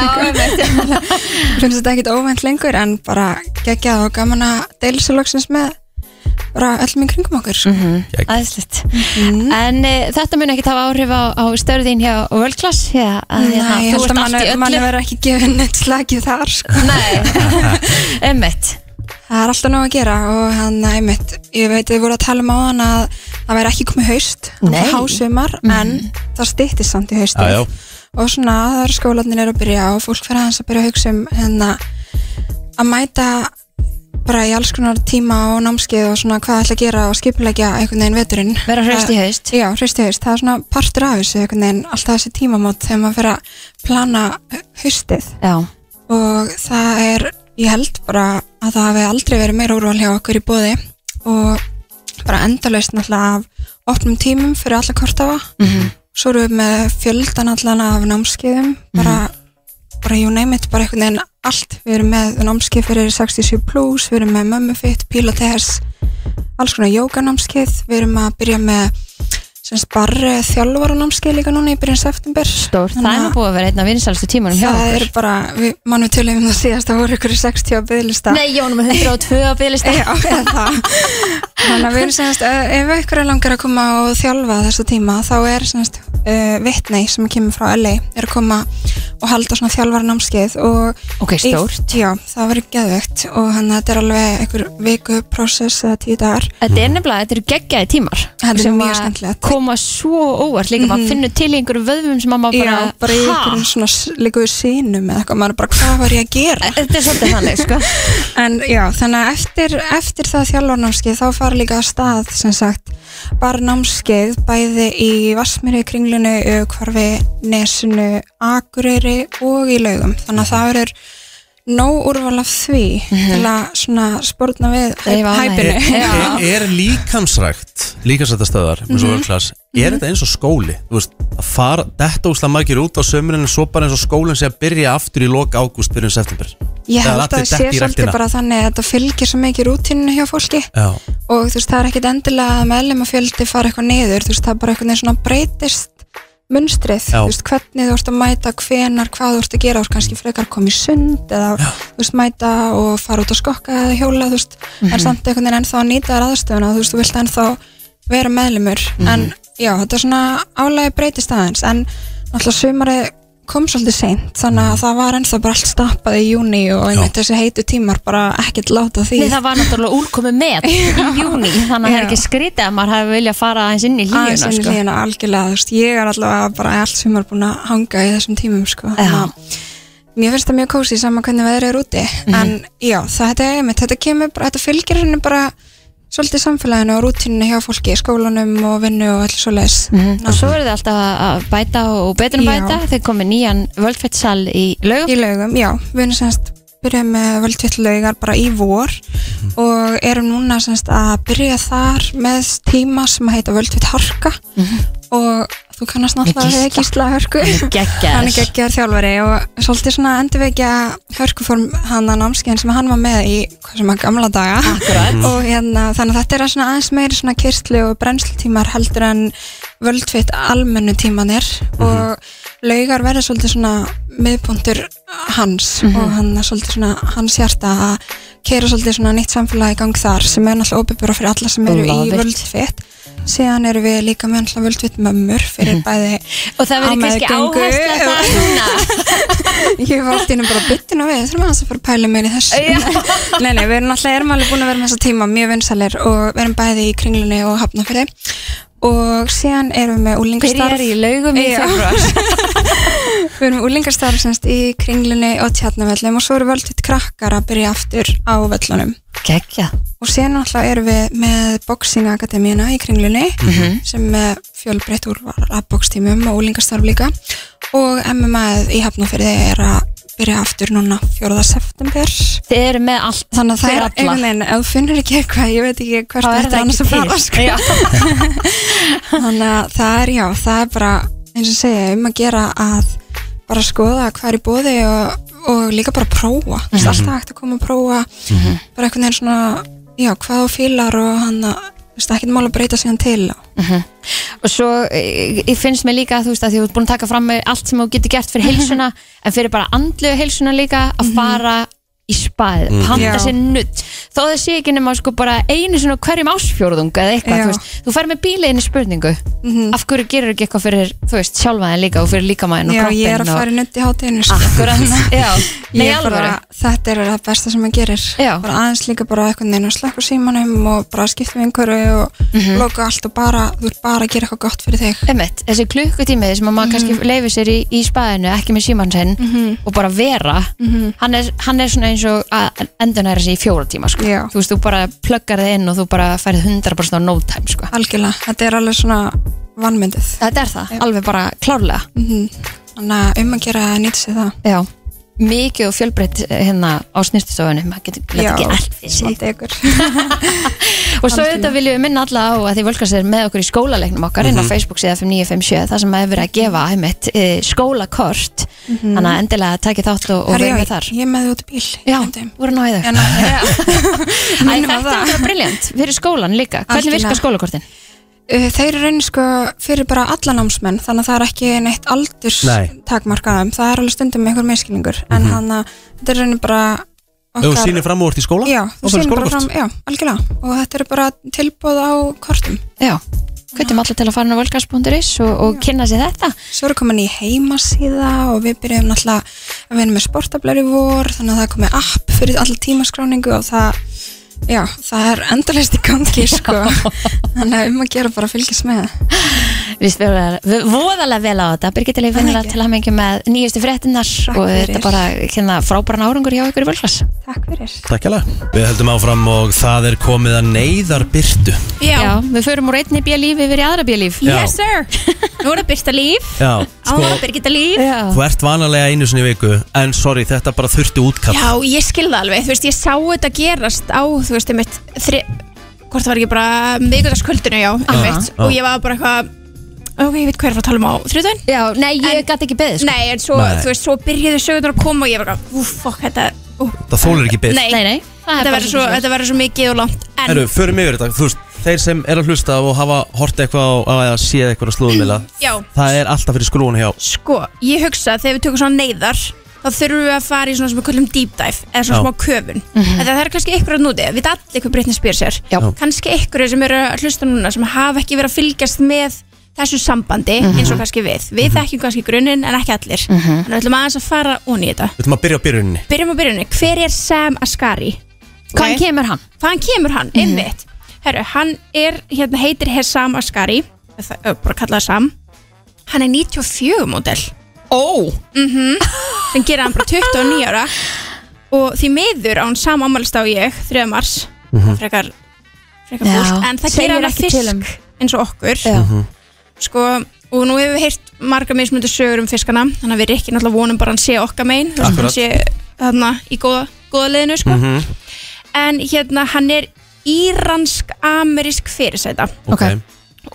Speaker 7: [laughs] finnst þetta ekkit óvænt lengur en bara geggjað og gaman að deila sér loksins með bara öllum í kringum okkur Mhm. sko.
Speaker 2: aðeinslegt Mhm. En e, þetta mun ekki hafa áhrif á, á störðin hjá World Class hér, að, hérna,
Speaker 7: Nei, ég
Speaker 2: þú
Speaker 7: held
Speaker 2: ert
Speaker 7: að
Speaker 2: allt í
Speaker 7: mann,
Speaker 2: öllu
Speaker 7: mann verður ekki gefið neitt slagið þar sko.
Speaker 2: Nei, emmitt
Speaker 7: Það er alltaf nóg að gera og hann, einmitt, ég veit að þið voru að tala um á hann að það væri ekki komið haust,
Speaker 2: Nei. Mhm.
Speaker 7: hásumar, en það styttist samt í haustið.
Speaker 1: Já, já.
Speaker 7: Og svona það eru skólanir eru að byrja og fólk fyrir aðeins að byrja að hugsa um hérna að mæta bara í alls konar tíma og námskeið og svona hvað það ætla að gera og skipulegja einhvern veginn veturinn.
Speaker 2: Vera hraust í
Speaker 7: Það-
Speaker 2: haust.
Speaker 7: Já, hraust í haust. Það er svona partur af þessu einhvern veginn, alltaf þessi tímamót þegar maður fyrir að plana haustið
Speaker 2: Já,
Speaker 7: og það er, ég held bara að það hafi aldrei verið meira úrval hjá okkur í bóði og bara endalaust náttúrulega af opnum tímum fyrir alla kortafa -hmm. svo erum við með fjöldan allan af námskeiðum bara, bara you name it, bara einhvern veginn allt, við erum með námskeið fyrir 67 plus, við erum með mömmufit, pilates alls konar jókanámskeið, við erum að byrja með sem sparri þjálfaranámskeið líka núna í byrjun september
Speaker 2: stór, það
Speaker 7: Þannig
Speaker 2: er
Speaker 7: að-
Speaker 2: nú búið að vera einn af vinsælstu tímanum hjá
Speaker 7: Það
Speaker 2: okkur
Speaker 7: er bara, við, mann við tölum um það síðast að voru ykkur í 60 á byggðlista
Speaker 2: Nei, ég var nummer 102 á bygglista
Speaker 7: Já,
Speaker 2: [laughs]
Speaker 7: eða það Þannig að við erum semst, eh, ef ykkur er langar að koma og þjálfa þessu tíma þá er semst uh, vitnei sem kemur frá LA er að koma og halda svona þjálfarnámskeið og
Speaker 2: Ok, stórt.
Speaker 7: Í, já, það verður geðvegt og þannig að þetta er alveg einhver viku process eða tíu dagar
Speaker 2: Þetta er nefnilega, þetta eru geggjaði tímar
Speaker 7: Þetta er
Speaker 2: sem
Speaker 7: mjög
Speaker 2: að
Speaker 7: skemmtilegt.
Speaker 2: koma svo óvart líka, maður finnur til í einhverju vöðvum sem að maður
Speaker 7: Mhm.
Speaker 2: bara,
Speaker 7: Já, bara í
Speaker 2: Ha?
Speaker 7: einhverjum svona s- líkuðu sínum eða eitthvað, maður er bara hvað var ég að gera
Speaker 2: Eh, Þetta er svolítið þannig, sko
Speaker 7: [laughs] En já, þannig að eftir, eftir það þjálfarnámskeið þá fara líka að stað sem sagt bara námskeið bæði í Vassmyri, Kringlunu, Ökvarfi, Nesinu, Akureyri og í Laugum. Þannig að það verður nóg úrval af því til að svona spórna við
Speaker 2: Mhm. Dreifa álagið.
Speaker 7: hæpinu.
Speaker 2: Já.
Speaker 1: Er, er líkamsrækt, líkamsrættastöðar eins
Speaker 7: Mhm.
Speaker 1: og vörklass, er þetta eins og skóli þú veist, að fara, þetta úslega margir út á sömurinn en svo bara eins og skólinn sé að byrja aftur í lok ágúst byrjun september Það
Speaker 7: Ég
Speaker 1: er
Speaker 7: held að
Speaker 1: allir
Speaker 7: það sé
Speaker 1: dett í
Speaker 7: svolítið
Speaker 1: ræktina.
Speaker 7: bara þannig að þetta fylgir svo mikið rútinu hjá fólki
Speaker 1: Já,
Speaker 7: og þú veist það er ekkit endilega að meðlema fjöldi fara eitthvað niður, þú veist það er bara eitthvað svona breytist munstrið,
Speaker 1: Já.
Speaker 7: þú veist hvernig þú ert að mæta, hvenar, hvað þú ert að gera þú ert kannski frekar að koma í sund eða þú veist mæta og fara út að skokka eða hjóla, þú veist, en samt einhvern veginn ennþá að nýta þér aðstöðuna, þú veist, þú vilt ennþá vera meðlemur, en já, þetta er svona álagi breytist aðeins, en náttúrulega sumari kom svolítið seint þannig að það var ennþá bara allt stappað í júni og einmitt þessi heitu tímar bara ekkert láta því
Speaker 2: Nei, það var náttúrulega úrkomi með í
Speaker 7: [laughs]
Speaker 2: júni, þannig að það er ekki skrítið að maður hefði viljað fara aðeins inn í
Speaker 7: aðeins
Speaker 2: hlíuna
Speaker 7: inn í
Speaker 2: sko.
Speaker 7: hlýjuna algjörlega, þú veist, ég er allavega bara allt sem er búin að hanga í þessum tímum sko.
Speaker 2: Já.
Speaker 7: Þannig að Mér finnst það mjög kósi saman hvernig veðrið er úti
Speaker 2: Mhm.
Speaker 7: en já, það, þetta er einmitt, þetta kemur bara, þetta fylgir henni bara svolítið samfélaginu og rútinu hjá fólki, skólanum og vinnu og allir svo leis
Speaker 2: Mhm. Og svo eru þið alltaf að- að bæta og betur en
Speaker 7: Já.
Speaker 2: bæta, þið komið nýjan völdfettsal í lögum.
Speaker 7: í laugum, já, við erum semst byrjum með völdvittlaugar bara í vor og erum núna semst að byrja þar með tíma sem heita völdvitt harka og þú kannast náttúrulega
Speaker 2: Gísla.
Speaker 7: við gísla hörku
Speaker 2: Geggjaður.
Speaker 7: hann er geggjaður þjálfari og svolítið svona endurvekja hörkuform hann að námskeiðin sem hann var með í hvað sem að gamla daga
Speaker 2: Akkurat.
Speaker 7: og hérna, þannig að þetta er svona aðeins meiri svona kyrslu og brennslutímar heldur en völdvitt almennu tímanir
Speaker 2: Mhm.
Speaker 7: og laugar verða svolítið svona miðpuntur hans
Speaker 2: Mhm.
Speaker 7: og hann er svolítið svona hans hjarta að keira svolítið svona nýtt samfélag í gang þar sem er náttúrulega opibura fyrir alla sem eru
Speaker 2: Love
Speaker 7: í
Speaker 2: it.
Speaker 7: völdvitt síðan eru við líka með náttúrulega völdvitt mömmur fyrir bæði
Speaker 2: Mhm. Og það verður kannski
Speaker 7: ámeðgöngu
Speaker 2: áhersla
Speaker 7: og-
Speaker 2: það
Speaker 7: [laughs]
Speaker 2: núna.
Speaker 7: Ég var alltaf bara byttin og við þurfum aðeins að fara að pæla meira í þessu [laughs] Nei, nei, við erum alltaf, erum alveg búin að vera með þessa tíma mjög vinsalir og við erum bæði í kringlunni og hafnafyrði og síðan erum við með
Speaker 2: Byrjar
Speaker 7: úlingastarf
Speaker 2: í laugum í
Speaker 7: Já.
Speaker 2: februar.
Speaker 7: [laughs] Við erum með úlingastarf semst í kringlunni og tjarnavellum og svo erum við alltaf krakkar að byrja aftur á vellunum
Speaker 2: Geggjað.
Speaker 7: og síðan alltaf erum við með Boxing Akademíuna í kringlunni sem er fjölbreytt úrvar af boxtímum og úlingastarf líka og MMA í hafnafyrði er að byrja aftur núna 4. september
Speaker 2: Þið eru með allt
Speaker 7: Þannig að það er
Speaker 2: fyrir alla.
Speaker 7: einhvern veginn, ef þú finnur ekki eitthvað, ég veit ekki hvert
Speaker 2: Þá er
Speaker 7: þetta
Speaker 2: það
Speaker 7: annars
Speaker 2: ekki
Speaker 7: að fara, sko.
Speaker 2: til. Já.
Speaker 7: [laughs] Þannig að það er, já, það er bara, eins og ég segja, um að gera að bara skoða hvað er í bóði og, og líka bara prófa. Þú veist, alltaf hægt að koma að prófa, bara einhvern veginn svona, já, hvað þú fílar og hann að, þú veist, ekkert mál að breyta síðan til.
Speaker 2: Mhm. og svo eh, ég finnst mér líka þú veist að því þú ert búin að taka fram með allt sem þú getur gert
Speaker 7: Mhm.
Speaker 2: fyrir heilsuna en fyrir bara andlu heilsuna líka að fara í spað, panta
Speaker 7: Já.
Speaker 2: sér nutt þó það sé ekki nema sko bara einu svona hverjum ásfjórðung eða eitthvað,
Speaker 7: Já. Mhm.
Speaker 2: þú veist þú fær með bíla inn í spurningu af hverju gerur ekki eitthvað fyrir, þú veist, sjálfaðin líka og fyrir líkamæðin og
Speaker 7: Já,
Speaker 2: kroppin
Speaker 7: ég er að
Speaker 2: og...
Speaker 7: fara í nutt í hátíðinu, sko.
Speaker 2: Akkurat, [laughs] já, nei
Speaker 7: Ég
Speaker 2: alveg
Speaker 7: bara, þetta er það besta sem maður gerir
Speaker 2: Já.
Speaker 7: bara aðeins líka bara einhvern veginn að slökka símanum og bara skipta við einhverju og loka allt og bara, þú ert bara að gera eitthvað gott fyrir þig
Speaker 2: Mhm.
Speaker 7: Mhm.
Speaker 2: Einmitt, þessi klukkutími sem að maður kannski leifir sér í, í spaðinu, ekki með símann sinn og bara vera
Speaker 7: Mhm.
Speaker 2: hann, er, hann er svona eins og að endurnæra sér í fjóra tíma sko.
Speaker 7: Já.
Speaker 2: þú veist, þú bara pluggar það inn og þú bara færið 100% á no time sko.
Speaker 7: algjörlega, þetta er alveg svona vannmyndið
Speaker 2: þetta er það, alveg bara klárlega
Speaker 7: Mhm. þannig að um að gera að nýta sér það
Speaker 2: Já. mikið og fjölbreytt eh, hérna á snýrtistofunni maður getur getur ekki allt fyrir sig
Speaker 7: svolítið ykkur
Speaker 2: [laughs] og svo auðvitað viljum við minna alla á að þið völkast er með okkur í skólalegnum okkar inn á Facebook síðan 5957, það sem er verið að gefa einmitt eh, skólakort þannig að endilega takið þátt og, og
Speaker 7: Herra, já,
Speaker 2: verið með þar
Speaker 7: ég er með þið út í bíl
Speaker 2: Já,
Speaker 7: Gleymdi.
Speaker 2: voru náðið
Speaker 7: Já, ná, já.
Speaker 2: [laughs] Æ,
Speaker 7: [laughs] Minnum á
Speaker 2: þetta er
Speaker 7: það.
Speaker 2: bara briljant fyrir skólan líka. Hvernig
Speaker 7: Algjörlega.
Speaker 2: virka skólakortin?
Speaker 7: Uh, Þeir eru reyni sko fyrir bara alla námsmenn þannig að það er ekki neitt aldurs
Speaker 1: Nei.
Speaker 7: takmarkaðum, það er alveg stundum einhver meðskilningur en hann að þetta er reyni bara
Speaker 1: Ef þú Mhm. sýnir fram úr í skóla
Speaker 7: Já,
Speaker 1: þá
Speaker 7: þú
Speaker 1: færðu
Speaker 7: sýnir bara
Speaker 1: skólakort.
Speaker 7: fram, já, algjörlega og þetta eru bara tilbúð á kortum
Speaker 2: Já, hvernig allir til að fara inn á volkast.is og, og kynna sér þetta?
Speaker 7: Svo eru komin í heimasíða og við byrjum náttúrulega að vinna með sportablar í vor þannig að það er komið app fyrir alla tímaskráningu og það, já, það er endalist í gangi, sko þannig að um að gera bara að fylgjast með
Speaker 2: Við spjóðum voðalega vel á þetta. Birgitta Leif
Speaker 7: Það er
Speaker 2: finnilega
Speaker 7: ekki.
Speaker 2: til að mengi með nýjustu fréttinnar og þetta
Speaker 7: fyrir.
Speaker 2: er bara hérna, frábæran árangur hjá ykkur í volkast.
Speaker 7: Takk fyrir
Speaker 1: Takk hérlega Við höldum áfram og það er komið að neyðar byrtu
Speaker 2: Já. við förum úr einni bíalíf yfir í aðra bíalíf.
Speaker 1: Yes,
Speaker 4: sir Nú er það Birta líf
Speaker 1: Já, sko,
Speaker 4: Birgitta líf
Speaker 2: Já.
Speaker 1: þú ert vanalega einu sinni í viku En sorry, þetta bara þurfti útkall
Speaker 4: Já, ég skil það alveg, þú veist, ég sá þetta gerast á, þú veist, einmitt þri, hvort það var ekki bara miðgöldasköldinu, já, einmitt,
Speaker 1: já.
Speaker 4: og ég var bara eitthvað ok, ég veit hvað er að fara að tala um á þriðdöðin
Speaker 2: Já, nei, ég
Speaker 4: En-
Speaker 2: gæti ekki beðið. Sko.
Speaker 4: Nei, en svo,
Speaker 1: Nei.
Speaker 4: þú veist, svo byrjuðu sögurnar að koma og ég var bara, ú, fuck, þetta ú,
Speaker 1: Það þólar ekki byrð
Speaker 4: Nei,
Speaker 2: nei, nei. það er
Speaker 4: þetta
Speaker 2: bara
Speaker 4: verður svo,
Speaker 2: svoleiðis.
Speaker 4: þetta verður svo mikið og langt en
Speaker 1: Herru, förum yfir þetta Þú veist, þeir sem er að hlusta og hafa hort eitthvað á- á eða séð eitthvað á slúðumila
Speaker 4: [clears throat] já,
Speaker 1: Það er alltaf fyrir skrúin hjá
Speaker 4: sko, ég hugsa að þegar við tökum svona neyðar þá þurfum við að fara í svona sem við kallum deep dive eða svona
Speaker 1: Já.
Speaker 4: smá köfun Þetta það er kannski ykkur að núti, við allir hvað Britney Spears er
Speaker 2: Já.
Speaker 4: kannski ykkur sem eru að hlusta núna sem hafa ekki verið að fylgjast með þessu sambandi eins og kannski við við þekkjum kannski grunninn en ekki allir þannig við ætlum aðeins að fara ón í þetta
Speaker 1: Við ætlum að byrja á byrjuninni
Speaker 4: byrjum á byrjunni, hver er Sam Ascari?
Speaker 2: Hvaðan kemur hann? Mhm.
Speaker 4: hvaðan kemur hann, einmitt Herru, hann er, hérna heitir Hesam Asghari það er bara að kalla það Sam hann er 94 módel
Speaker 6: Ó,
Speaker 2: [laughs]
Speaker 4: sem gera hann bara 29 ára og því meður á hann Sam ámælist á ég 3. mars frekar, frekar
Speaker 2: Mhm. Já.
Speaker 4: fólk en það
Speaker 2: Segir
Speaker 4: gera hann að
Speaker 2: ekki til um.
Speaker 4: fisk eins og okkur
Speaker 2: Já.
Speaker 5: Mhm,
Speaker 4: sko, og nú hefur við heyrt marga mismundu sögur um fiskana þannig að við erum ekki náttúrulega vonum bara að hann sé okkar megin þú veist,
Speaker 1: Akkurat.
Speaker 4: hann sé þarna í góða, góða leiðinu sko.
Speaker 2: Mhm.
Speaker 4: en hérna hann er íransk-amerísk fyrirsæta
Speaker 2: Ok.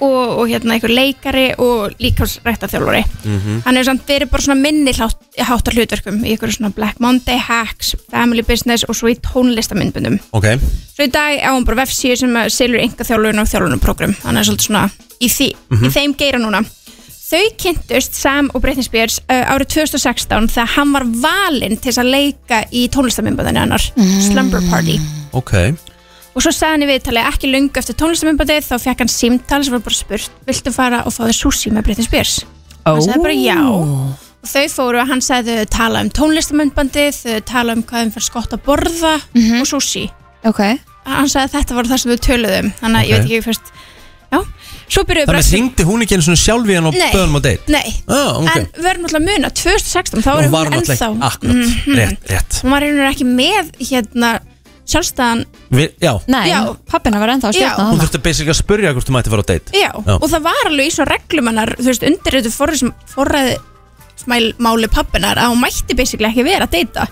Speaker 4: og, og hérna einhver leikari og líkjámsræktarþjálfari
Speaker 2: Mhm.
Speaker 4: hann er samt verið bara svona minni hlátt- háttar hlutverkum í einhverju svona Black Monday hacks, family business og svo í tónlistamindbundum
Speaker 1: Ok,
Speaker 4: svo í dag á hann bara vefsíu sem að selur enga þjálfun og þjálfunarprogram hann er svolítið svona í, því, í þeim geira núna þau kynntust Sam og Britney Spears uh, árið 2016 þegar hann var valinn til þess að leika í tónlistamindbundinu hennar Slumber Party
Speaker 1: ok
Speaker 4: og svo sagði hann í viðtalið ekki lungu eftir tónlistamimbandið þá fekk hann símtal sem var bara spurt viltu fara og fá þér sushi með Britney Spears og hann sagði bara já og þau fóru og hann sagði þau tala um tónlistamimbandið þau tala um hvað þeim fyrir skott að borða og sushi
Speaker 2: Mhm. Ok,
Speaker 4: hann sagði að þetta var það sem þau töluðum þannig að ég
Speaker 1: Ok.
Speaker 4: veit ekki fyrst já, svo byrjuðu
Speaker 1: Þannig hringdi hún ekki einu svona sjálf í hann og
Speaker 4: Nei.
Speaker 1: böðum á deit
Speaker 4: nei,
Speaker 1: ah, ok
Speaker 4: en við erum alltaf að muna 2016 þá er
Speaker 1: Hún
Speaker 4: hún,
Speaker 1: var náttúrulega
Speaker 4: ennþá Mhm,
Speaker 1: ekki, akkurat, rétt, rétt
Speaker 4: hún var einhvern ekki með hérna sjálfstæðan
Speaker 1: Vi, Já,
Speaker 2: nei,
Speaker 4: Já.
Speaker 2: pappina var ennþá að
Speaker 4: Já.
Speaker 2: stjórna
Speaker 1: hún
Speaker 2: þarna
Speaker 1: þurfti basically að spyrja hvort þú mætti fara á deit
Speaker 4: Já,
Speaker 1: Já.
Speaker 4: og það var alveg í svona reglum hennar, þú veist, undirritu forræði máli pappinar að hún mætti basically ekki vera að deyta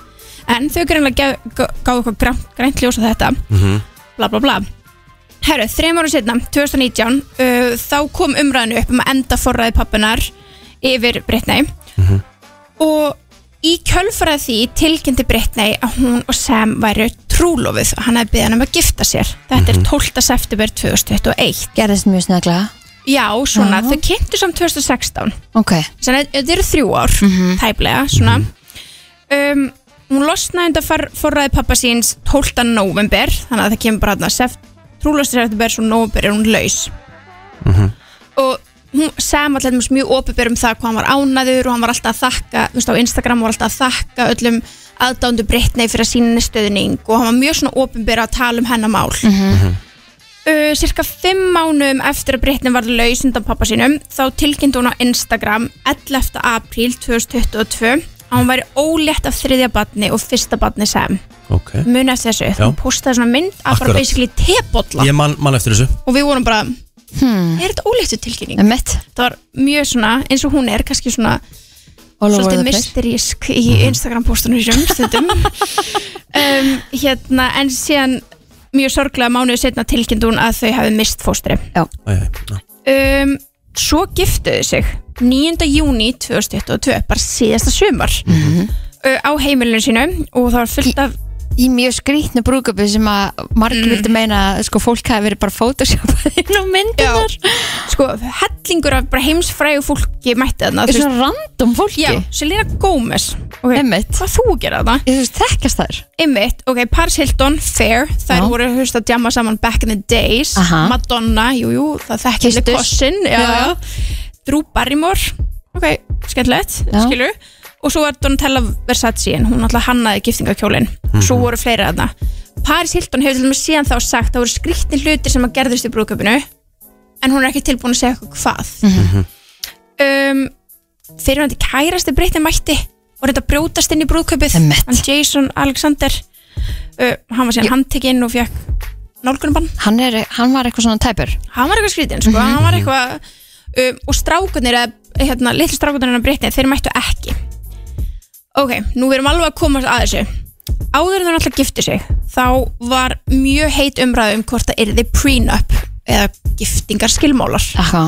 Speaker 4: en þau greinlega gáðu eitthvað grænt, grænt ljósa þetta
Speaker 5: mhm.
Speaker 4: bla bla bla Herru, þreim ára setna, 2019 uh, þá kom umræðinu upp um að enda forræði pappinar yfir Brittany og í kjölfarað því tilkynnti Brittany að hún og Sam væru trúlofið og hann hefði beðið hann um að gifta sér þetta er 12. september 2021
Speaker 2: Gerðist mjög snögglega
Speaker 4: Já, svona,
Speaker 2: Já.
Speaker 4: þau kynntu samt 2016
Speaker 2: Ok,
Speaker 4: Þannig að þetta eru þrjú ár tæplega, svona um, Hún losnaði undan far, forræði pappa síns 12. november þannig að það kemur bara þarna trúlastur eftir svo november er hún laus
Speaker 8: Mhm.
Speaker 4: og hún sem allir mjög mjög opið um það hvað hann var ánaður og hann var alltaf að þakka þú veist, á Instagram var alltaf að þakka öllum aðdándu breytnei fyrir að sína stöðning og hann var mjög svona opið að tala um hennar mál
Speaker 1: Mhm.
Speaker 4: uh, cirka fimm mánum eftir að Brittin var laus undan pappa sínum þá tilkynnti hún á Instagram 11. apríl 2022 að hún væri ólétt af þriðja batni og fyrsta batni sem
Speaker 1: Ok,
Speaker 4: muni eftir þessu,
Speaker 1: Já.
Speaker 4: hún postaði svona mynd af
Speaker 1: Akkurat.
Speaker 4: bara basically tebolla
Speaker 1: ég man, man eftir þessu
Speaker 4: og við vorum bara er þetta óléttu tilkynning?
Speaker 2: emitt
Speaker 4: það var mjög svona, eins og hún er kannski svona svolítið mysterísk í Instagram postunum sem stundum um, hérna, en síðan mjög sorglega mánuðu setna tilkynnt hún að þau hafi mist fóstri
Speaker 1: Æ, æ, já.
Speaker 4: um, Svo giftuðu sig 9. júni 2022 bara síðasta sumar uh, á heimilinu sínu og það var fullt af Mm.
Speaker 2: Í mjög skrýtnu brúkupi sem að margir vildi meina að sko, fólk hafi verið bara photoshopað inn á myndunar
Speaker 4: sko, hellingur af bara heimsfrægu fólki mætti þarna
Speaker 2: Er
Speaker 4: þú veist.
Speaker 2: svona random fólki
Speaker 4: Já, Selena Gomez okay.
Speaker 2: Einmitt.
Speaker 4: Hvað þú að gera það?
Speaker 2: Ég þú veist þekkjast þær
Speaker 4: Einmitt, ok, Paris Hilton, Fair Þær
Speaker 2: Já.
Speaker 4: voru húst að djama saman back in the days
Speaker 2: Aha.
Speaker 4: Madonna, jújú, jú, það þekkir
Speaker 2: Kysstust.
Speaker 4: Kossin, já,
Speaker 2: Já.
Speaker 4: já Drew Barrymore, ok, skemmtilegt
Speaker 2: Já.
Speaker 4: Skilur Og svo var Donatella Versace en hún alltaf hannaði giftingakjólin Svo voru fleiri þarna Paris Hilton hefur til dæmis síðan þá sagt Það voru skrýtni hlutir sem að gerðist í brúðköpinu En hún er ekki tilbúin að segja eitthvað hvað
Speaker 1: Mhm.
Speaker 4: um, fyrirvændi kærasti breytti mætti og reynda að brjótast inn í brúðkaupið
Speaker 2: Emmett.
Speaker 4: hann Jason Alexander uh, hann var síðan handtekinn og fekk nálgunum
Speaker 2: hann, er, hann var eitthvað svona tæpur Mhm.
Speaker 4: hann var eitthvað skrítinn sko, hann var eitthvað um, og strákunir, eða, hérna, litlu strákunir hann breytti, þeir mættu ekki ok, nú erum alveg að komast að þessu áður en hann alltaf gifti sig þá var mjög heit umræðu um hvort það yrði prenup eða giftingarskilmálar
Speaker 2: Aha.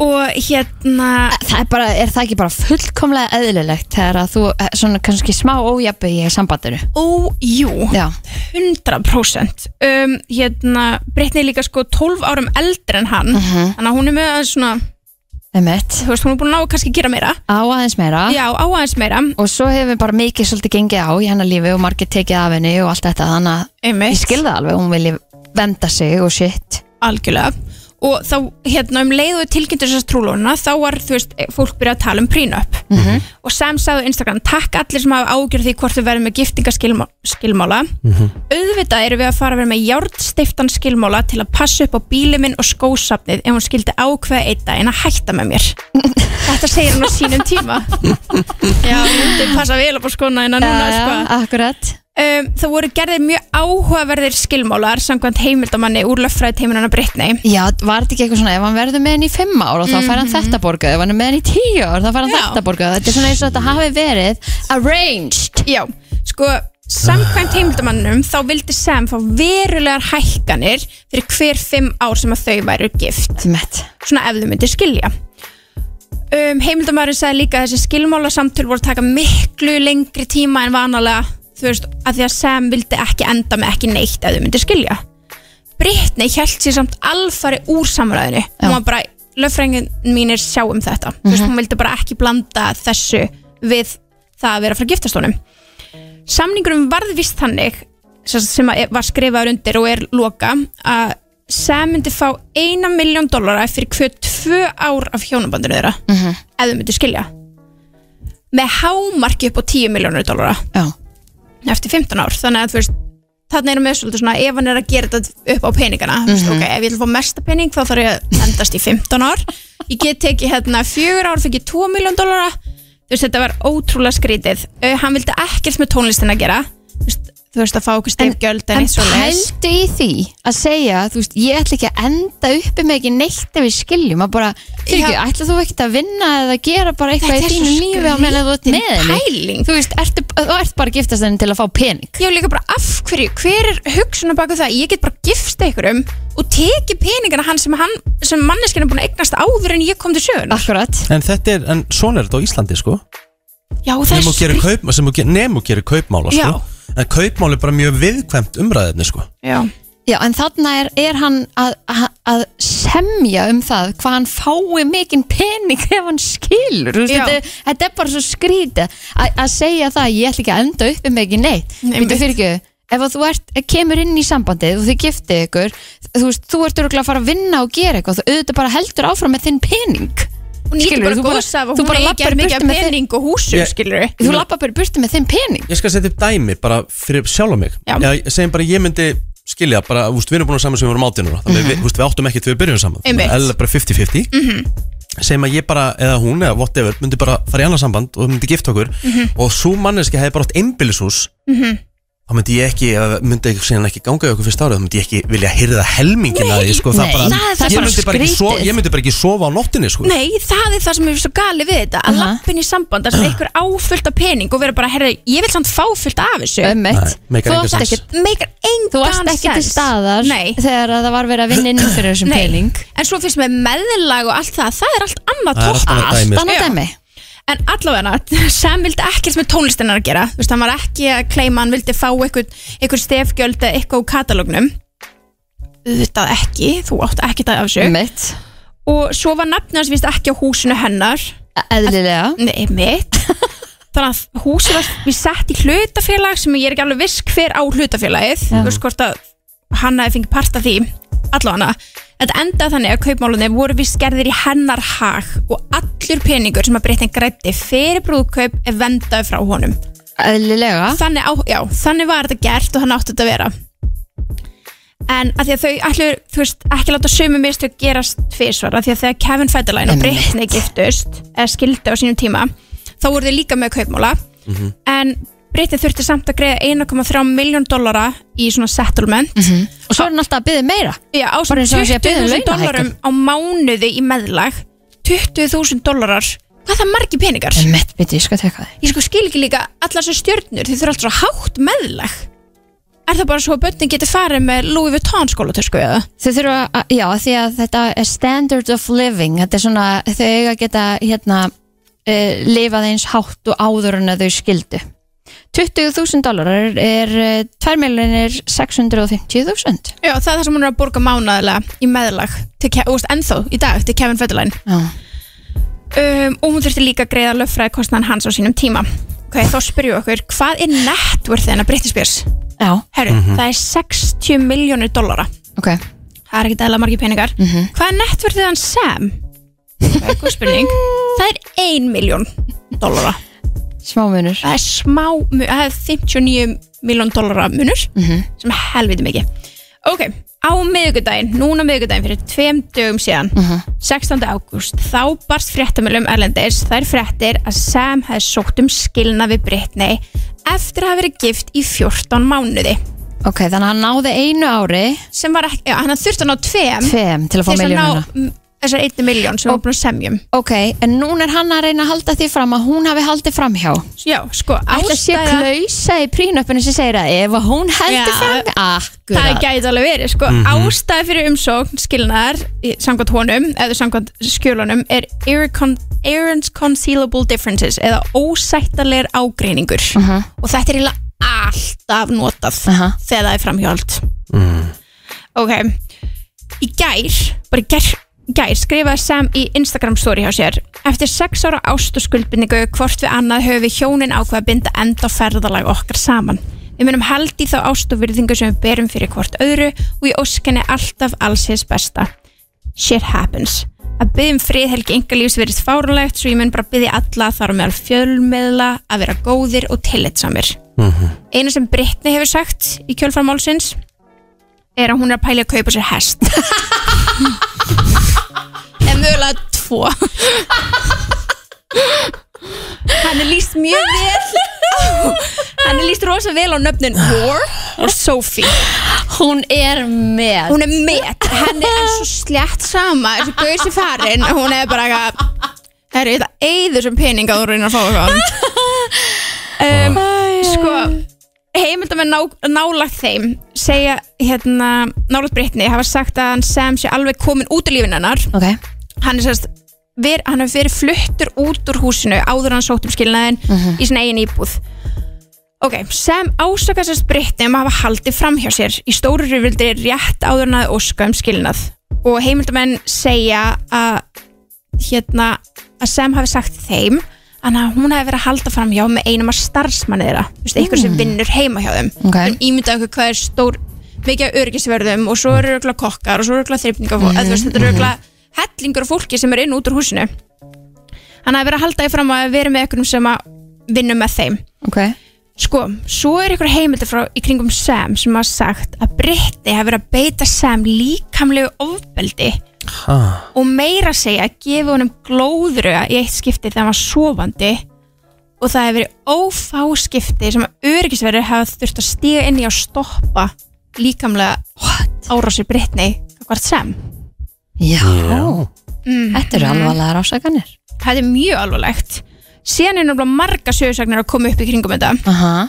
Speaker 4: og hérna
Speaker 2: Það er, bara, er það ekki bara fullkomlega eðlilegt þegar að þú eh, svona kannski smá ójabbi í sambandinu
Speaker 4: ójú,
Speaker 2: Já,
Speaker 4: 100% um, hérna, Brittany er líka sko 12 árum eldri en hann þannig að hún er með aðeins svona
Speaker 2: emitt
Speaker 4: þú veist, hún er búin að ná að kannski gera meira
Speaker 2: Á aðeins meira
Speaker 4: já, á aðeins meira,
Speaker 2: Og svo hefur bara mikið svolítið gengið á í hennar lífi og margir tekið af henni og allt þetta þannig að
Speaker 4: einmitt
Speaker 2: ég skilði alveg, hún vilji venda sig og shit
Speaker 4: algjörlega og þá hérna um leiðu tilkynntur þessar trúlónuna þá var þú veist fólk byrjað að tala um prínup mm -hmm. og Sam sagði á Instagram takk allir sem hafa ágjörð því hvort við verðum með giftingaskilmála auðvitað erum við að fara að vera með járnstiftan skilmála til að passa upp á bíli minn og skósapnið ef hún skildi ákveða einn daginn að hætta með mér þetta segir hún á sínum
Speaker 5: [laughs]
Speaker 4: tíma já, hún myndi passa vel upp á skona en að núna
Speaker 2: já,
Speaker 4: sko
Speaker 2: akkurat
Speaker 4: um, það voru gerðir mjög áhugaverðir skilmálar samkvæmt heimildamanni úr löffræðiteiminana Brittany
Speaker 2: Já, var þetta ekki eitthvað svona, ef hann verður með henni í fimm ára
Speaker 4: Mhm,
Speaker 2: þá fær hann þetta borgað, ef hann er með henni í tíu ára þá fær hann
Speaker 4: Já.
Speaker 2: þetta borgað, þetta er svona eins og þetta hafi verið arranged
Speaker 4: Já, sko samkvæmt heimildamannum þá vildi Sam fá verulegar hækkanir fyrir hver fimm ár sem að þau væru gift
Speaker 2: Mett.
Speaker 4: svona ef þau myndir skilja um, heimildamæðurinn sagði líka að þessi skilmálasamtöl voru að taka miklu lengri tíma en vanalega þú veist, að því að Sam vildi ekki enda með ekki neitt ef þau myndir skilja Brittany held sér samt alfari úr samræðinu hún var bara, löffrængin mínir sjá um þetta þú veist, hún vildi bara ekki blanda þessu við það að vera frá giftastónum samningurum varð vist þannig sem sem að e- var skrifaður undir og er loka að Sam myndi fá eina miljón dollara fyrir hver tvö ár af hjónabandinu þeirra ef þau myndi skilja með hámarki upp á 10 miljónur dollara
Speaker 2: Já.
Speaker 4: eftir 15 ár þannig að þú veist þannig erum við svolítið svona ef hann er að gera þetta upp á peningana mm veist, ok, ef ég vil fá mesta pening þá þarf ég að endast í 15 ár ég get tekið hérna 4 ár fyrir 2 miljón dollara þú veist, þetta var ótrúlega skrítið uh, hann vildi ekkert með tónlistin að gera þú veist, þú veist að fá okkur stefgjöld en,
Speaker 2: En
Speaker 4: eitt svo
Speaker 2: pældu í því að segja, þú veist, ég ætla ekki að enda uppi með ekki neitt ef við skiljum að bara, fyrir ekki,
Speaker 4: Já.
Speaker 2: ætla þú ekkert að vinna eða gera bara eitthvað
Speaker 4: Þetta
Speaker 2: í
Speaker 4: er svo
Speaker 2: þínu lífi á meðan þú ert
Speaker 4: skrítin
Speaker 2: með henni
Speaker 4: pæling.
Speaker 2: þú veist, ertu, þú ert bara að giftast henni til að fá pening
Speaker 4: Ég hef líka bara af hverju, hver er hugsunar baku það? Ég get bara gifst einhverjum og teki peningana hann sem, hann, sem manneskinn er búin að eignast áður en ég kom til sjöun.
Speaker 2: Akkurat,
Speaker 8: En þetta er, en svona er þetta á Íslandi sko
Speaker 4: Já, það
Speaker 8: Nefn og gerir
Speaker 4: skrýt-
Speaker 8: kaup, sem þú gerir- nema þú gerir kaupmála sko En kaupmál er bara mjög viðkvæmt umræðinni sko
Speaker 4: Já.
Speaker 2: já, en þarna er, er hann að, að, að semja um það hvað hann fái mikinn pening ef hann skilur, þú veist,
Speaker 4: Já.
Speaker 2: þetta, þetta er bara svo skrítið að að segja það, ég ætla ekki að enda uppi með ekki neitt
Speaker 4: Einmitt.
Speaker 2: Býttu fyrir ekki, ef að þú ert, eh, kemur inn í sambandið og þið giftið ykkur þú veist, þú ert örgulega að fara að vinna og gera eitthvað þú auðvitað bara heldur áfram með þinn pening
Speaker 4: Hún nýtti
Speaker 2: Skilurðu,
Speaker 4: bara
Speaker 2: þú bara-
Speaker 4: góðs af
Speaker 2: þú
Speaker 4: að hún
Speaker 2: bara
Speaker 4: eigi
Speaker 2: labbar
Speaker 4: að
Speaker 2: í
Speaker 4: mikið
Speaker 2: burtu með
Speaker 4: pening og húsum,
Speaker 8: Ég-
Speaker 4: skilur við.
Speaker 2: þú lappa bara í burtu með þinn pening
Speaker 8: Ég skal setja upp dæmi bara fyrir sjálf mig
Speaker 4: Já.
Speaker 8: Ég segjum bara ég myndi skilja bara, úst, við erum búin að saman sem við vorum átjánur þannig mm við, úst, við áttum ekkert þegar við byrjum saman
Speaker 4: Einmitt.
Speaker 8: eða bara 50-50
Speaker 4: Mhm,
Speaker 8: segjum að ég bara, eða hún eða whatever myndi bara fara í annað samband og myndi gifta okkur
Speaker 2: Mm.
Speaker 8: og svo manneski hefði bara átt einbýlishús
Speaker 4: mhm.
Speaker 8: þá myndi ég ekki ef- myndi ekki, síðan ekki ganga í okkur fyrst árið þá myndi ég ekki vilja hyrða helmingin að því sko, það
Speaker 2: nei,
Speaker 8: bara,
Speaker 2: það er það
Speaker 8: ég,
Speaker 2: bara
Speaker 8: myndi bara ekki
Speaker 2: skrítið.
Speaker 8: sofa, ég myndi bara ekki sofa á nóttinni sko.
Speaker 4: Nei, það er það sem er svo gali við þetta að
Speaker 2: Aha.
Speaker 4: lappin í samband þar sem einhver áfullt af pening og vera bara, herra, ég vil samt fá fullt af þessu
Speaker 2: ömmett,
Speaker 8: Nei, meikar
Speaker 2: þú
Speaker 8: engan
Speaker 2: varst
Speaker 8: sens.
Speaker 2: ekki
Speaker 4: meikar engan
Speaker 2: þú varst ekki til
Speaker 4: sens.
Speaker 2: staðar
Speaker 4: Nei.
Speaker 2: þegar að það var verið að vinna inn fyrir þessum
Speaker 4: Nei.
Speaker 2: pening
Speaker 4: En svo finnst mér meðlag og allt það, það er allt annað
Speaker 8: Það er allt
Speaker 4: topp.
Speaker 8: annað dæmi, sko.
Speaker 2: þannig
Speaker 4: Já.
Speaker 2: að dæmi
Speaker 4: En allavega, Sam vildi ekkert með tónlistinnar að gera, þú veist, hann var ekki að kleima, hann vildi fá eitthvað, eitthvað stefgjöld eða eitthvað úr katalógnum. Þetta ekki, þú átt ekki það af þessu.
Speaker 2: ömmett,
Speaker 4: Og svo var nafnið hans vist ekki á húsinu hennar,
Speaker 2: eðlilega
Speaker 4: nei,
Speaker 2: [laughs]
Speaker 4: mitt. Þannig að húsið var, við sett í hlutafélag sem ég er ekki alveg viss hver á hlutafélagið, þú veist hvort að hann hafi fengið part af því, allavega. Þetta endaði þannig að kaupmálunni voru vist gerðir í hennar hag og allur peningur sem að breytin grætti fyrir brúðkaup er vendaði frá honum.
Speaker 2: eðlilega,
Speaker 4: þannig, á, já, þannig var þetta gert og þannig átti þetta að vera en að því að þau ætlu þú veist, ekki láta sömu mistök gerast tvisvar, að því að þegar Kevin Federline og
Speaker 2: Einmitt.
Speaker 4: Britney giftust eða skildu á sínum tíma, þá voru þau líka með kaupmála, en Britney þurfti samt að greiða 1,3 miljón dollara í svona settlement
Speaker 2: Mhm. og svo er hann alltaf að byggja meira
Speaker 4: Já, á
Speaker 2: Bara eins og hann sé að biðja um
Speaker 4: 20.000 dollarum
Speaker 2: launahækkun.
Speaker 4: á mánuði í meðlag 20.000 dollarar hvað er það margi peningar?
Speaker 2: ömmett, byrju, ég skal teka þig
Speaker 4: ég sko skil ekki líka allar sem stjörnur þið þurfa alltaf svo hátt meðlag er það bara svo að börnin getur farið með Louis Vuitton skólatösku eða?
Speaker 2: Þau þurfa, að, já, því að þetta er standard of living, þetta er svona, þau eiga að geta, hérna, uh, lifað eins hátt og áður en að þau skildu. 20.000 dólarar er uh, 2.650.000.
Speaker 4: Já, það er það sem hún er að borga mánaðilega í meðlag til, Ke- þú veist, ennþá í dag til Kevin Federline
Speaker 2: Já.
Speaker 1: [laughs]
Speaker 4: um, og hún þurfti líka að greiða löffræði kostnaðan hans á sínum tíma ok, þá spyrjum við okkur, hvað er networth hennar Britney Spears?
Speaker 2: Já,
Speaker 4: Herru, það er 60 miljónir dollara
Speaker 2: ok. Mhm.
Speaker 4: það er ekkert eðla margir peningar hvað er nettverðið hans Sam? það er góð spurning það er 1 miljón dollara
Speaker 2: smámunur
Speaker 4: það er smá, mu- það er 59 miljón dollara munur
Speaker 2: Mhm.
Speaker 4: sem er helviti mikið ok, á miðvikudaginn, núna miðvikudaginn fyrir tveim dögum síðan
Speaker 2: Mhm.
Speaker 4: 16. ágúst, þá barst fréttamilum Erlendis, þær fréttir að Sam hefði sótt um skilna við Britney eftir að hafa verið gift í 14 mánuði
Speaker 2: Ok, þannig að hann náði einu ári
Speaker 4: sem var ekki, já, hann þurfti að ná tveim
Speaker 2: Tveim til að fá
Speaker 4: til þess að
Speaker 2: miljónuna
Speaker 4: ná m, þessar 1 miljón sem var búin að um. semjum
Speaker 2: Ok, en núna er hann að reyna að halda því fram að hún hafi haldið fram hjá
Speaker 4: já, sko,
Speaker 2: Ætla sé
Speaker 4: ástæða
Speaker 2: klausa í prínöppinu sem segir að ef að hún heldur
Speaker 4: Já.
Speaker 2: fram
Speaker 4: það
Speaker 2: Akkurat
Speaker 4: gæti alveg verið, sko, ástæða fyrir umsókn skilnaðar, í- samkvæmt honum eða samkvæmt skjölunum er irrecon- irreconcilable differences eða ósættalegir ágreiningur og þetta er eiginlega alltaf notað
Speaker 2: Aha.
Speaker 4: þegar það er framhjóld ok í gær, bara í gær í gær skrifaði Sam í Instagram story hjá sér eftir sex ára ást og skuldbindingu hvort við annað höfum við hjónin ákveð að binda enda á ferðalag okkar saman við munum haldi þá ást og virðingu sem við berum fyrir hvort öðru og ég óskenni alltaf alls hins besta shit happens að byggja um friðhelgi engalífs verið fárulegt svo ég mun bara byggja alla þar á meðal fjölmiðla að vera góðir og tillitsamir
Speaker 3: Mhm.
Speaker 4: eina sem Brittany hefur sagt í kjölfarmálsins er að hún er að pæla í að kaupa sér hest [laughs] en mögulega tvo hann er líst mjög vel hann er líst rosa vel á nöfnin War og Sophie
Speaker 2: Hún er með
Speaker 4: hún er met, henni er svo slétt sama þessi gauðs í farin hún er bara eitthvað herri, þetta eyður sem pening að þú reynir að fá [laughs] eitthvað um, sko heimildamenn ná, nálagt þeim segja hérna nálagt Brittany hafa sagt að hann sem sé alveg komin út í lífin hennar
Speaker 2: Ok,
Speaker 4: hann er sérst ver, hann hefur verið fluttur út úr húsinu áður en hann sótt um skilnaðin í sinna eigin íbúð ok, sem ásaka sérst Brittany um að hafa haldið fram hjá sér í stóru rifildir rétt áður en að óska um skilnað og heimildamenn segja að hérna að Sam hafi sagt þeim að hún hafi verið að halda fram hjá með einum af starfsmanni þeirra, þú veist, einhver sem vinnur heima hjá þeim
Speaker 2: Ok.
Speaker 4: en ímynda okkur hvað er stór mikið af örgisverðum og svo eru örgulega kokkar og svo eru örgulega þreifninga mm -hmm. þetta eru örgulega hellingur af fólki sem er inn og út úr húsinu hann hafi verið að halda því fram að vera með einhverjum sem að vinna með þeim
Speaker 2: ok
Speaker 4: sko, svo er einhver heimildi frá í kringum Sam sem hafa sagt að Britti hafi verið að beita Sam líkamlegu ofbeldi
Speaker 8: Ha.
Speaker 4: og meira að segja að gefa honum glóðröga í eitt skipti þegar hann var sofandi og það hefur verið ófá skipti sem að öryggisverður hafa þurft að stíga inn í að stoppa líkamlega árásir Brittany hvert sem.
Speaker 2: Já, Mm. þetta eru alvarlegar ásakanir
Speaker 4: Mhm. Það er mjög alvarlegt. Síðan er náttúrulega marga sögursagnar að koma upp í kringum þetta.
Speaker 2: Aha,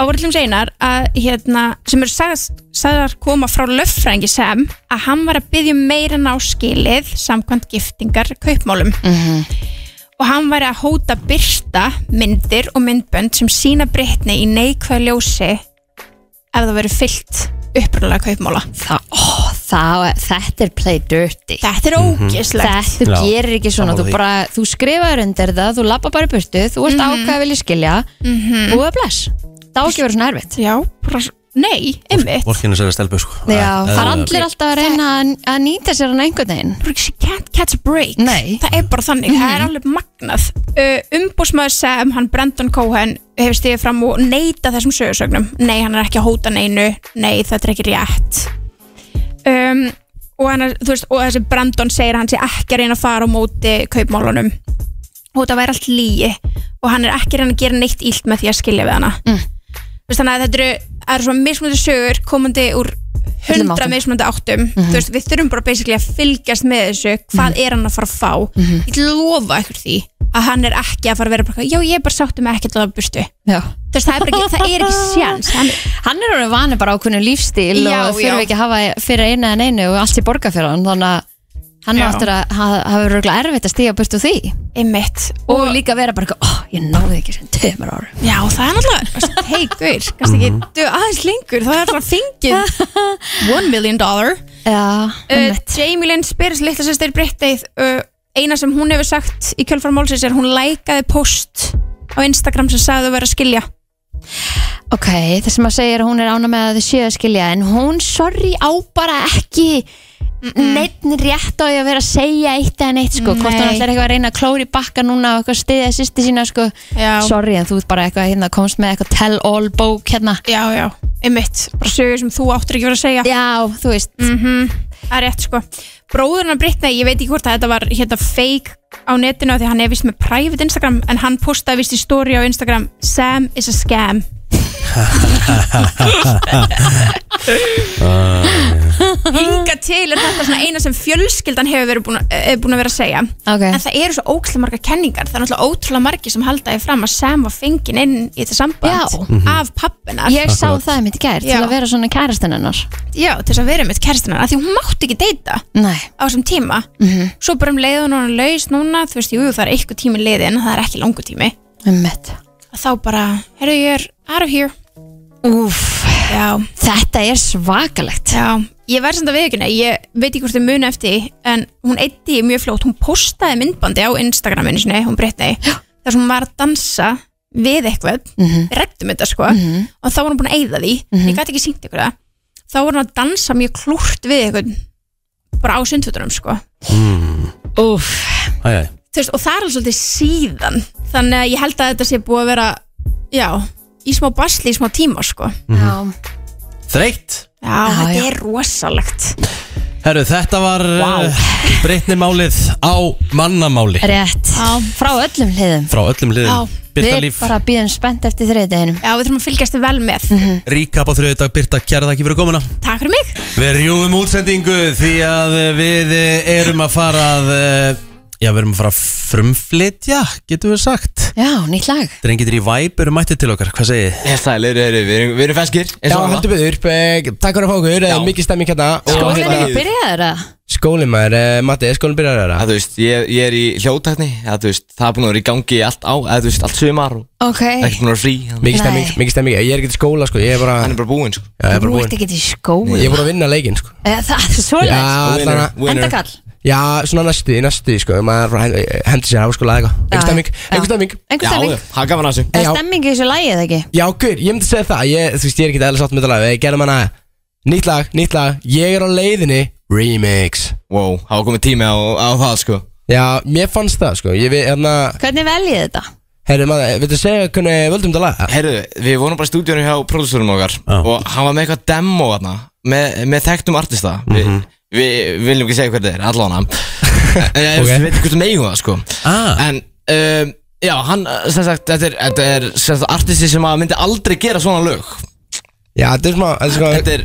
Speaker 4: og voru til einar að hérna, sem eru sagðast- sagðar koma frá löffrængi sem að hann var að byggja meira ná skilið samkvæmt giftingar kaupmálum
Speaker 2: Mhm.
Speaker 4: og hann var að hóta byrsta myndir og myndbönd sem sína brittni í neikvæð ljósi ef það verið fyllt upprunalega kaupmála
Speaker 2: það, ó, það, þetta er play dirty
Speaker 4: þetta er ógislegt
Speaker 2: Þetta, þú
Speaker 8: Já,
Speaker 2: gerir ekki svona,
Speaker 8: sammála
Speaker 2: þú
Speaker 8: því.
Speaker 2: bara, þú skrifaður undir það, þú lappa bara í burtu, þú ert mm -hmm. ákveð að vilja skilja, mm -hmm. búið að bless. Það á ekki að vera svona erfitt.
Speaker 4: já, bara, s- nei, einmitt
Speaker 8: Vorkinn er sér að stelpu sko
Speaker 2: Já, það er
Speaker 8: Eðlilega.
Speaker 2: allir alltaf að reyna að, að nýta sér hann einhvern veginn.
Speaker 4: bara ekki- can't catch a break
Speaker 2: Nei.
Speaker 4: það er bara þannig, það
Speaker 2: Mhm.
Speaker 4: er alveg magnað uh, umbúsmaður sem hann Brandon Cohen hefur stigið fram og neita þessum sögursögnum, nei hann er ekki að hóta neinu nei þetta er ekki rétt um, og, hann er, þú veist, og þessi Brandon segir að hann sé ekki að reyna að fara á móti kaupmálunum og þetta væri allt lígi og hann er ekki að reyna að gera neitt illt með því að skilja við hana mm. veist, þannig að þetta eru, það eru svona mismunandi sögur komandi úr
Speaker 2: Öllum
Speaker 4: hundra
Speaker 2: áttum. Mhm.
Speaker 4: mismunandi áttum þú veist, við þurfum bara basically að fylgjast með þessu hvað er hann að fara að fá
Speaker 2: Mhm.
Speaker 4: ég ætla að lofa ykkur því að hann er ekki að fara að vera bara, já ég er bara sáttum með ekki að það burtu
Speaker 2: Já.
Speaker 4: þú veist, það er bara ekki, það er ekki sjans hann,
Speaker 2: Hann er orðin vanið bara ákveðinu lífstíl
Speaker 4: Já,
Speaker 2: og þurfi
Speaker 4: já.
Speaker 2: ekki að hafa fyrir einu en einu og allt í borga fyrir hann, þannig að hann
Speaker 4: Já.
Speaker 2: áttur að ha- hafa verið erfitt að stíga burtu því.
Speaker 4: einmitt,
Speaker 2: Og, líka vera bara, eitthvað, ó, ég náði ekki sem tömur ára.
Speaker 4: já það er náttúrulega hei guður, kannski ekki
Speaker 2: Mhm.
Speaker 4: dö aðeins lengur það er alltaf fengið one million dollar
Speaker 2: Já,
Speaker 4: uh,
Speaker 2: einmitt.
Speaker 4: Jamie Lynn Spears, litla sýstir Brittið uh, eina sem hún hefur sagt í kjölfar málsins er hún lækaði post á Instagram sem sagði að vera að skilja
Speaker 2: Ok, það sem að segja er að hún er ána með að þið séu að skilja en hún, sorry, á bara ekki neitt rétt á ég að vera að segja eitt eða neitt sko, hvort hún
Speaker 4: Nei.
Speaker 2: ætlar eitthvað að reyna að klóri bakka núna og eitthvað stiðja sýsti sína sko
Speaker 4: Já.
Speaker 2: sorry, en þú ert bara eitthvað hérna komst með eitthvað tell all bók hérna
Speaker 4: Já, já, einmitt, bara sögur sem þú áttur ekki að vera að segja
Speaker 2: Já, þú veist
Speaker 4: Það er rétt sko Bróðurinn Brittany, ég veit ekki hvort að þetta var hérna fake á netinu af Því að hann er vist með private Instagram En hann postaði vist í story á Instagram Sam is a
Speaker 2: [laughs]
Speaker 4: scam Hinga til er þetta svona eina sem fjölskyldan hefur verið búin, eh, búin að vera að segja
Speaker 2: Ok,
Speaker 4: En það eru svo ókslega margar kenningar Það er náttúrulega ótrúlega margir sem halda því fram að Sam var fengin inn í þetta samband
Speaker 2: Já.
Speaker 4: Af pappinar
Speaker 2: ég sá það mitt í gær til
Speaker 4: Já.
Speaker 2: að vera svona kærastinn hennar
Speaker 4: Já, til þess að vera með kæristinar Því hún mátti ekki deyta
Speaker 2: Nei, Mhm.
Speaker 4: á þessum tíma -hmm. Svo bara um leiðun og hann laus núna Þú veist, jú, jú, það er eitthvað tími leiðin Það er ekki langur tími
Speaker 2: um
Speaker 4: að Þá bara, herru, ég er out of here
Speaker 2: Úff,
Speaker 4: Já,
Speaker 2: þetta er svakalegt
Speaker 4: já Ég verð samt að viðkynna, ég veit ekki hvort þið muna eftir því, En hún eitti mjög flótt Hún postaði myndbandi á Instagraminu sinni Hún breytni, þar sem hún var að dansa Við eitthvað,
Speaker 2: Mhm.
Speaker 4: við rættum þetta sko Og þá var hún búin að eyða því en Ég gæti ekki sýnt ykkur það Þá var hún að dansa mjög klúrt við eitthvað Bara á sundfutunum sko
Speaker 2: Úff,
Speaker 1: Hmm. Æ, æ.
Speaker 4: þú veist, og það er alveg svolítið síðan þannig að ég held að þetta sé búið að vera já, í smá basli í smá tíma sko, já,
Speaker 1: [laughs] Þreytt
Speaker 4: þetta
Speaker 2: já.
Speaker 4: er rosalegt
Speaker 1: Herru, þetta var wow. breytni málið á mannamáli
Speaker 2: já, rétt Frá öllum hliðum
Speaker 1: Frá öllum
Speaker 4: Já.
Speaker 1: liðum Birta
Speaker 2: Við
Speaker 1: Líf,
Speaker 2: bara býðum spennt eftir þriðdeginum Mhm.
Speaker 4: já, við þurfum að fylgjast vel með
Speaker 1: ríkap á þriðu dag Birta, kæra þakki fyrir komuna
Speaker 4: takk fyrir mig,
Speaker 1: Við rjúum útsendingu því að eh, við erum að fara að eh, Já, við erum að fara að frumflytja, getum við sagt
Speaker 2: Já, nýtt lag
Speaker 1: Drengitir í væp eru mættið til okkar, hvað segið þið?
Speaker 9: Ég stæli, við erum, við erum, við erum feskir Já, heldur betur, eh, takk fyrir að fá okkur, eh, mikið stemming hérna
Speaker 1: Sko,
Speaker 9: og
Speaker 2: Skólinn er
Speaker 9: hérna-
Speaker 2: byrjaður að
Speaker 9: Skólinn maður, eh, Matti, er skólinn byrjar að
Speaker 8: Þú veist, ég, ég er í hljótækni ja, þú veist, Það er búin að vera í gangi allt á eða, þú veist, Allt sumar og
Speaker 2: Ok,
Speaker 8: ekkert búin að vera frí Þannig
Speaker 9: Mikið stemming,
Speaker 2: Nei.
Speaker 9: mikið stemming, ég er ekki til skóla sko, ég er bara,
Speaker 8: hann er bara búinn sko.
Speaker 9: já, ég er bara
Speaker 2: þú
Speaker 9: búinn
Speaker 2: ert ekki í skóla
Speaker 9: Ég er búinn að vinna leikinn sko
Speaker 2: Eh, [laughs] Það er svolítið
Speaker 9: Já, allan að,
Speaker 2: Endakall
Speaker 9: já, svona næstu, næstu sko, maður eh, hendur sér á sko laga eitthvað Einhver stemming, einhver stemming
Speaker 2: Einhver
Speaker 8: Já,
Speaker 2: stemming
Speaker 8: já, hann gaf hann að þessu
Speaker 2: Það
Speaker 9: Já.
Speaker 2: er stemming í þessu lagi eða ekki
Speaker 9: Já, guður, ég myndi segja það, ég, þú veist, ég er ekki eða sátt með þetta lag, Eh, við gerum hana Nýtt lag, nýtt lag, ég er á leiðinni, remix
Speaker 8: Wow, hafa komið tími á, á það sko
Speaker 9: Já, mér fannst það sko, ég við, hérna,
Speaker 2: Hvernig veljið þetta?
Speaker 9: herri maður, viltu segja hvernig við völdum þetta lag?
Speaker 8: Herðu, við vorum bara í stúdíunum hjá pródúsurum okkar og hann var með eitthvað demo þarna með, með þekktum artista Vi,
Speaker 9: Mhm.
Speaker 8: Við viljum ekki segja hvað það er, allan
Speaker 9: [laughs]
Speaker 8: hann Eh, Ég
Speaker 9: Ok.
Speaker 8: okay. veit ekki hvort það megum það sko
Speaker 1: Ah,
Speaker 8: En, um, já, hann, sem sagt, þetta er, þetta er sem sagt, artisti sem að myndi aldrei gera svona lög
Speaker 9: Já, þetta er smá, þetta er smá
Speaker 8: Þetta er,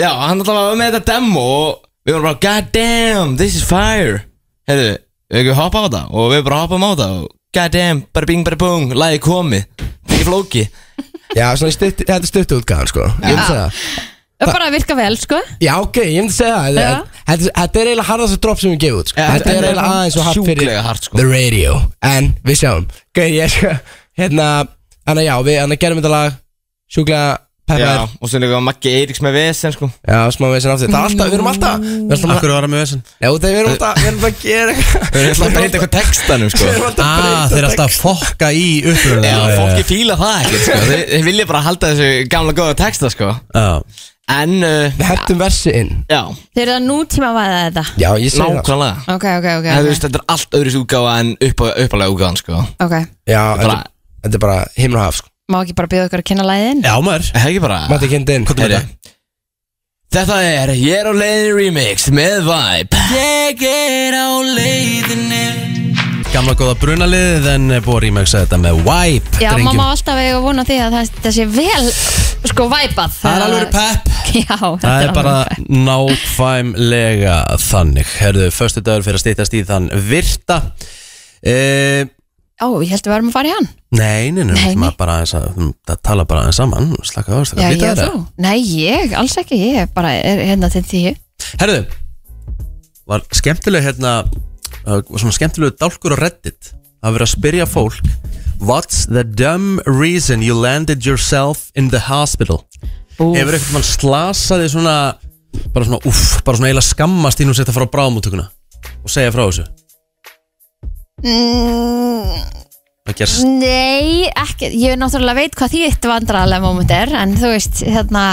Speaker 8: já, hann alltaf var með þetta demo og við vorum bara, god damn, this is fire Herðu, við ekki hoppa á þetta og við bara hoppum á þetta og god damn, bara bing, bara bung, lagi komið Ekki flóki
Speaker 9: Já, svona stutt, þetta er stutt útgáðan sko Ég myndi segja það
Speaker 2: Það bara að virka vel, sko
Speaker 9: Já, ok, ég myndi segja það
Speaker 2: Já.
Speaker 9: Þetta- Þetta þetta er eiginlega harðast drop sem við gefum út sko.
Speaker 8: Já,
Speaker 9: Þetta
Speaker 8: þetta
Speaker 9: er
Speaker 8: er
Speaker 9: eiginlega aðeins og hart fyrir
Speaker 8: sjúklega hart, sko.
Speaker 9: The radio En við sjáum Gauð, ég sko [laughs] Hérna, hann já, við hann gerum þetta lag Sjúklega
Speaker 8: Já,
Speaker 9: pepper
Speaker 8: og svo líka Maggi Eiríks með vesen, sko
Speaker 9: Já, smá veginn aftur Það er alltaf, við erum alltaf Við erum alltaf
Speaker 1: akkur var að með þessin
Speaker 9: Já, þegar við erum alltaf Við erum alltaf að gera eitthvað.
Speaker 8: Við erum alltaf að breyta eitthvað textanum, sko
Speaker 9: Við erum alltaf að
Speaker 1: Ah, þeir
Speaker 9: breyta
Speaker 1: eru alltaf að fokka í uppröðuna
Speaker 8: Já, fólki fíla það ekkert, sko Þeir, þeir vilja bara halda þessu gamla góða texta, sko
Speaker 1: Já,
Speaker 8: En, uh,
Speaker 9: Við hendum versi inn
Speaker 8: já,
Speaker 2: Þeir eru að nútíma væða þetta
Speaker 9: Já, ég segi það
Speaker 8: nákvæmlega
Speaker 2: Ok, ok, ok,
Speaker 8: Það, þú
Speaker 2: ok,
Speaker 8: veist, þetta er allt öðris útgáfa en upp, uppalega útgáfan sko.
Speaker 2: okay.
Speaker 9: Já, þetta
Speaker 8: Bara-
Speaker 9: þetta er bara himn og haf sko
Speaker 2: Má ekki bara bjóða ykkur að kynna lagið inn?
Speaker 1: já maður
Speaker 8: Er það ekki bara
Speaker 9: Matti kindi inn
Speaker 8: Heyrðu, Þetta er Ég er á leiðinni remix með Vibe Ég er á leiðinni
Speaker 1: Gamla góða brunaliðið en er búið að rýmæksa þetta með Wipe
Speaker 2: Já,
Speaker 1: drengjum.
Speaker 2: maður má alltaf eiga vona því að það, það sé vel, sko, væpað
Speaker 1: Það er alveg pepp
Speaker 2: Já, þetta
Speaker 1: Það er bara
Speaker 2: alveg-
Speaker 1: nákvæmlega þannig Herðu, förstu dagur fyrir að stýttast í þann virta e,
Speaker 2: Ó, ég held við varum að fara í hann
Speaker 1: Nei, nei, nei,
Speaker 2: Nei,
Speaker 1: nei.
Speaker 2: nei.
Speaker 1: Bara aðeins að, það tala bara aðeins saman Slaka á,
Speaker 2: Já,
Speaker 1: slaka
Speaker 2: ég og
Speaker 1: vita
Speaker 2: þú Nei, ég, alls ekki, ég er bara er, hérna til tíu
Speaker 1: þetta Herðu, var skemmtileg hérna uh, var Svona skemmtileg dálkur á Reddit Að vera að spyrja fólk What's the dumb reason you landed yourself in the hospital? Hefur
Speaker 2: Úff.
Speaker 1: eitthvað mann slasaði svona Bara svona, uff, bara svona eiginlega skammast Í nú setja að fara á bráðmóttökuna Og segja frá þessu
Speaker 2: Mm,
Speaker 1: að gerst
Speaker 2: Nei, ekki, ég náttúrulega veit hvað þitt vandræðalega moment er en þú veist, hérna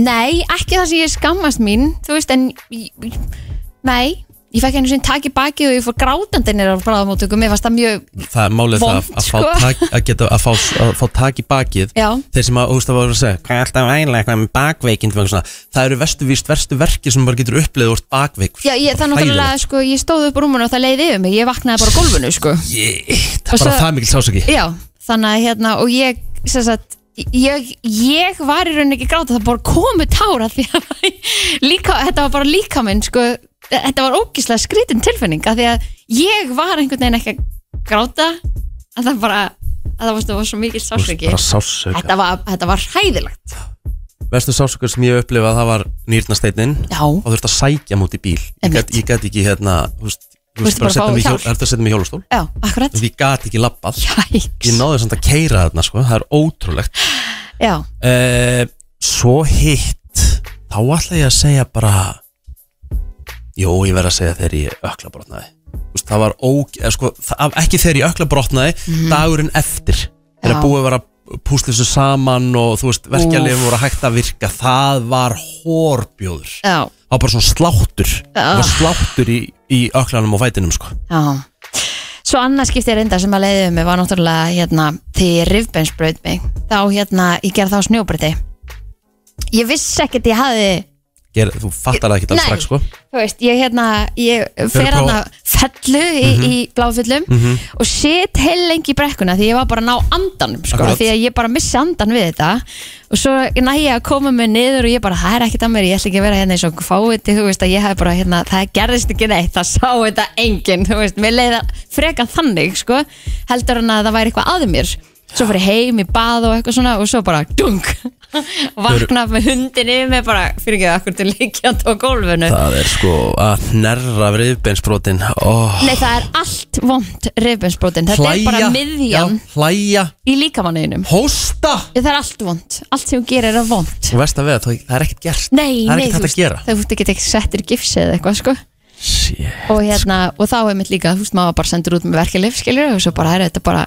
Speaker 2: nei, ekki það sem ég skammast mín þú veist, en ég- ég- nei, ég fekk einu sinni tak í baki og ég fór grátandi nýra á bráðamótöku mér fannst það mjög,
Speaker 1: það er málið það að,
Speaker 2: Vont,
Speaker 1: að, fá
Speaker 2: sko.
Speaker 1: tak, að geta að fá, að fá tak í bakið
Speaker 2: Já.
Speaker 1: þeir sem að, þú veist, það voru að segja hvað er alltaf ægilega, hvað er með bakveikind og eitthvað svona. það eru vestu víst verstu verki sem bara getur uppleið úr bakveikur
Speaker 2: já, ég, það náttúrulega sko, ég stóð upp úr rúmunu og það leiði yfir mig ég vaknaði bara á gólfinu, sko
Speaker 1: Shit,
Speaker 2: Og
Speaker 1: bara
Speaker 2: svo-
Speaker 1: það mikil sásaki
Speaker 2: Já, þannig að hérna og ég, sem sagt ég, ég var í rauninni ekki að gráta það bara komu tára því að líka, þetta var bara líka minn sko, þetta var ógislega skrítin tilfinning af því að ég var einhvern veginn ekki að gráta að það bara, að það varstu, var svo mikil sásöki
Speaker 1: bara sásöka
Speaker 2: þetta var, þetta var hræðilegt
Speaker 1: verstu sásökur sem ég hef upplifað það var nýrnasteinin
Speaker 2: Já,
Speaker 1: og þurfti að sækja múti bíl ég
Speaker 2: Einmitt.
Speaker 1: gat, ég gat ekki hérna þú veist, þú
Speaker 2: Þú veist,
Speaker 1: veist, bara
Speaker 2: bara fá
Speaker 1: setja mig í hjól-
Speaker 2: hjálp.
Speaker 1: það er hægt að setja mig í hjólastól
Speaker 2: já, akkurat
Speaker 1: því ég gat ekki labbað
Speaker 2: Jæks,
Speaker 1: ég náði samt að keira þarna sko, það er ótrúlegt
Speaker 2: já,
Speaker 1: Eh, svo hitt þá ætla ég að segja bara Jó, ég verð að segja þegar ég ökla brotnaði Vist, Það var óg, eða, sko, það, ekki þegar ég ökla brotnaði dagurinn eftir
Speaker 2: Mhm. Já.
Speaker 1: þegar búið var að púsla þessu saman og þú veist, verkjalegum voru hægt að virka það var hórbjóður
Speaker 2: já,
Speaker 1: það var bara svona sláttur það var sláttur í, í öklanum og fætinum sko.
Speaker 2: já Svo annað skipti reynda sem að leiðið um mig var náttúrulega hérna, því rifbensbraut mig þá hérna, ég gerði þá snjóbriti ég vissi ekkert ég hafði
Speaker 1: Ger, þú fattar það ekki
Speaker 2: Nei.
Speaker 1: alls strax sko.
Speaker 2: þú veist, ég hérna ég fer
Speaker 1: að
Speaker 2: hann
Speaker 1: prófa.
Speaker 2: að fellu í, í bláfyllum og sit heil lengi í brekkuna því ég var bara að ná andanum sko,
Speaker 1: Akkurat.
Speaker 2: því að ég bara missi andan við þetta og svo næ ég að koma mig niður og ég bara, það er ekkert að mér, ég ætla ekki að vera hérna eins og fáiði, þú veist, að ég hef bara hérna, það gerðist ekki neitt, það sá þetta enginn, þú veist, mér leiða freka þannig, sko, heldur en að það væri eitthvað að mér, svo fyrir heim í bað og eitthvað svona og svo bara dung [laughs] vakna með hundin yfir mig bara fyrir ekki að akkur til líkjand á gólfinu
Speaker 1: það er sko að nerra vriðbeinsbrotin oh.
Speaker 2: Nei, það er allt vond rifbensbrotin Þetta er bara miðjan
Speaker 1: já, hlæja,
Speaker 2: í líkamanniðinum
Speaker 1: hósta
Speaker 2: Það er allt vond, allt sem hún gerir er vond
Speaker 1: og veist að veða, það það er ekkert gert það er
Speaker 2: Nei, nei,
Speaker 1: ekkert hægt að gera
Speaker 2: þau fútt ekki ekki settir gifsi eða eitthvað sko
Speaker 1: Shit.
Speaker 2: og, hérna, og þá er mitt líka, þú veist, maður bara sendur út með verkelif, skilur, og svo bara er þetta bara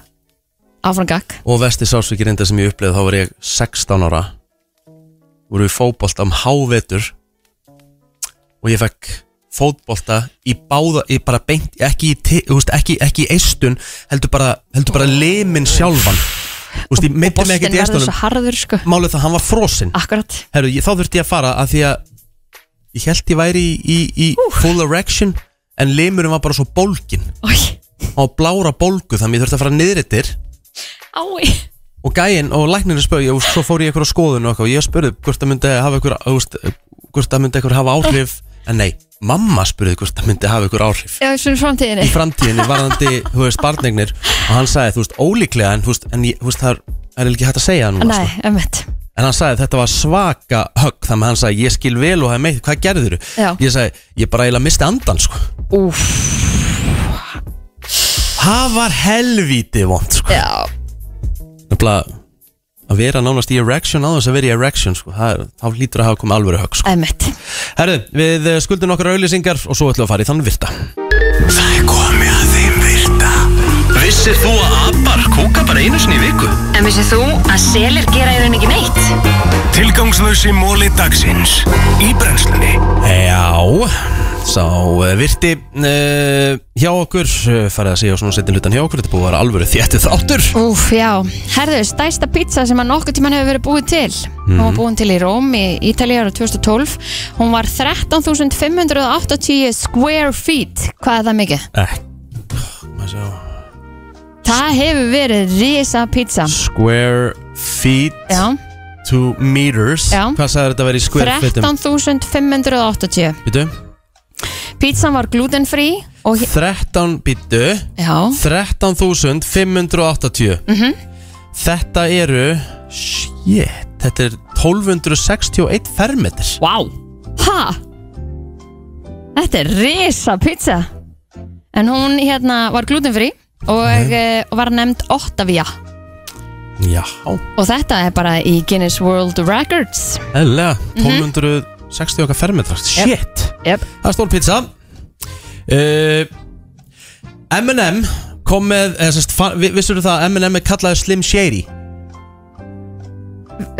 Speaker 2: áfrangak
Speaker 1: og vesti sásvíkir reynda sem ég uppleið þá var ég 16 ára voru við fótbolta um hávetur og ég fekk fótbolta í báða ég bara beint, ekki í, ti- þú veist, ekki, ekki í eistun heldur bara, heldur bara limin sjálfan Þú veist, ég myndi mig
Speaker 2: Bostin
Speaker 1: ekkert í
Speaker 2: verður svo
Speaker 1: eistunum
Speaker 2: harður, sko
Speaker 1: málið það, hann var frosinn
Speaker 2: Akkurat,
Speaker 1: Herru, ég, þá þurfti ég að fara að því að ég held ég væri í, í, í full erection en limurinn var bara svo bólgin
Speaker 2: oi,
Speaker 1: á blára bólgu þannig að ég þurfti að fara niður yttir
Speaker 2: ái
Speaker 1: og gæinn og læknirinn spöði og svo fór ég eitthvað á skoðun og eitthvað og ég spurði hvort það myndi hafa eitthvað veist, hvort það myndi eitthvað hafa áhrif en nei, mamma spurði hvort það myndi hafa eitthvað áhrif
Speaker 2: Já, svona í framtíðinni
Speaker 1: í framtíðinni varðandi, þú veist, barnegnir og hann sagði, þú veist, ólíklega en, þú veist, en ég, þú veist, það er, það er ekki hægt að segja það núna,
Speaker 2: Nei,
Speaker 1: sko.
Speaker 2: emmitt
Speaker 1: en hann sagði þetta var svaka högg þannig að hann sagði, ég skil vel og hef meitt, hvað gerður
Speaker 2: Já.
Speaker 1: ég sagði, ég bara eiginlega misti andan sko.
Speaker 2: Úf,
Speaker 1: það var helvíti vond sko.
Speaker 2: já,
Speaker 1: Nefnilega, að vera nánast í erection á þess að vera í erection sko. það, er- þá hlýtur að hafa komið alvöru högg sko.
Speaker 2: emmitt
Speaker 1: Herðu, við eh, skuldum okkar auðlýsingar og svo ætlum við að fara í þann virta
Speaker 9: Það er komið að þeim virta Vissir þú að abar kúka bara einu sinni í viku?
Speaker 7: En vissið þú að selir gera í rauninni ekki neitt?
Speaker 9: Tilgangslösi móli dagsins Í brennslunni
Speaker 1: Já, sá eh, virti uh, hjá okkur uh, farið að segja og svona setja hlutan hjá okkur þetta er búið að vera alvöru þéttið þáttur
Speaker 2: Úf, já. Herðu, stæsta pizza sem að nokkuð tíman hefur verið búið til. Hún
Speaker 1: Mhm.
Speaker 2: var búin til í Róm í Ítalíu ára 2012. Hún var 13.580 square feet. Hvað er það mikið?
Speaker 1: eh, maður sjá.
Speaker 2: Það hefur verið risa pizza.
Speaker 1: Square feet
Speaker 2: Já,
Speaker 1: to meters
Speaker 2: Já.
Speaker 1: Hvað sagður þetta að vera í square feetum?
Speaker 2: 13.580.
Speaker 1: Býtu,
Speaker 2: Pizzan var glutenfrí og... he-
Speaker 1: 13 býtu
Speaker 2: Já, Mhm.
Speaker 1: 13.580 Þetta eru Shit, þetta er 1261 fermetir
Speaker 2: ha? Þetta er risa pizza. En hún hérna var glutenfrí
Speaker 1: Mhm.
Speaker 2: og eh, var nefnd Ottavia.
Speaker 1: Já,
Speaker 2: Og þetta er bara í Guinness World Records.
Speaker 1: eðlilega
Speaker 2: Mhm.
Speaker 1: 1260 okkar fermetrar Shit, Eh,
Speaker 2: Yep.
Speaker 1: það er stór pizza uh, M&M kom með, eða sérst, vissur þú það að M&M er kallaði Slim Shady?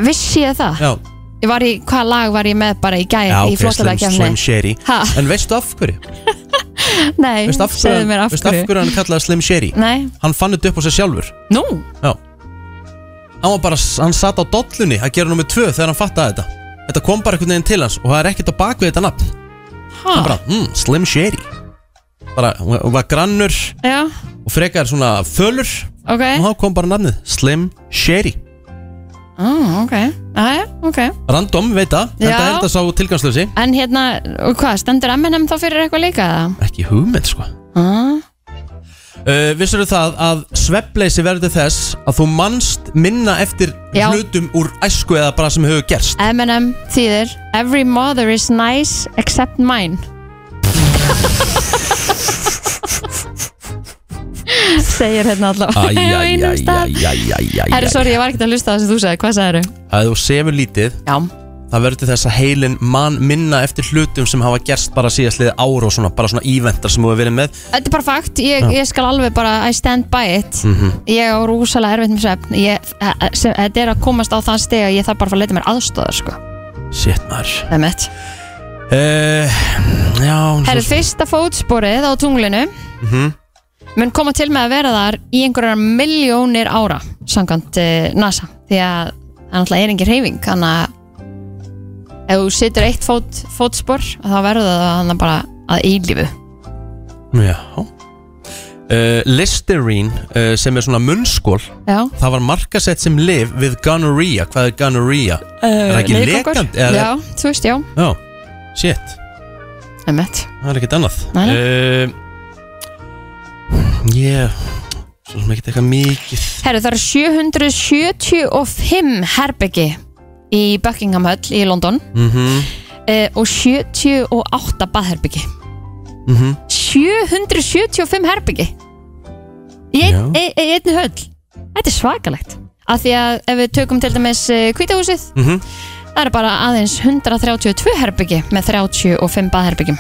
Speaker 2: Vissi ég það?
Speaker 1: Já,
Speaker 2: Ég var í, hvaða lag var ég með bara í gæði
Speaker 1: já
Speaker 2: í flottalega
Speaker 1: Slim, Slim Shady
Speaker 2: Ha?
Speaker 1: En veistu af hverju?
Speaker 2: [laughs] Nei,
Speaker 1: Veistu af
Speaker 2: segðu mér
Speaker 1: hverju,
Speaker 2: af
Speaker 1: veistu af hverju hann kallaði Slim Shady?
Speaker 2: Nei,
Speaker 1: Hann fann þetta upp á sig sjálfur
Speaker 2: nú,
Speaker 1: Já Hann var bara, hann satt á dollunni að gera nummið tvö þegar hann fattaði þetta Þetta kom bara einhvern veginn til hans og það er ekkert á bakvið þetta nafn
Speaker 2: Ah.
Speaker 1: Hann bara, mm, Slim Shady Bara, hún var grannur
Speaker 2: já,
Speaker 1: og frekar svona fölur
Speaker 2: ok
Speaker 1: og þá kom bara nafnið, Slim Shady
Speaker 2: ah, Ok, aðja, ok
Speaker 1: Random, veit það, en
Speaker 2: Já.
Speaker 1: það er þetta sá tilgangslösi
Speaker 2: En hérna, og hvað, stendur M&M þá fyrir eitthvað líka það?
Speaker 1: Ekki hugmynd, sko
Speaker 2: Ah.
Speaker 1: uh, Vissur það að svefleysi verður þess að þú manst minna eftir
Speaker 2: Já.
Speaker 1: hlutum úr æsku eða bara sem hefur gerst
Speaker 2: M&M þýðir Every mother is nice
Speaker 1: [laughs]
Speaker 2: except mine Segir hérna allavega á einum stað. Herru, sorry, ég var ekkert að hlusta á það sem þú sagði, hvað sagði þau?
Speaker 1: að þú sefur lítið
Speaker 2: Já.
Speaker 1: það verður til þess að heilin mann minna eftir hlutum sem hafa gerst bara síðastliði ára og svona, bara svona íventar sem þú hefur verið með
Speaker 2: Þetta er bara fakt, ég,
Speaker 1: Já.
Speaker 2: ég skal alveg bara I stand by it
Speaker 1: Mhm.
Speaker 2: Ég á rúsalega erfitt með svefn Ég- eh, eh, sem- Þetta er að komast á það steg að ég þarf bara að fara að leita mér aðstóðar sko.
Speaker 1: Shit maður
Speaker 2: Það er mitt
Speaker 1: uh, Já hún er
Speaker 2: Herru,
Speaker 1: svo-
Speaker 2: fyrsta fótsporið á tunglinu
Speaker 1: Mhm.
Speaker 2: mun koma til með að vera þar í einhverjar miljónir ára samkvæmt uh, NASA því að það náttúrulega er engin reyfing þannig að ef þú situr eitt fót, fótspor þá verður það þannig bara að eilífu
Speaker 1: Já uh, Listerine uh, sem er svona munnskól
Speaker 2: Já.
Speaker 1: það var markasett sem liv við gonorrhea hvað er gonorrhea? er það ekki
Speaker 2: Leirgangur?
Speaker 1: lekand?
Speaker 2: Já, þú veist, Eh, já,
Speaker 1: já Shit
Speaker 2: emmett
Speaker 1: Það er ekkert annað
Speaker 2: Nei, nei.
Speaker 1: uh, Ég Svo sem ekkert eitthvað mikið
Speaker 2: Herru, það eru 775 herbyggi í Buckingham Hall í London
Speaker 1: mm -hmm.
Speaker 2: uh, og 78 baðherbyggi
Speaker 1: Mm -hmm.
Speaker 2: 775 herbyggi í
Speaker 1: Já.
Speaker 2: ein- ein- ein- einni höll þetta er svakalegt af því að ef við tökum til dæmis kvítahúsið
Speaker 1: Mhm.
Speaker 2: það eru bara aðeins 132 herbyggi með 35 baðherbyggjum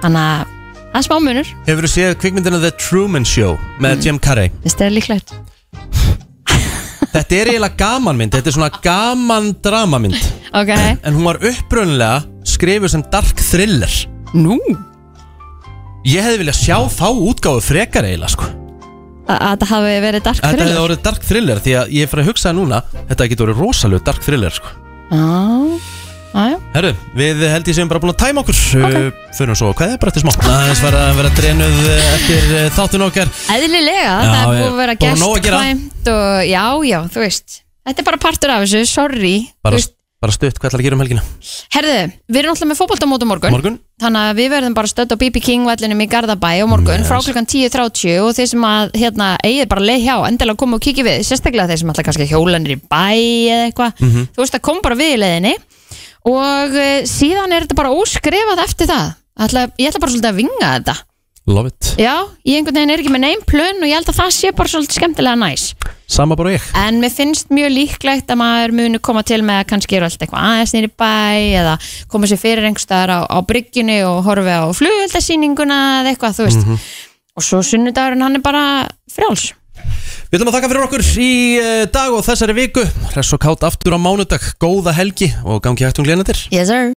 Speaker 2: þannig að það er smá munur
Speaker 1: Hefur þú séð kvikmyndina The Truman Show með
Speaker 2: Mm.
Speaker 1: Jim Carrey?
Speaker 2: þetta er líklegt
Speaker 1: Þetta er eiginlega gaman mynd, þetta er svona gaman dramamynd
Speaker 2: ok,
Speaker 1: En hún var upprunlega skrifuð sem dark thriller
Speaker 2: Nú?
Speaker 1: Ég hefði viljað sjá þá útgáfu frekar eiginlega sko
Speaker 2: að að þetta hafi verið dark
Speaker 1: Þetta hefði
Speaker 2: thriller
Speaker 1: orðið dark thriller því að ég er farið að hugsa það núna Þetta getur orðið rosalega dark thriller sko
Speaker 2: Já, já,
Speaker 1: Herru, við held ég sem bara búin að tæma okkur okay. Fyrir svo, hvað er bara eftir smá? Aðeins var að vera drenuð eh, eftir eh, þáttun okkar
Speaker 2: eðlilega,
Speaker 1: Já,
Speaker 2: það er
Speaker 1: ég-
Speaker 2: búið að vera
Speaker 1: bara nóg að gera.
Speaker 2: gestkvæmt og já, já, þú veist þetta er bara partur af þessu, sorry Þú
Speaker 1: bara,
Speaker 2: veist,
Speaker 1: bara stutt, hvað ætlar að gera um helgina?
Speaker 2: herðu, við erum alltaf með fótboltamót á morgun
Speaker 1: Morgun?
Speaker 2: þannig að við verðum bara stödd á BB King vallinum í Garðabæ á morgun frá klukkan 10.30 og þeir sem að hérna, eigið bara leið hjá endilega koma og kikið við sérstaklega þeir sem alltaf kannski hjólanir í bæ eða eitthvað,
Speaker 10: Mhm.
Speaker 2: þú veist að kom bara við í leiðinni og eh, síðan er þetta bara óskrefað eftir það ætla, ég ætla bara svolítið að vinga þetta
Speaker 1: Love it
Speaker 2: já, ég einhvern veginn er ekki með neim plön og ég held að það sé bara svolítið skemmtilega næs
Speaker 1: Sama bara ég
Speaker 2: En mér finnst mjög líklegt að maður muni koma til með að kannski eru alltaf eitthvað aðeins nýri bæ eða koma sér fyrir einhverstaðar á, á bryggjunni og horfi á flugöldasýninguna eða eitthvað, þú
Speaker 1: Mhm.
Speaker 2: veist. Og svo sunnudagurinn hann er bara frjáls.
Speaker 1: Við ætlum að þakka fyrir okkur í eh, dag og þessari viku Hress og kátt aftur á mánudag Góða helgi og gangi hægt um glenatir
Speaker 2: Yes sir